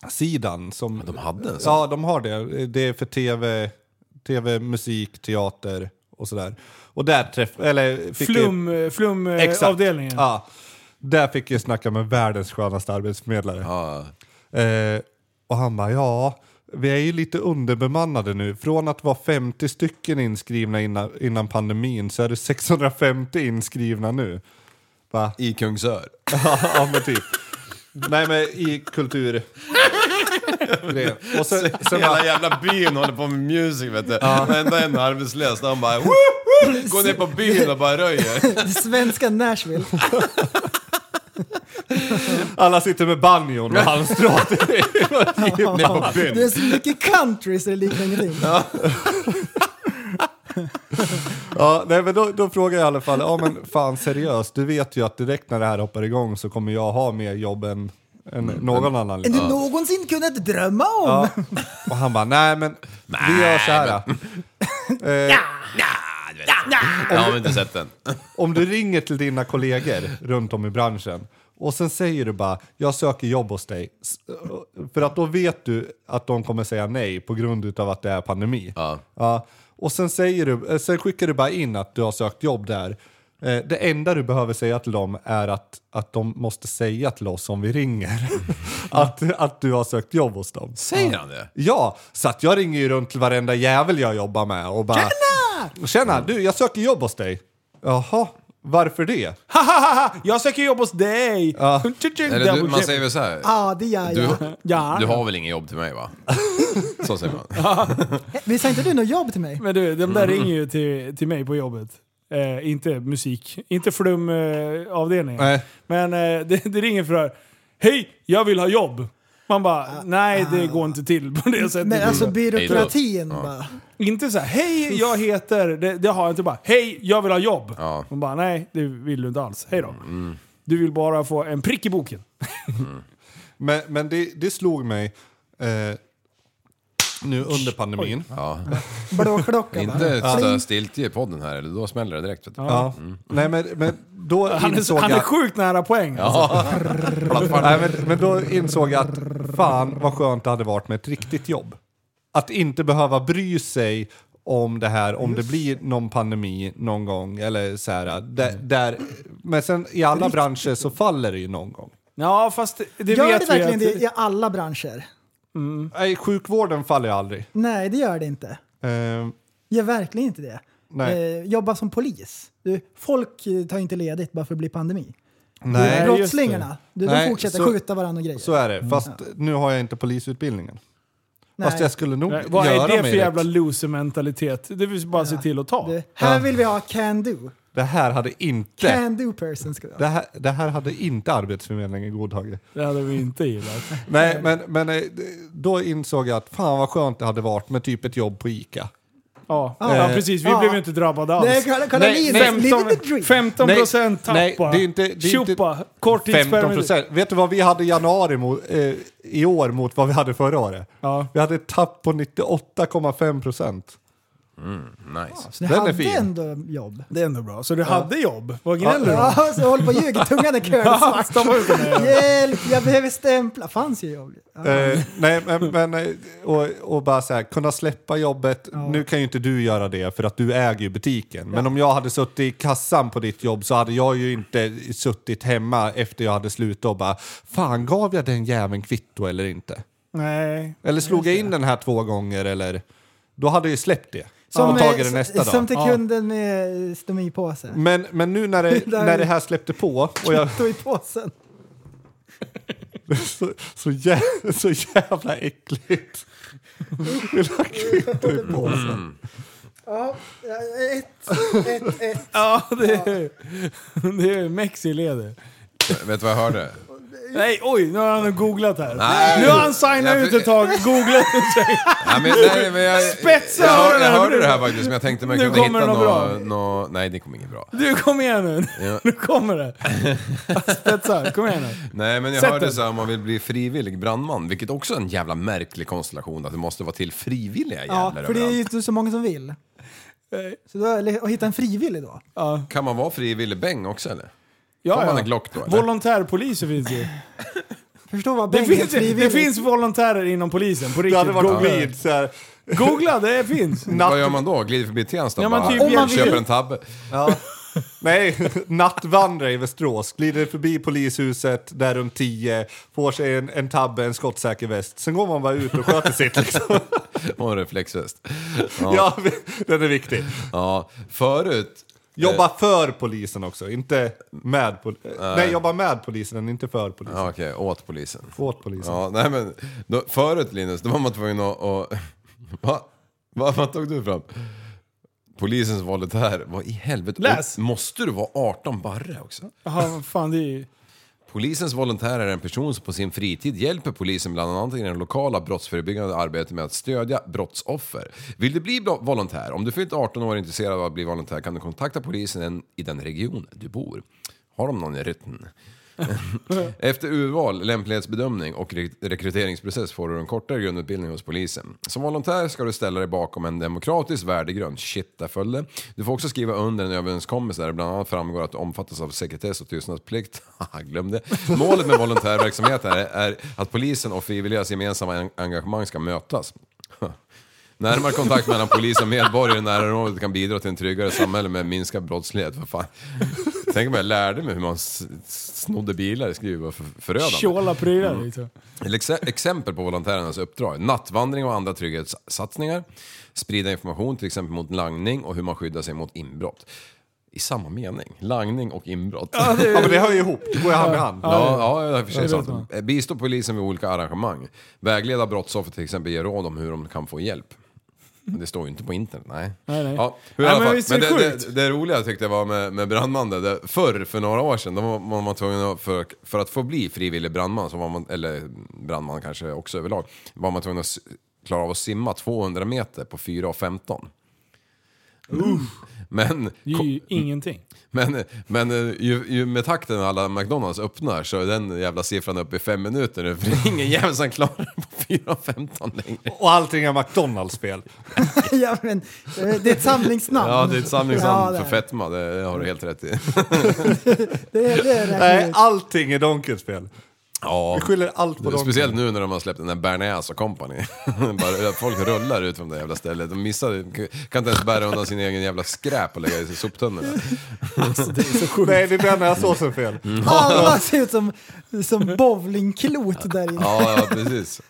kultursidan. Som, de
hade en sån?
Ja, de har det. Det är för tv, TV musik, teater och sådär. Och där träff, eller fick
Flum, eh, flum eh, avdelningen.
Ja. Där fick jag snacka med världens skönaste arbetsförmedlare. Eh, och han bara, ja, Vi är ju lite underbemannade nu. Från att vara 50 stycken inskrivna innan, innan pandemin så är det 650 inskrivna nu. Va?
I Kungsör?
ja, men typ. Nej, men i kultur... Grejen. Och sen, sen
Hela
bara-
jävla byn håller på med music vet du.
Ja.
Varenda en arbetslös, han bara woo, woo, går ner på byn och bara röjer.
Det svenska Nashville.
Alla sitter med banjon och halmstrån. Ner på byn.
Det är så mycket country så det liknar ingenting.
Ja. Ja, nej, men då, då frågar jag i alla fall, ja men fan seriöst, du vet ju att direkt när det här hoppar igång så kommer jag ha mer jobb än, än
Mm.
någon annan.
Än du
Ja.
någonsin kunnat drömma om.
Ja. Och han bara, nej men vi gör så här. eh,
Jag har inte sett den.
om du ringer till dina kollegor runt om i branschen och sen säger du bara, jag söker jobb hos dig. S- eh, För att då vet du att de kommer säga nej på grund av att det är pandemi. Ja. Och sen, säger du, eh, sen skickar du bara in att du har sökt jobb där. Eh, Det enda du behöver säga till dem är att, att de måste säga till oss om vi ringer att, att du har sökt jobb hos dem.
Säger han det?
Ja, så att jag ringer ju runt till varenda jävel jag jobbar med och bara... Tjena! Tjena, du jag söker jobb hos dig. Jaha, varför det?
Hahaha, jag söker jobb hos dig!
Ja.
Eller du, man säger väl så här.
Ja, Ah, det gör
Du,
jag.
du har väl ingen jobb till mig va? Så säger man.
Visst har inte du något jobb till mig?
Men du, de där
Mm.
ringer ju till, till mig på jobbet. Eh, inte musik, inte flumavdelningen.
Nej.
Men eh, det, det ringer för Hej, jag vill ha jobb! Man bara,
Ah.
nej det går inte till på det sättet.
Men alltså byråkratin bara.
Inte så här, hej jag heter, det, det har jag inte bara, hej jag vill ha jobb. Man bara, nej det vill du inte alls, hej då.
Mm.
Du vill bara få en prick i boken.
Men, men det, det slog mig eh, nu under pandemin.
Ja.
Blåklocka
Inte sitta stiltje i podden här, eller då smäller det direkt. Vet du.
Ja.
Mm.
Nej, men, men då
Han
insåg
är, han är
jag...
sjukt nära poäng.
Ja.
Alltså.
Nej, men, men då insåg jag att fan vad skönt det hade varit med ett riktigt jobb. Att inte behöva bry sig om det här, om det blir någon pandemi någon gång eller så här. äh, Där,
Mm.
där, men sen i alla branscher så faller det ju någon gång.
Ja, fast det
gör
vet
det
vi
verkligen
att-
det i alla branscher?
Nej, sjukvården faller ju aldrig.
Nej, det gör det inte.
Eh,
Gör verkligen inte det.
Nej.
Eh, jobba som polis. Du, folk eh, tar inte ledigt bara för att bli pandemi.
Nej,
Du, brottslingarna,
just det.
du, de
Nej,
fortsätter
så-
skjuta varandra och grejer.
så är det, fast nu har jag inte polisutbildningen. Fast jag skulle nog
Mm. Nej, Vad
göra
är det
mig
för jävla loser-mentalitet? Det vill bara se till att ta.
Här vill vi ha can do.
Det här hade inte...
Can do person ska vi ha.
Det här, det här hade inte Arbetsförmedlingen godtagit.
Det hade vi inte gillat.
Nej, men, men eh, då insåg jag att fan vad skönt det hade varit med typ ett jobb på ICA.
Ja,
Eh,
ja precis. Vi
ja.
blev ju inte drabbade alls.
Nej, kolla- kolla Linus, living the dream.
15 procent tapp
nej,
bara.
det är inte, det är inte
Tjopa, korttidspermittering.
15 procent. Vet du vad vi hade i januari mot, eh, i år mot vad vi hade förra året? Vi hade ett tapp på 98,5 procent.
Mm, nice.
Så ni
Den är
hade
fin.
ändå jobb.
Det är ändå bra. Så du
Ja.
hade jobb? Vad
Ja,
gnäller du om?
så jag håller på och ljuger. Tungan är
Ja,
kölsvart.
stoppa ut den här.
Hjälp, jag behöver stämpla. Fanns ju jobb.
Eh, nej, men, men eh, och, och bara så här, kunna släppa jobbet. Nu kan ju inte du göra det för att du äger ju butiken. Men om jag hade suttit i kassan på ditt jobb så hade jag ju inte suttit hemma efter jag hade slutat och bara Fan, gav jag den jäveln kvitto eller inte?
Nej.
Eller slog jag in den här två gånger eller? Då hade jag ju släppt det.
Som,
och tagit
eh,
det nästa dag.
som till
Ja.
kunden med eh, stomipåse.
Men, men nu när det,
Där-
när det här släppte på och jag...
Kvitto i påsen.
Så, så, jä, så jävla äckligt. Vill ha kvitto i påsen.
Ja, ett, ett, ett.
Ja, det är, det är Mexi leder.
Vet du vad jag hörde?
Nej, oj, nu har han googlat här.
Nej.
nu har han signat
Jag-
ut ett tag, googlat sig.
Ja, men, nej, men jag,
Spetsa
jag, hör-
öronen.
jag hörde det här faktiskt, men jag tänkte man
Nu
kunde
kommer
hitta
det något
något... Nå, nej, det kommer inget bra.
Du, kom igen nu.
Ja.
Nu kommer det. Spetsa, kom igen nu.
Nej, men jag
Sätt
hörde
den.
så här, om man vill bli frivillig brandman, vilket också är en jävla märklig konstellation, att det måste vara till frivilliga
Ja,
jävlar
för det är ju
överallt.
inte så många som vill. Så då, eller, och hitta en frivillig då.
Kan man vara frivillig bäng också eller?
Ja,
Får man
ja.
en Glock då eller?
Volontärpoliser finns ju.
Förstå vad
Det
Bengt är
finns, det
frivillig.
finns volontärer inom polisen på riktigt.
hade varit
Googla
weird, så här.
Googla, det finns.
Vad gör man då? Glider förbi Tensta
Ja,
och
men
bara
typ- Om man
köper
vill-
en tabbe?
Nej, nattvandrar i Västerås. Glider förbi polishuset där runt 10, får sig en, en tabbe, en skottsäker väst. Sen går man bara ut och sköter sitt liksom.
Och en reflexväst.
Ja, den är viktig.
Ja, förut...
Jobba för polisen också, inte med polisen. Nej, jobba med polisen, än inte för polisen.
Eh, Ja, Okej, åt polisen.
Åt polisen.
Ja, nej men då, förut Linus, då var man tvungen att... att va? va? Vad tog du fram? Polisens volontär, vad i helvete?
Läs.
Och Måste du vara 18 barre också?
Jaha, vad fan det är ju...
Polisens volontär är en person som på sin fritid hjälper polisen bland annat i det lokala brottsförebyggande arbetet med att stödja brottsoffer. Vill du bli blo- volontär? Om du fyllt 18 år och är intresserad av att bli volontär kan du kontakta polisen en- i den region du bor. Har de någon i rytten? Efter urval, lämplighetsbedömning och re- rekryteringsprocess får du en kortare grundutbildning hos polisen. Som volontär ska du ställa dig bakom en demokratisk värdegrund. Shit, där följde. Du får också skriva under en överenskommelse där det bland annat framgår att du omfattas av sekretess och tystnadsplikt. Haha, Glöm det. Målet med volontärverksamhet är, är att polisen och frivilligas gemensamma en- engagemang ska mötas. Närmare kontakt mellan polis och medborgare i närområdet kan bidra till en tryggare samhälle med minskad brottslighet. Vad fan. Tänk om jag lärde mig hur man s- snodde bilar, det skulle ju vara för- förödande.
Tjåla prylar
Mm.
liksom.
Till exe- Exempel på volontärernas uppdrag. Nattvandring och andra trygghetssatsningar. Sprida information till exempel mot langning och hur man skyddar sig mot inbrott. I samma mening. Langning och inbrott.
Ja, det- Ja, men det hör ju ihop. Det går ju hand i hand.
Ja, ja,
Ja, det-
ja, i och för
det
sig
vet
sant. Eh, Bistå polisen vid olika arrangemang. Vägleda brottsoffer till exempel, ge råd om hur de kan få hjälp. Men Det står ju inte på internet, nej.
Nej, nej.
Ja, hur i
Nej,
alla
men
fall.
visst är
men
det
det,
sjukt?
det, det roliga tyckte jag var med, med brandman där, där, förr, för några år sedan, då var man var tvungen att, för, för att få bli frivillig brandman, så var man, eller brandman kanske också överlag, var man tvungen att s- klara av att simma 200 meter på 4.15. Men,
Det är ju ingenting.
men, men eh, ju, ju med takten alla McDonalds öppnar så är den jävla siffran uppe i fem minuter nu, för det är ingen jävel som klarar på 4.15 längre.
Och allting är McDonalds-spel.
ja, men, eh, det är ett samlingsnamn.
Ja, det är ett samlingsnamn
Ja,
för
det är.
fetma, det, det har du helt rätt i.
Det är, det är rätt
Nej,
ut.
allting är Donkens spel.
Ja.
Vi skyller allt på dem.
Speciellt nu när de har släppt den där Bernays och Company. Bara, eh, folk rullar ut från det jävla stället. De missar, kan inte ens bära undan sin egen jävla skräp och lägga i soptunnorna.
Nej, det är bearnaisesåsen fel.
Mm.
Alla ser ut som, som bowlingklot där inne.
Ja, ja, precis.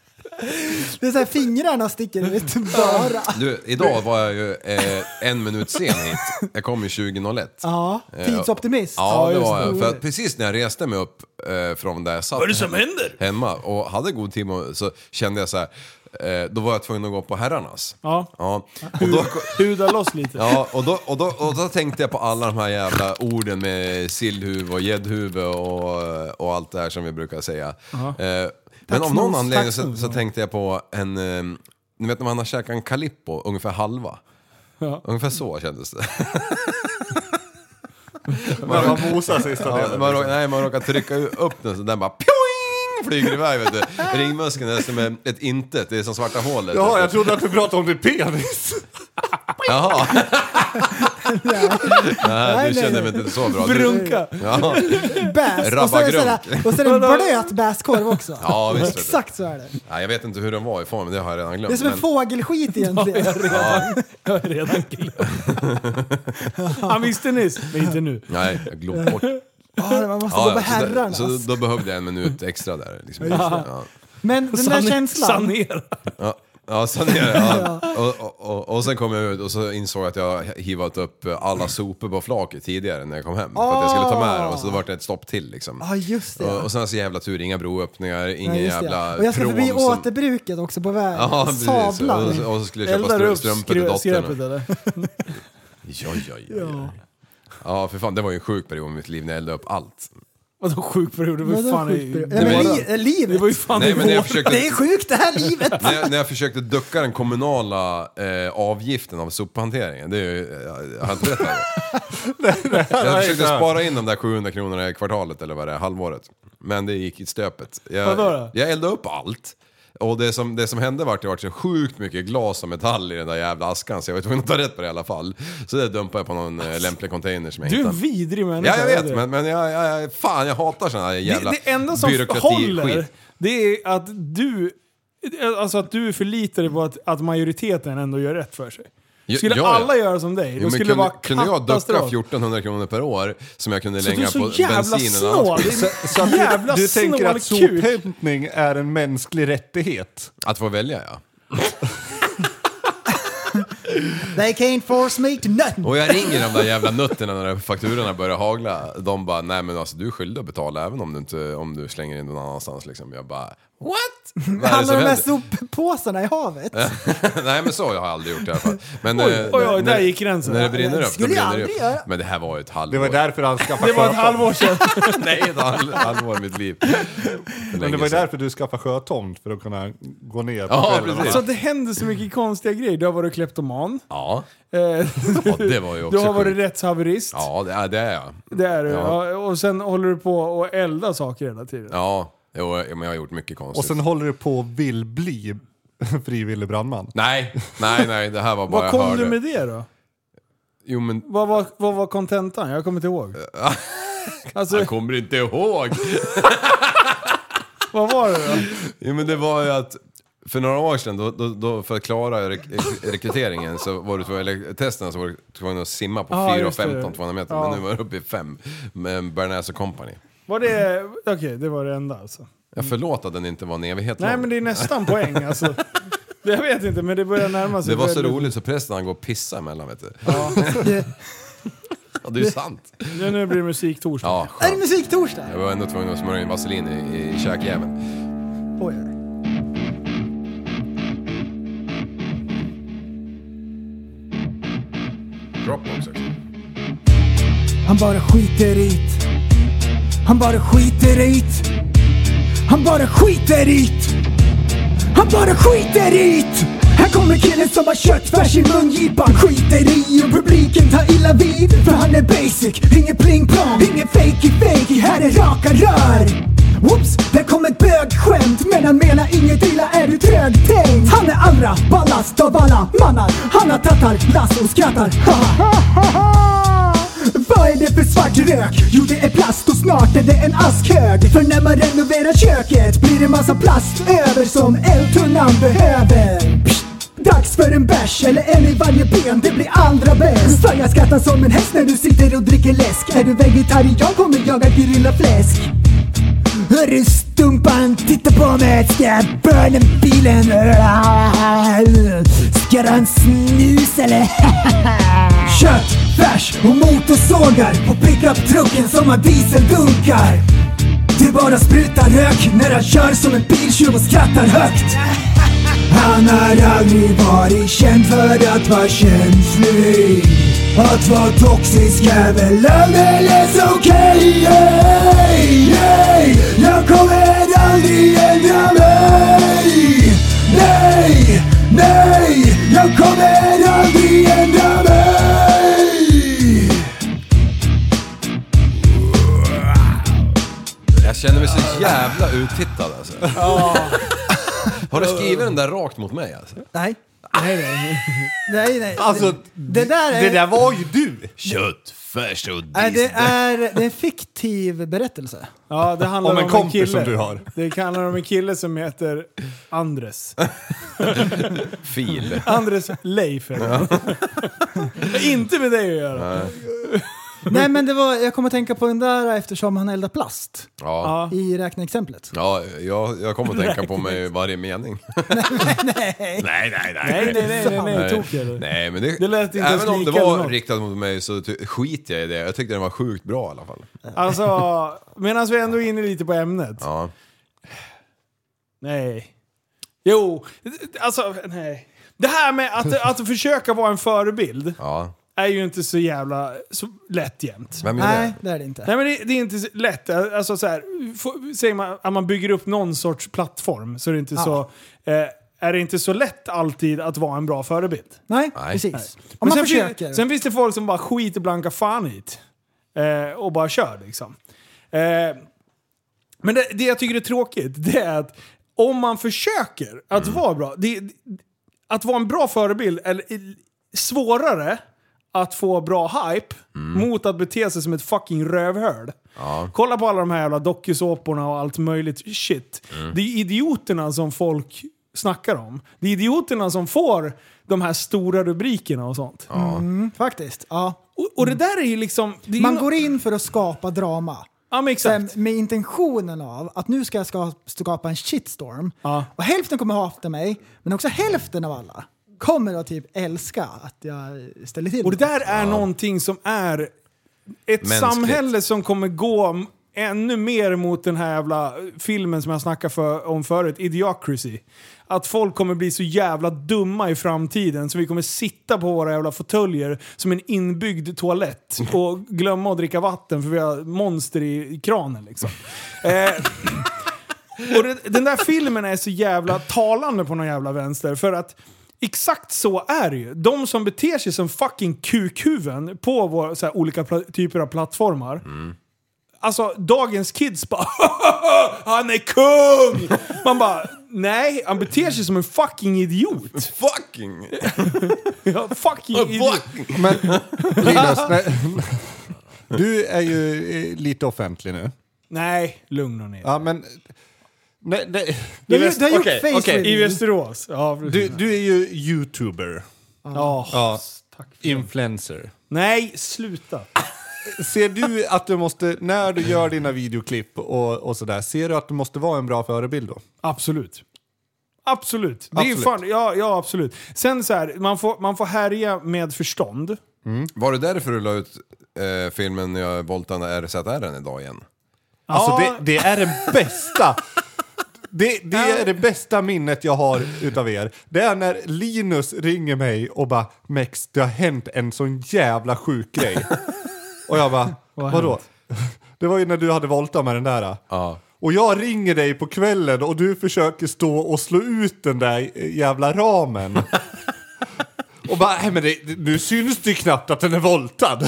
Det är så här fingrarna sticker ut bara.
Du, idag var jag ju eh, en minut sen hit. Jag kom ju 2001.
Ja, tidsoptimist.
Eh, Ja, det
just
var jag. För att precis när jag reste mig upp eh, från där jag satt
Vad är det som
he-
händer?
hemma och hade god tid och- så kände jag så här. Eh, då var jag tvungen att gå på herrarnas.
Ja.
Ja. Och då,
Huda loss lite.
Ja, och då, och, då, och då tänkte jag på alla de här jävla orden med sillhuvud och gäddhuvud och, och allt det här som vi brukar säga.
Aha.
Eh, men
Taxnos,
av någon anledning så,
taxnos,
så
ja.
tänkte jag på en, eh, ni vet när man har käkat en calippo, ungefär halva.
Ja.
Ungefär så kändes det.
När man mosar sista delen.
man råkar, nej, man råkar trycka upp den så den bara pjoing flyger iväg vet du. Ringmuskeln är som ett intet, det är som svarta hålet.
Ja, jag trodde att du pratade om din penis.
Jaha. nej,
Nej,
du
nej,
känner
nej.
mig inte så bra.
Brunka.
Du, ja.
Bäs. Och så är det så här-
Rabbagrunk.
och så är det en blöt bäskorv också.
Ja, visst vet du.
Exakt så är det.
Ja, jag vet inte hur den var i formen, det har jag redan glömt.
Det är som en
men-
fågelskit egentligen.
Jag har redan glömt. Han visste nyss, men inte nu.
Nej, jag glömde bort.
Ja, man måste
Ja,
gå på
så där-
herrarnas.
Så då behövde jag en minut extra där. Liksom.
alltså. Ja, just det.
Ja.
Men den där
Sane-
känslan.
sanera.
Ja, ja sanera. Ja. Och, och, och, och sen kom jag ut och så insåg jag att jag hivat upp alla sopor på flaket tidigare när jag kom hem. För att jag skulle ta med dem och så då vart det ett stopp till liksom.
Ja, Ah, just det.
Och, och sen så jävla tur, inga broöppningar, ingen
Nej, just det.
jävla
Och jag ska förbi
pråm som-
återbruket också på vägen.
Ja, precis.
Sablar.
Och, och så skulle jag köpa stru- strumpor till dottern.
eller?
Ja, ja, ja. ja. ja, för fan det var ju en sjuk period i mitt liv när jag eldade upp allt.
Vadå sjuk period? Det var ju
Vadå
fan
sjuk
i...
period? Ja, men li- eh, livet. Det var ju
fan
Nej, i men när jag vår- försökte-
Det är sjukt det här livet.
när, jag, när jag försökte ducka den kommunala eh, avgiften av sophanteringen, det är ju, eh, jag, jag har inte rätt här. Jag försökte spara in de där 700 kronorna i kvartalet eller vad det är, halvåret. Men det gick i stöpet.
Vadå
Jag,
då?
jag eldade upp allt. Och det som, det som hände var att det var så sjukt mycket glas och metall i den där jävla askan så jag var tvungen att ta rätt på det i alla fall. Så det dumpade jag på någon eh, lämplig container som jag
Alltså, Du är en
hittade.
vidrig människa.
Ja, jag
är du?
vet, men, men jag, jag, jag, fan jag hatar såna här jävla
det, det enda som
byråkrati-
håller,
skit.
det är att du... Alltså att du förlitar dig på att, att majoriteten ändå gör rätt för sig. Skulle
Ja, ja.
alla göra som dig,
Jo,
då
men
skulle
kunde,
det vara
kunde jag ducka
katastrof.
1400 kronor per år som jag kunde
Så du är
lägga
så
på
jävla
bensinen och
snål.
annat?
Så-
Så att
Jävla
du, du tänker
snål
att
kuk.
sophämtning är en mänsklig rättighet?
Att få välja ja.
They can't force me to nothing.
Och jag ringer de där jävla nötterna när fakturorna börjar hagla. De bara, nej men alltså du är skyldig att betala även om du, inte, om du slänger in någon annanstans liksom. Jag bara,
What?
det
Alla
som
de där
händer?
soppåsarna i havet.
nej men så har jag aldrig gjort i alla fall. Men,
Oj,
eh,
oj,
när-
oj, där gick gränsen.
När det brinner upp, då
Skulle jag
brinner det
aldrig göra.
upp. Men det här var ju ett halvår.
Det var därför han skaffade
Det var ett
sjötomt.
halvår sedan. Nej, ett halv- halvår i mitt liv.
Men det
länge
var ju
sedan.
därför du skaffade sjötomt, för att kunna gå ner på
Ja,
kvällarna.
precis.
Så Alltså, det händer så mycket konstiga grejer. Du har varit kleptoman.
Ja.
Eh,
ja, det var ju
Du
också
har varit
sjukt.
rättshaverist.
Ja, det är, det är jag.
Det är du.
Ja.
Ja. Och sen håller du på och elda saker hela tiden.
Ja, jo, men jag har gjort mycket konstigt.
Och sen håller du på och vill bli frivillig brandman.
Nej, nej, nej, det här var bara
Vad kom
jag hörde.
du med det då?
Jo, men...
Vad var, vad var kontentan? Jag kommer inte ihåg.
Eh,
Alltså,
Han kommer inte ihåg.
Vad var det då?
Jo men det var ju att för några år sedan, då, då, då, för att klara rek rekryteringen, så var du tvungen, eller testerna så var du tvungen att simma på
Ja,
4 och
just det.
15, 200 meter.
Ja.
Men nu var du uppe i 5 med Bernäs Company.
Var det... Okej, det var det enda alltså.
Jag förlåt att den inte var en evighet
Nej
lång.
men det är nästan poäng alltså. Det, jag vet inte men det börjar närma sig.
Det var så
väldigt-
roligt så prästen han går och pissar emellan vet du.
Ja.
Ja, det är ju sant.
Nu, nu blir det musiktorsdag.
Ja,
Är det musiktorsdag?
jag var ändå tvungen att smörja in vaselin i, i käkjäveln.
Oj.
Dropbox också.
Han bara skiter i det. Han bara skiter i det. Han bara skiter i det. Han bara skiter i det. Här kommer killen som har köttfärs i mungipan Skiter i och publiken tar illa vid För han är basic, ingen pling-plong Ingen fakey-fakey, här är raka rör Whoops, där kom ett bögskämt Men han menar inget illa, är du trögtänkt? Han är allra ballast av alla mannar Han har tattar, lass och skrattar, haha Vad är det för svart rök? Jo det är plast och snart är det en askhög För när man renoverar köket blir det massa plast över som eltunnan behöver Psst. Dags för en bärs eller en i varje ben, det blir allra bäst För jag skrattar som en häst när du sitter och dricker läsk Är du vegetarian kommer jag att grilla fläsk Hörru stumpan, titta på mig. Ska jag burna bilen? Ska du ha en snus eller? Kött, färs och motorsågar på pickup-trucken som har dieseldunkar. Det bara sprutar rök när han kör som en biltjuv och skrattar högt. Han har aldrig varit känd för att vara känslig. Att vara toxisk är väl alldeles okej. Ey, ey, Jag kommer aldrig ändra mig. Nej, nej, jag kommer aldrig ändra mig.
Jag känner mig så jävla uttittad alltså. Har du skrivit den där rakt mot mig alltså?
Nej. Nej, nej. nej, nej.
Alltså,
det, det där är...
var ju du!
Köttfärs och
Nej, det
diesel.
är, det är en fiktiv berättelse.
Ja, det handlar
Om
om
en
en,
kompis
kille.
som du har.
Det handlar om en kille som heter Andres.
Fil.
Andres Leif heter han. Inte med dig att göra.
Nej men det var, jag kommer att tänka på den där eftersom han eldar plast
Ja.
i räkneexemplet.
Ja, jag, jag kommer att tänka på mig varje mening. nej, nej, nej.
Nej, nej, nej, nej, nej, tok är du.
Nej, men det,
Det lät inte ens
även om det
lika eller
var
något.
riktat mot mig så ty- skiter jag i det. Jag tyckte den var sjukt bra i alla fall.
Alltså, medan vi ändå är inne lite på ämnet.
Ja.
Nej. Jo, alltså nej. Det här med att, att försöka vara en förebild
ja.
är ju inte så jävla så lätt jämt.
Vem är det?
Nej, det är det inte.
Nej men det, det är inte så lätt. Alltså, så här, får- säger man att man bygger upp någon sorts plattform så är det inte,
Ja.
så, eh, är det inte så lätt alltid att vara en bra förebild.
Nej, precis. Om
Men
man
sen,
försöker.
Finns, sen finns det folk som bara skiter blanka fan i det. Eh, och bara kör liksom. Eh, men det, det jag tycker är tråkigt, det är att om man försöker att
Mm.
vara bra. Det, att vara en bra förebild är svårare att få bra hype mot att bete sig som ett fucking rövhöl. Kolla på alla de här jävla dokusåporna och allt möjligt shit.
Mm.
Det är idioterna som folk snackar om. Det är idioterna som får de här stora rubrikerna och sånt.
Mm, faktiskt. Ja.
Och, och det där är ju liksom... Det är
Man
ju-
går in för att skapa drama.
Ja, men exakt.
Sen, med intentionen av att nu ska jag ska skapa en shitstorm. Och hälften kommer hata mig, men också hälften av alla kommer att typ älska att jag ställer till
Och det
det.
där är någonting som är ett
Mänskligt.
samhälle som kommer gå m- ännu mer mot den här jävla eh, filmen som jag snackade för, om förut, Idiocracy. Att folk kommer bli så jävla dumma i framtiden så vi kommer sitta på våra jävla fåtöljer som en inbyggd toalett och glömma att dricka vatten för vi har monster i, i kranen liksom. Eh, och det, den där filmen är så jävla talande på någon jävla vänster för att Exakt så är det ju. De som beter sig som fucking kukhuven på våra, så här, olika pla- typer av plattformar. Alltså dagens kids bara Han är kung! Man bara nej, han beter sig som en fucking idiot.
Fucking!
ja, fucking idiot.
Men Linus, nej, du är ju eh, lite offentlig nu.
Nej, lugn och ner.
Ja, men... Nej, nej.
Du har ju- du har gjort
Okej,
face
okej.
reveal. I Västerås.
du, du är ju youtuber.
Ja.
Ja. Influencer.
Nej, sluta.
Ser du att du måste, när du gör dina videoklipp och, och sådär, ser du att du måste vara en bra förebild då?
Absolut. Absolut. Det är
Absolut.
fan, ja, ja, absolut. Sen så här, man får, man får härja med förstånd.
Var det därför du la ut eh, filmen när jag voltade RZR idag igen?
Alltså
Ja.
det, det är det bästa. Det, det är det bästa minnet jag har utav er. Det är när Linus ringer mig och bara Mex, det har hänt en sån jävla sjuk grej. Och jag bara,
Vad har
vadå? Det var ju när du hade voltat med den där. Och jag ringer dig på kvällen och du försöker stå och slå ut den där jävla ramen. Och bara, nej men det, nu syns det ju knappt att den är voltad.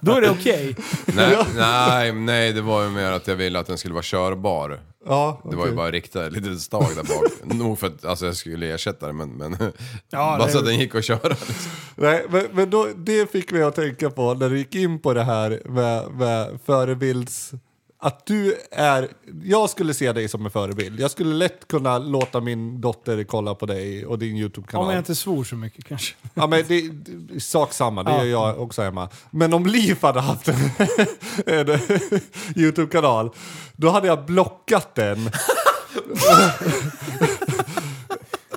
Då är det okej.
Nej, nej, nej, det var ju mer att jag ville att den skulle vara körbar.
Ja,
Det var ju
okej.
bara rikta ett litet stag där bak. Nog för att alltså, jag skulle ersätta det men... men
Ja,
bara
det-
så att den gick att köra. Liksom.
Nej, men, men då, det fick mig att tänka på när du gick in på det här med, med förebilds... Att du är... Jag skulle se dig som en förebild. Jag skulle lätt kunna låta min dotter kolla på dig och din
Om
YouTube-kanal.
jag inte svor så mycket kanske.
Ja, men det, det, sak samma, det
Ja.
gör jag också hemma. Men om Liv hade haft en, en YouTube-kanal, då hade jag blockat den.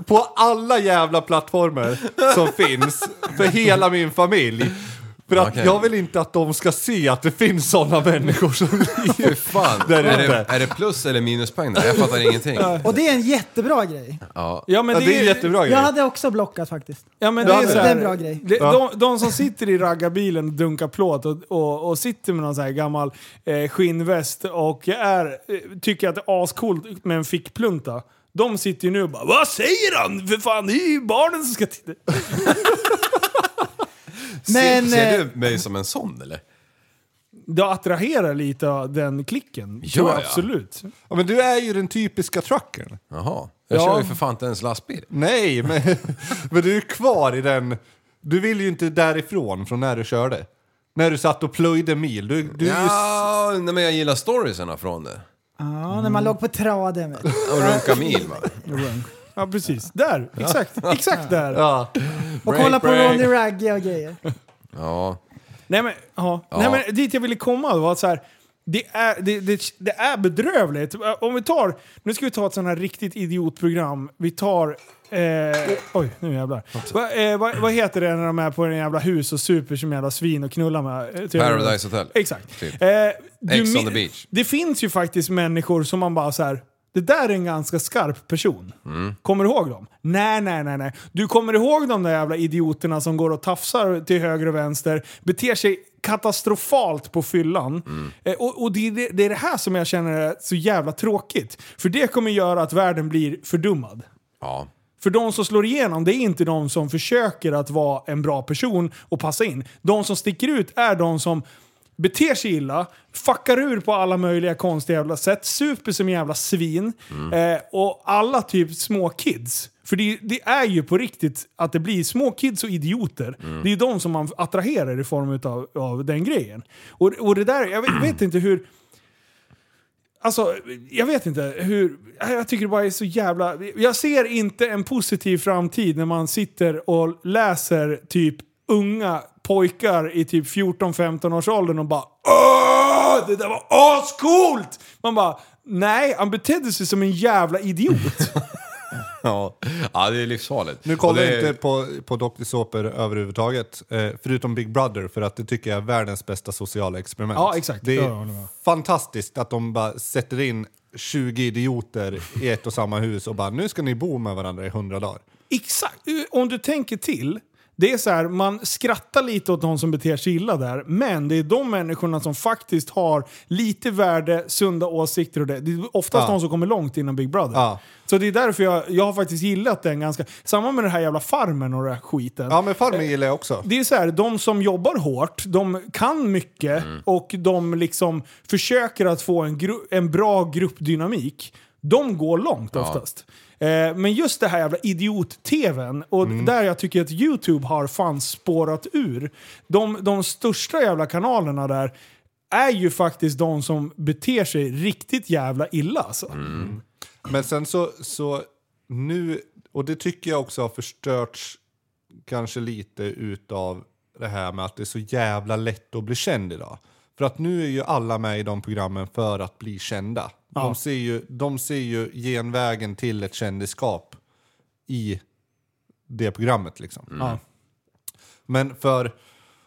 På alla jävla plattformar som finns för hela min familj. För att
Okej.
jag vill inte att de ska se att det finns sådana människor som Liv.
Fan,
Där
är, det,
ute.
är det plus eller minuspoäng där? Jag fattar ingenting.
Och det är en jättebra grej.
Ja,
Jag hade också blockat faktiskt.
Ja, men
det,
det, är så här,
en bra grej.
De, de, de som sitter i raggarbilen och dunkar plåt och, och, och sitter med någon så här gammal eh, skinnväst och är, eh, tycker att det är ascoolt med en fickplunta. De sitter ju nu och bara Vad säger han? För fan det är ju barnen som ska titta.
ser,
men,
ser
eh,
du mig som en sån eller?
Det attraherar lite av den klicken.
Ja,
Så
ja.
absolut.
Ja, men du är ju den typiska truckern.
Jaha. Jag
Ja.
kör ju för fan inte ens lastbil.
Nej, men, men du är kvar i den... Du vill ju inte därifrån från när du körde. När du satt och plöjde mil. Du, du är ju
Ja, nej, men jag gillar storiesarna från det.
Ja, när
Mm.
man låg på traden. vet du.
Och runka mil va?
Ja precis. Där. Exakt. Exakt där.
Ja.
Och kolla på Ronny Ragge och grejer.
Ja.
Nej men, ja.
Ja.
Nej, men dit jag ville komma var att så här, det, är, det, det, det är bedrövligt. Om vi tar, nu ska vi ta ett sånt här riktigt idiotprogram. Vi tar... Eh, oj, nu jävlar. Va, eh, vad- vad heter det när de är på en jävla hus och super som jävla svin och knullar med? eh, till-
Paradise Hotel.
Exakt.
Typ.
Eh, du
Ex on
min-
the beach.
Det finns ju faktiskt människor som man bara så här. Det där är en ganska skarp person.
Mm.
Kommer du ihåg dem? Nej, nej, nej, nej. Du kommer ihåg de där jävla idioterna som går och tafsar till höger och vänster, beter sig katastrofalt på fyllan.
Mm.
Eh, och och det, är det, det är det här som jag känner är så jävla tråkigt. För det kommer göra att världen blir fördummad.
Ja.
För de som slår igenom, det är inte de som försöker att vara en bra person och passa in. De som sticker ut är de som beter sig illa, fuckar ur på alla möjliga konstiga jävla sätt, super som jävla svin eh, och alla typ små kids. För det, det är ju på riktigt att det blir små kids och idioter. Det är ju de som man attraherar i form utav, av den grejen. Och, och det där, jag vet, vet inte hur... Alltså, jag vet inte hur... Jag tycker det bara är så jävla... Jag ser inte en positiv framtid när man sitter och läser typ unga pojkar i typ 14-15 års åldern och bara Åh, det där var ascoolt! Man bara, nej, han betedde sig som en jävla idiot.
Ja. ja, det är livsfarligt.
Nu
Och
kollar
det-
jag inte på, på dokusåpor överhuvudtaget, eh, förutom Big Brother, för att det tycker jag är världens bästa sociala experiment.
Ja, exakt.
Det
Ja,
är
jag håller med.
fantastiskt att de bara sätter in 20 idioter i ett och samma hus och bara nu ska ni bo med varandra i 100 dagar.
Exakt. Om du tänker till. Det är så här, man skrattar lite åt de som beter sig illa där, men det är de människorna som faktiskt har lite värde, sunda åsikter och det. Det är oftast
Ja.
de som kommer långt innan Big Brother. Så det är därför jag, jag har faktiskt gillat den ganska... Samma med den här jävla farmen och den här skiten.
Ja, men Farmen gillar jag också.
Det är så här, de som jobbar hårt, de kan mycket och de liksom försöker att få en, gru- en bra gruppdynamik. De går långt
Ja.
oftast. Eh, men just det här jävla idiot-tvn, och där jag tycker att YouTube har fan spårat ur. De, de största jävla kanalerna där är ju faktiskt de som beter sig riktigt jävla illa alltså.
Men sen så, så nu, och det tycker jag också har förstörts kanske lite utav det här med att det är så jävla lätt att bli känd idag. För att nu är ju alla med i de programmen för att bli kända.
Ja.
De, ser ju, de ser ju genvägen till ett kändisskap i det programmet liksom.
Mm. Ja.
Men för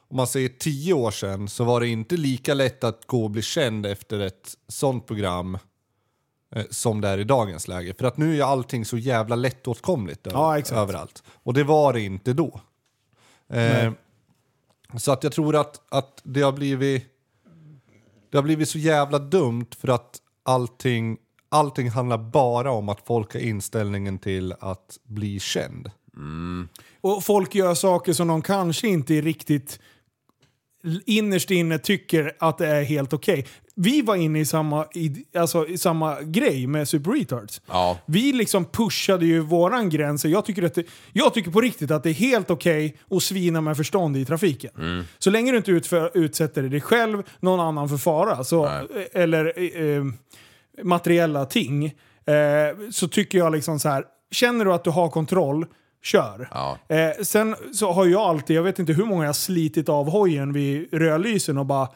om man säger tio år sedan så var det inte lika lätt att gå och bli känd efter ett sånt program eh, som det är i dagens läge. För att nu är ju allting så jävla lättåtkomligt över,
Ja, exakt.
överallt. Och det var det inte då. Eh,
Nej.
så att jag tror att, att det har blivit det har blivit så jävla dumt för att allting, allting handlar bara om att folk har inställningen till att bli känd.
Och folk gör saker som de kanske inte är riktigt innerst inne tycker att det är helt okej. Vi var inne i samma, i, alltså, i samma grej med Super Retards.
Ja.
Vi liksom pushade ju våran gräns. Jag tycker, att det, jag tycker på riktigt att det är helt okej att svina med förstånd i trafiken. Mm. Så länge du inte utför, utsätter dig själv, någon annan för fara, så, eller eh, eh, materiella ting, eh, så tycker jag liksom så här, känner du att du har kontroll, kör. Eh, sen så har jag alltid, jag vet inte hur många jag slitit av hojen vid rödlysen och bara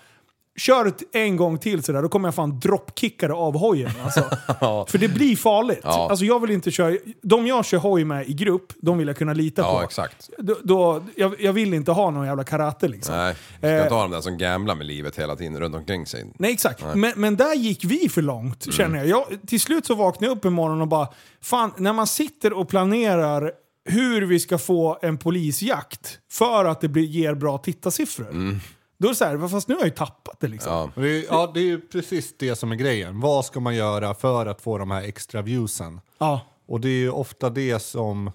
Kör ett- en gång till sådär, då kommer jag fan droppkicka det av hojen. Alltså.
Ja.
För det blir farligt.
Ja.
Alltså jag vill inte köra... De jag kör hoj med i grupp, de vill jag kunna lita på.
Ja, exakt.
Då, då, jag, jag vill inte ha någon jävla karate liksom.
Nej, vi ska
Eh.
inte ha de där som gamblar med livet hela tiden runt omkring sig.
Nej exakt,
Nej.
men, men där gick vi för långt
Mm.
känner jag. jag. Till slut så vaknade jag upp en morgon och bara, fan när man sitter och planerar hur vi ska få en polisjakt för att det blir, ger bra tittarsiffror.
Mm.
Då är det så här, fast nu har jag ju tappat det liksom.
Ja. Det, är, ja, det är ju precis det som är grejen. Vad ska man göra för att få de här extra viewsen?
Ja.
Och det är ju ofta det som,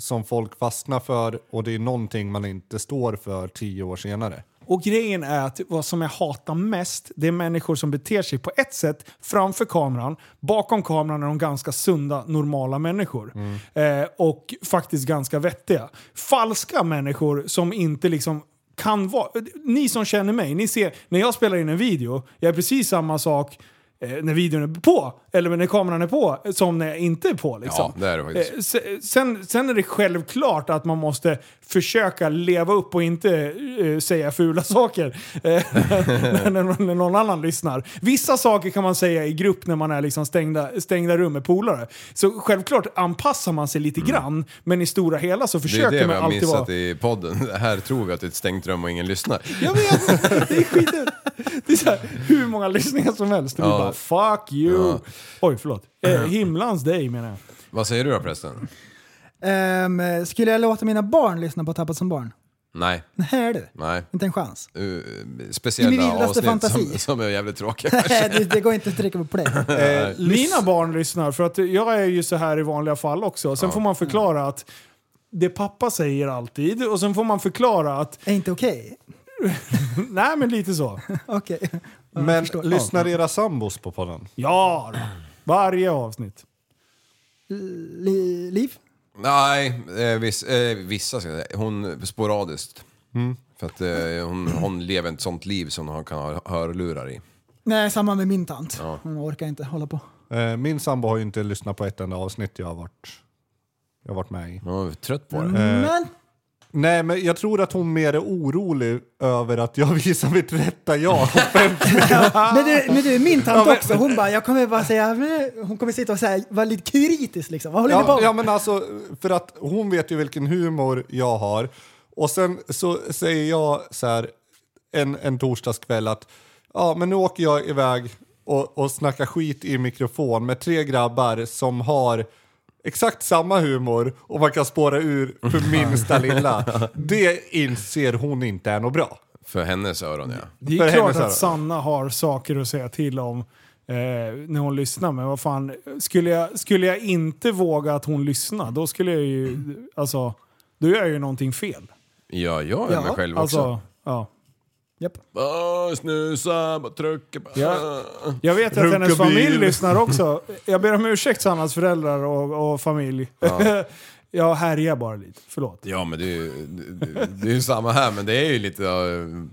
som folk fastnar för och det är någonting man inte står för tio år senare.
Och grejen är att vad som jag hatar mest, det är människor som beter sig på ett sätt framför kameran. Bakom kameran är de ganska sunda, normala människor. Eh, och faktiskt ganska vettiga. Falska människor som inte liksom kan vara... Ni som känner mig, ni ser när jag spelar in en video, jag är precis samma sak eh, när videon är på, eller när kameran är på, som när jag inte är på. Liksom.
Ja, det är det faktiskt.
Eh, se- sen, sen är det självklart att man måste försöka leva upp och inte eh, säga fula saker eh, när, när, när någon annan lyssnar. Vissa saker kan man säga i grupp när man är liksom stängda, stängda rum med polare. Så självklart anpassar man sig lite grann, men i stora hela så
Mm. Det är
försöker
det vi
man
har
alltid vara...
missat i podden. Här tror vi att det är ett stängt rum och ingen lyssnar.
Hur många lyssningar som helst. Det blir
Ja.
bara fuck you.
Ja.
Oj, förlåt. Eh, himlans dig menar jag.
Vad säger du då prästen?
Ehm, skulle jag låta mina barn lyssna på Tappat som barn?
Nej.
Nej du,
Nej.
inte en chans.
Uh,
I min
speciella
vildaste
avsnitt
fantasi.
Som, som är jävligt tråkiga.
det, det går inte att trycka på play.
Eh, Mina barn lyssnar, för att jag är ju så här i vanliga fall också. Sen får man förklara
Mm.
att det pappa säger alltid och sen får man förklara att...
Är inte okej?
Nej, men lite så.
Okej.
Men lyssnar era sambos på podden?
Ja, då. varje avsnitt.
Li- liv?
Nej, eh, viss, eh, vissa ska jag säga. Hon sporadiskt. För att eh, hon, hon lever ett sånt liv som hon kan ha hörlurar i.
Nej, samma med min tant.
Ja.
Hon orkar inte hålla på.
Eh, Min sambo har ju inte lyssnat på ett enda avsnitt jag har varit, jag har varit med i.
Hon var trött
på det. Men-
Nej, men jag tror att hon mer är orolig över att jag visar mitt rätta jag.
Ah.
Men du, men du min
Ja,
tant
men-
också, hon bara, jag kommer bara säga, "Men", hon kommer sitta och säga, vara lite kritisk liksom. Vad håller ni på
ja,
med?
ja, men alltså, för att hon vet ju vilken humor jag har. Och sen så säger jag så här en, en torsdagskväll att ja, men nu åker jag iväg och, och snackar skit i mikrofon med tre grabbar som har exakt samma humor och man kan spåra ur för minsta lilla. Det inser hon inte är något bra.
För hennes öron ja.
Det är
För
klart
hennes öron.
att Sanna har saker att säga till om eh, när hon lyssnar, men vad fan. Skulle jag, skulle jag inte våga att hon lyssnar, då skulle jag ju... Alltså, då gör jag ju någonting fel.
Ja, jag är mig själv också.
alltså, Ja.
Bara snusa, bara trycka, bara...
Ja. Jag vet att hennes familj lyssnar också. Jag ber om ursäkt Sannas föräldrar och, och familj.
Ja.
jag härjar bara lite, förlåt.
Ja, men det är ju, det, det är ju samma här, men det är ju lite, uh,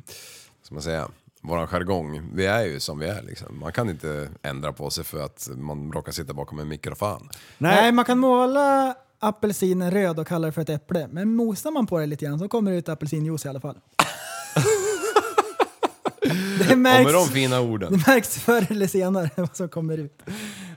ska man säga, våran jargong. Vi är ju som vi är liksom. Man kan inte ändra på sig för att man råkar sitta bakom en mikrofon.
Nej. man kan måla apelsinen röd och kalla det för ett äpple. Men mosar man på det lite grann så kommer det ut apelsinjuice i alla fall. det,
Och
märks,
med de fina orden.
det märks förr eller senare vad som kommer ut.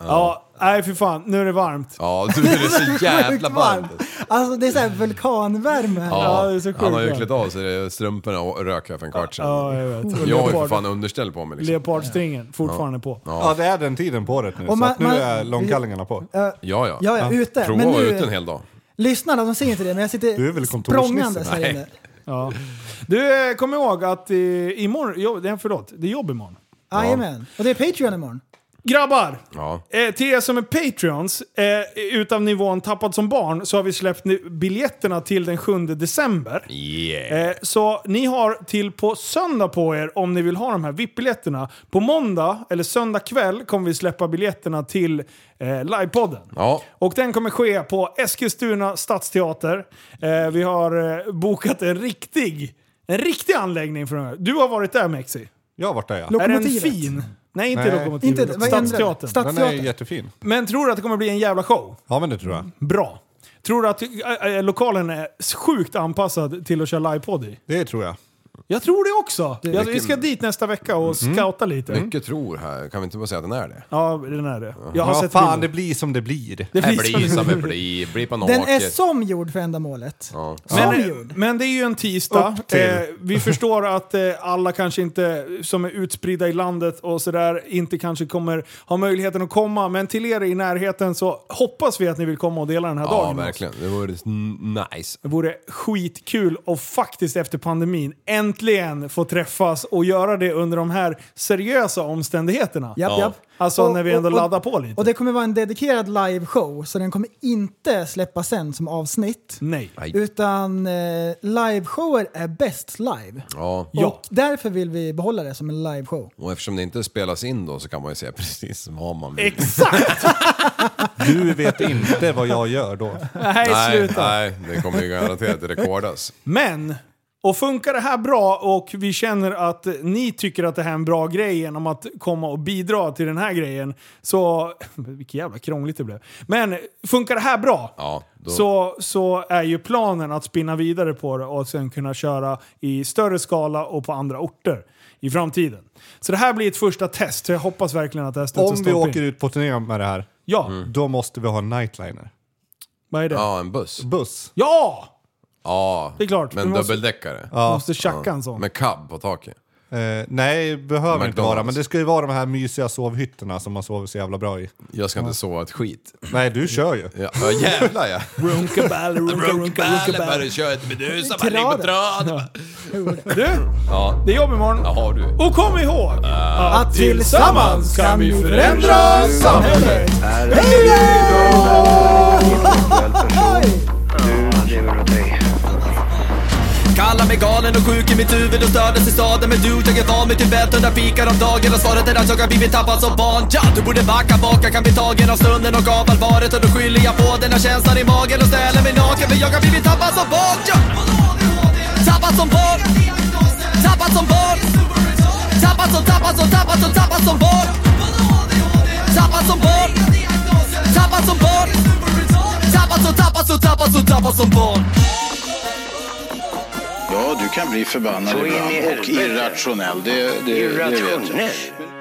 Ja, nej för fan. Nu är det varmt.
Ja, du det är så jävla
Sjukt
varmt.
Alltså det är så här vulkanvärme här.
Ja, han har ju klätt av sig det- strumporna och rök här för en kvart sedan.
Ja, jag vet. Och
har ju för
leopard-
fan underställ på mig liksom.
Leopardstringen, fortfarande
Ja.
på.
Ja.
det är den tiden på året nu,
Och man-
så att nu
man-
är långkallingarna på.
Ja,
Ja, ja.
Ja, ja, ute.
Prova
Men
att vara
nu-
ute en hel dag.
Lyssnarna de ser inte det men jag sitter
Du är väl kontorsnisse?
språngandes här
Nej.
inne.
Ja. Du, eh, kom ihåg att eh, imorgon, jo, nej, förlåt, det är jobb imorgon.
Jajamän. Och det är Patreon imorgon.
Grabbar!
Ja.
Eh, till er som är Patreons, eh, utav nivån Tappad som barn, så har vi släppt nu biljetterna till den 7 december. Eh, så ni har till på söndag på er om ni vill ha de här VIP-biljetterna. På måndag, eller söndag kväll, kommer vi släppa biljetterna till eh, livepodden.
Ja.
Och den kommer ske på Eskilstuna stadsteater. Eh, vi har eh, bokat en riktig, en riktig anläggning för den här. Du har varit där Mexi.
Jag har varit där ja.
Är den fin? Nej, inte Lokomotivet.
Inte, vad ändrar du?
Stadsteatern.
Den är jättefin. Mm.
Men tror du att det kommer bli en jävla show?
Ja, men det tror jag.
Bra. Tror du att eh, eh, lokalen är sjukt anpassad till att köra livepodd i?
Det tror jag.
Jag tror det också.
Det- Mm.
Jag, vi ska dit nästa vecka och scouta lite.
Mycket tror här. Kan vi inte bara säga att den är det?
Ja, den är det. Jag har
Ja,
sett
fan,
bilder.
Det blir som det blir.
Det
Det
blir,
blir
som
som-
det blir. Blir på
Mm. Den är
naket.
som gjord för ändamålet.
Ja.
Men, men det är ju en tisdag.
Upp till.
Eh, vi förstår att eh, alla kanske inte, som är utspridda i landet och sådär, inte kanske kommer ha möjligheten att komma. Men till er i närheten så hoppas vi att ni vill komma och dela den här
Ja,
dagen med oss.
verkligen. Det vore n- nice.
Det vore skitkul och faktiskt efter pandemin äntligen få träffas och göra det under de här seriösa omständigheterna.
Japp, Ja. japp.
Alltså
Och-
när vi ändå
och- och-
laddar på lite.
Och det kommer vara en dedikerad liveshow, så den kommer inte släppas sen som avsnitt.
Nej.
Utan eh, liveshower är bäst live.
Ja.
Och därför vill vi behålla det som en liveshow.
Och eftersom det inte spelas in då så kan man ju säga precis vad man vill.
Exakt!
Du vet inte vad jag gör då.
Nej, sluta.
Nej, det kommer ju garanterat rekordas.
Men, och funkar det här bra och vi känner att ni tycker att det här är en bra grej genom att komma och bidra till den här grejen, så... Vilket jävla krångligt det blev. Men, funkar det här bra?
Ja, då-
Så, så är ju planen att spinna vidare på det och sen kunna köra i större skala och på andra orter i framtiden. Så det här blir ett första test, så jag hoppas verkligen att det här stöter
Om vi åker ut på turné med det här,
ja.
då måste vi ha en nightliner.
Vad är det?
Mm. Ja, en buss.
Buss.
Ja!
Ja,
Det är klart,
men
vi måste-
dubbeldäckare.
Ja. Måste
tjacka en sån.
Med cab på taket.
Eh, nej, behöver inte
McDonald's.
vara, men det ska ju vara de här mysiga sovhytterna som man sover så jävla bra i.
Jag ska inte sova ett skit.
Nej, du kör ju.
Ja, ja jävlar ja.
Runkaballe, runka, runka,
Runkaballe,
runkaballe.
bara kör ett medusa, bara ligg på traden.
Du,
Ja.
det är jobb imorgon.
Ja, har du.
Och kom ihåg
att tillsammans kan vi förändra
samhället.
Hej Du lever åt dig.
Kallar mig galen och sjuk i mitt huvud och stördes i staden Men du, jag är van vid Tibet under fikar om dagen Och svaret är att jag har blivit tappad som barn ja, Du borde backa bak, jag kan bli tagen av stunden och av allvaret Och då skyller jag på den här känslan i magen och ställer mig naken För jag har blivit tappad som barn ja. Tappad som barn Tappad som barn Tappad som, tappad som, tappad som, tappad Tappad som barn Tappad som barn Tappad som barn Tappad som, tappad som, tappad som, tappad som barn
Ja, du kan bli förbannad
Så in i
ibland och
helvete.
irrationell. Det, det, det vet jag.
Irrationell.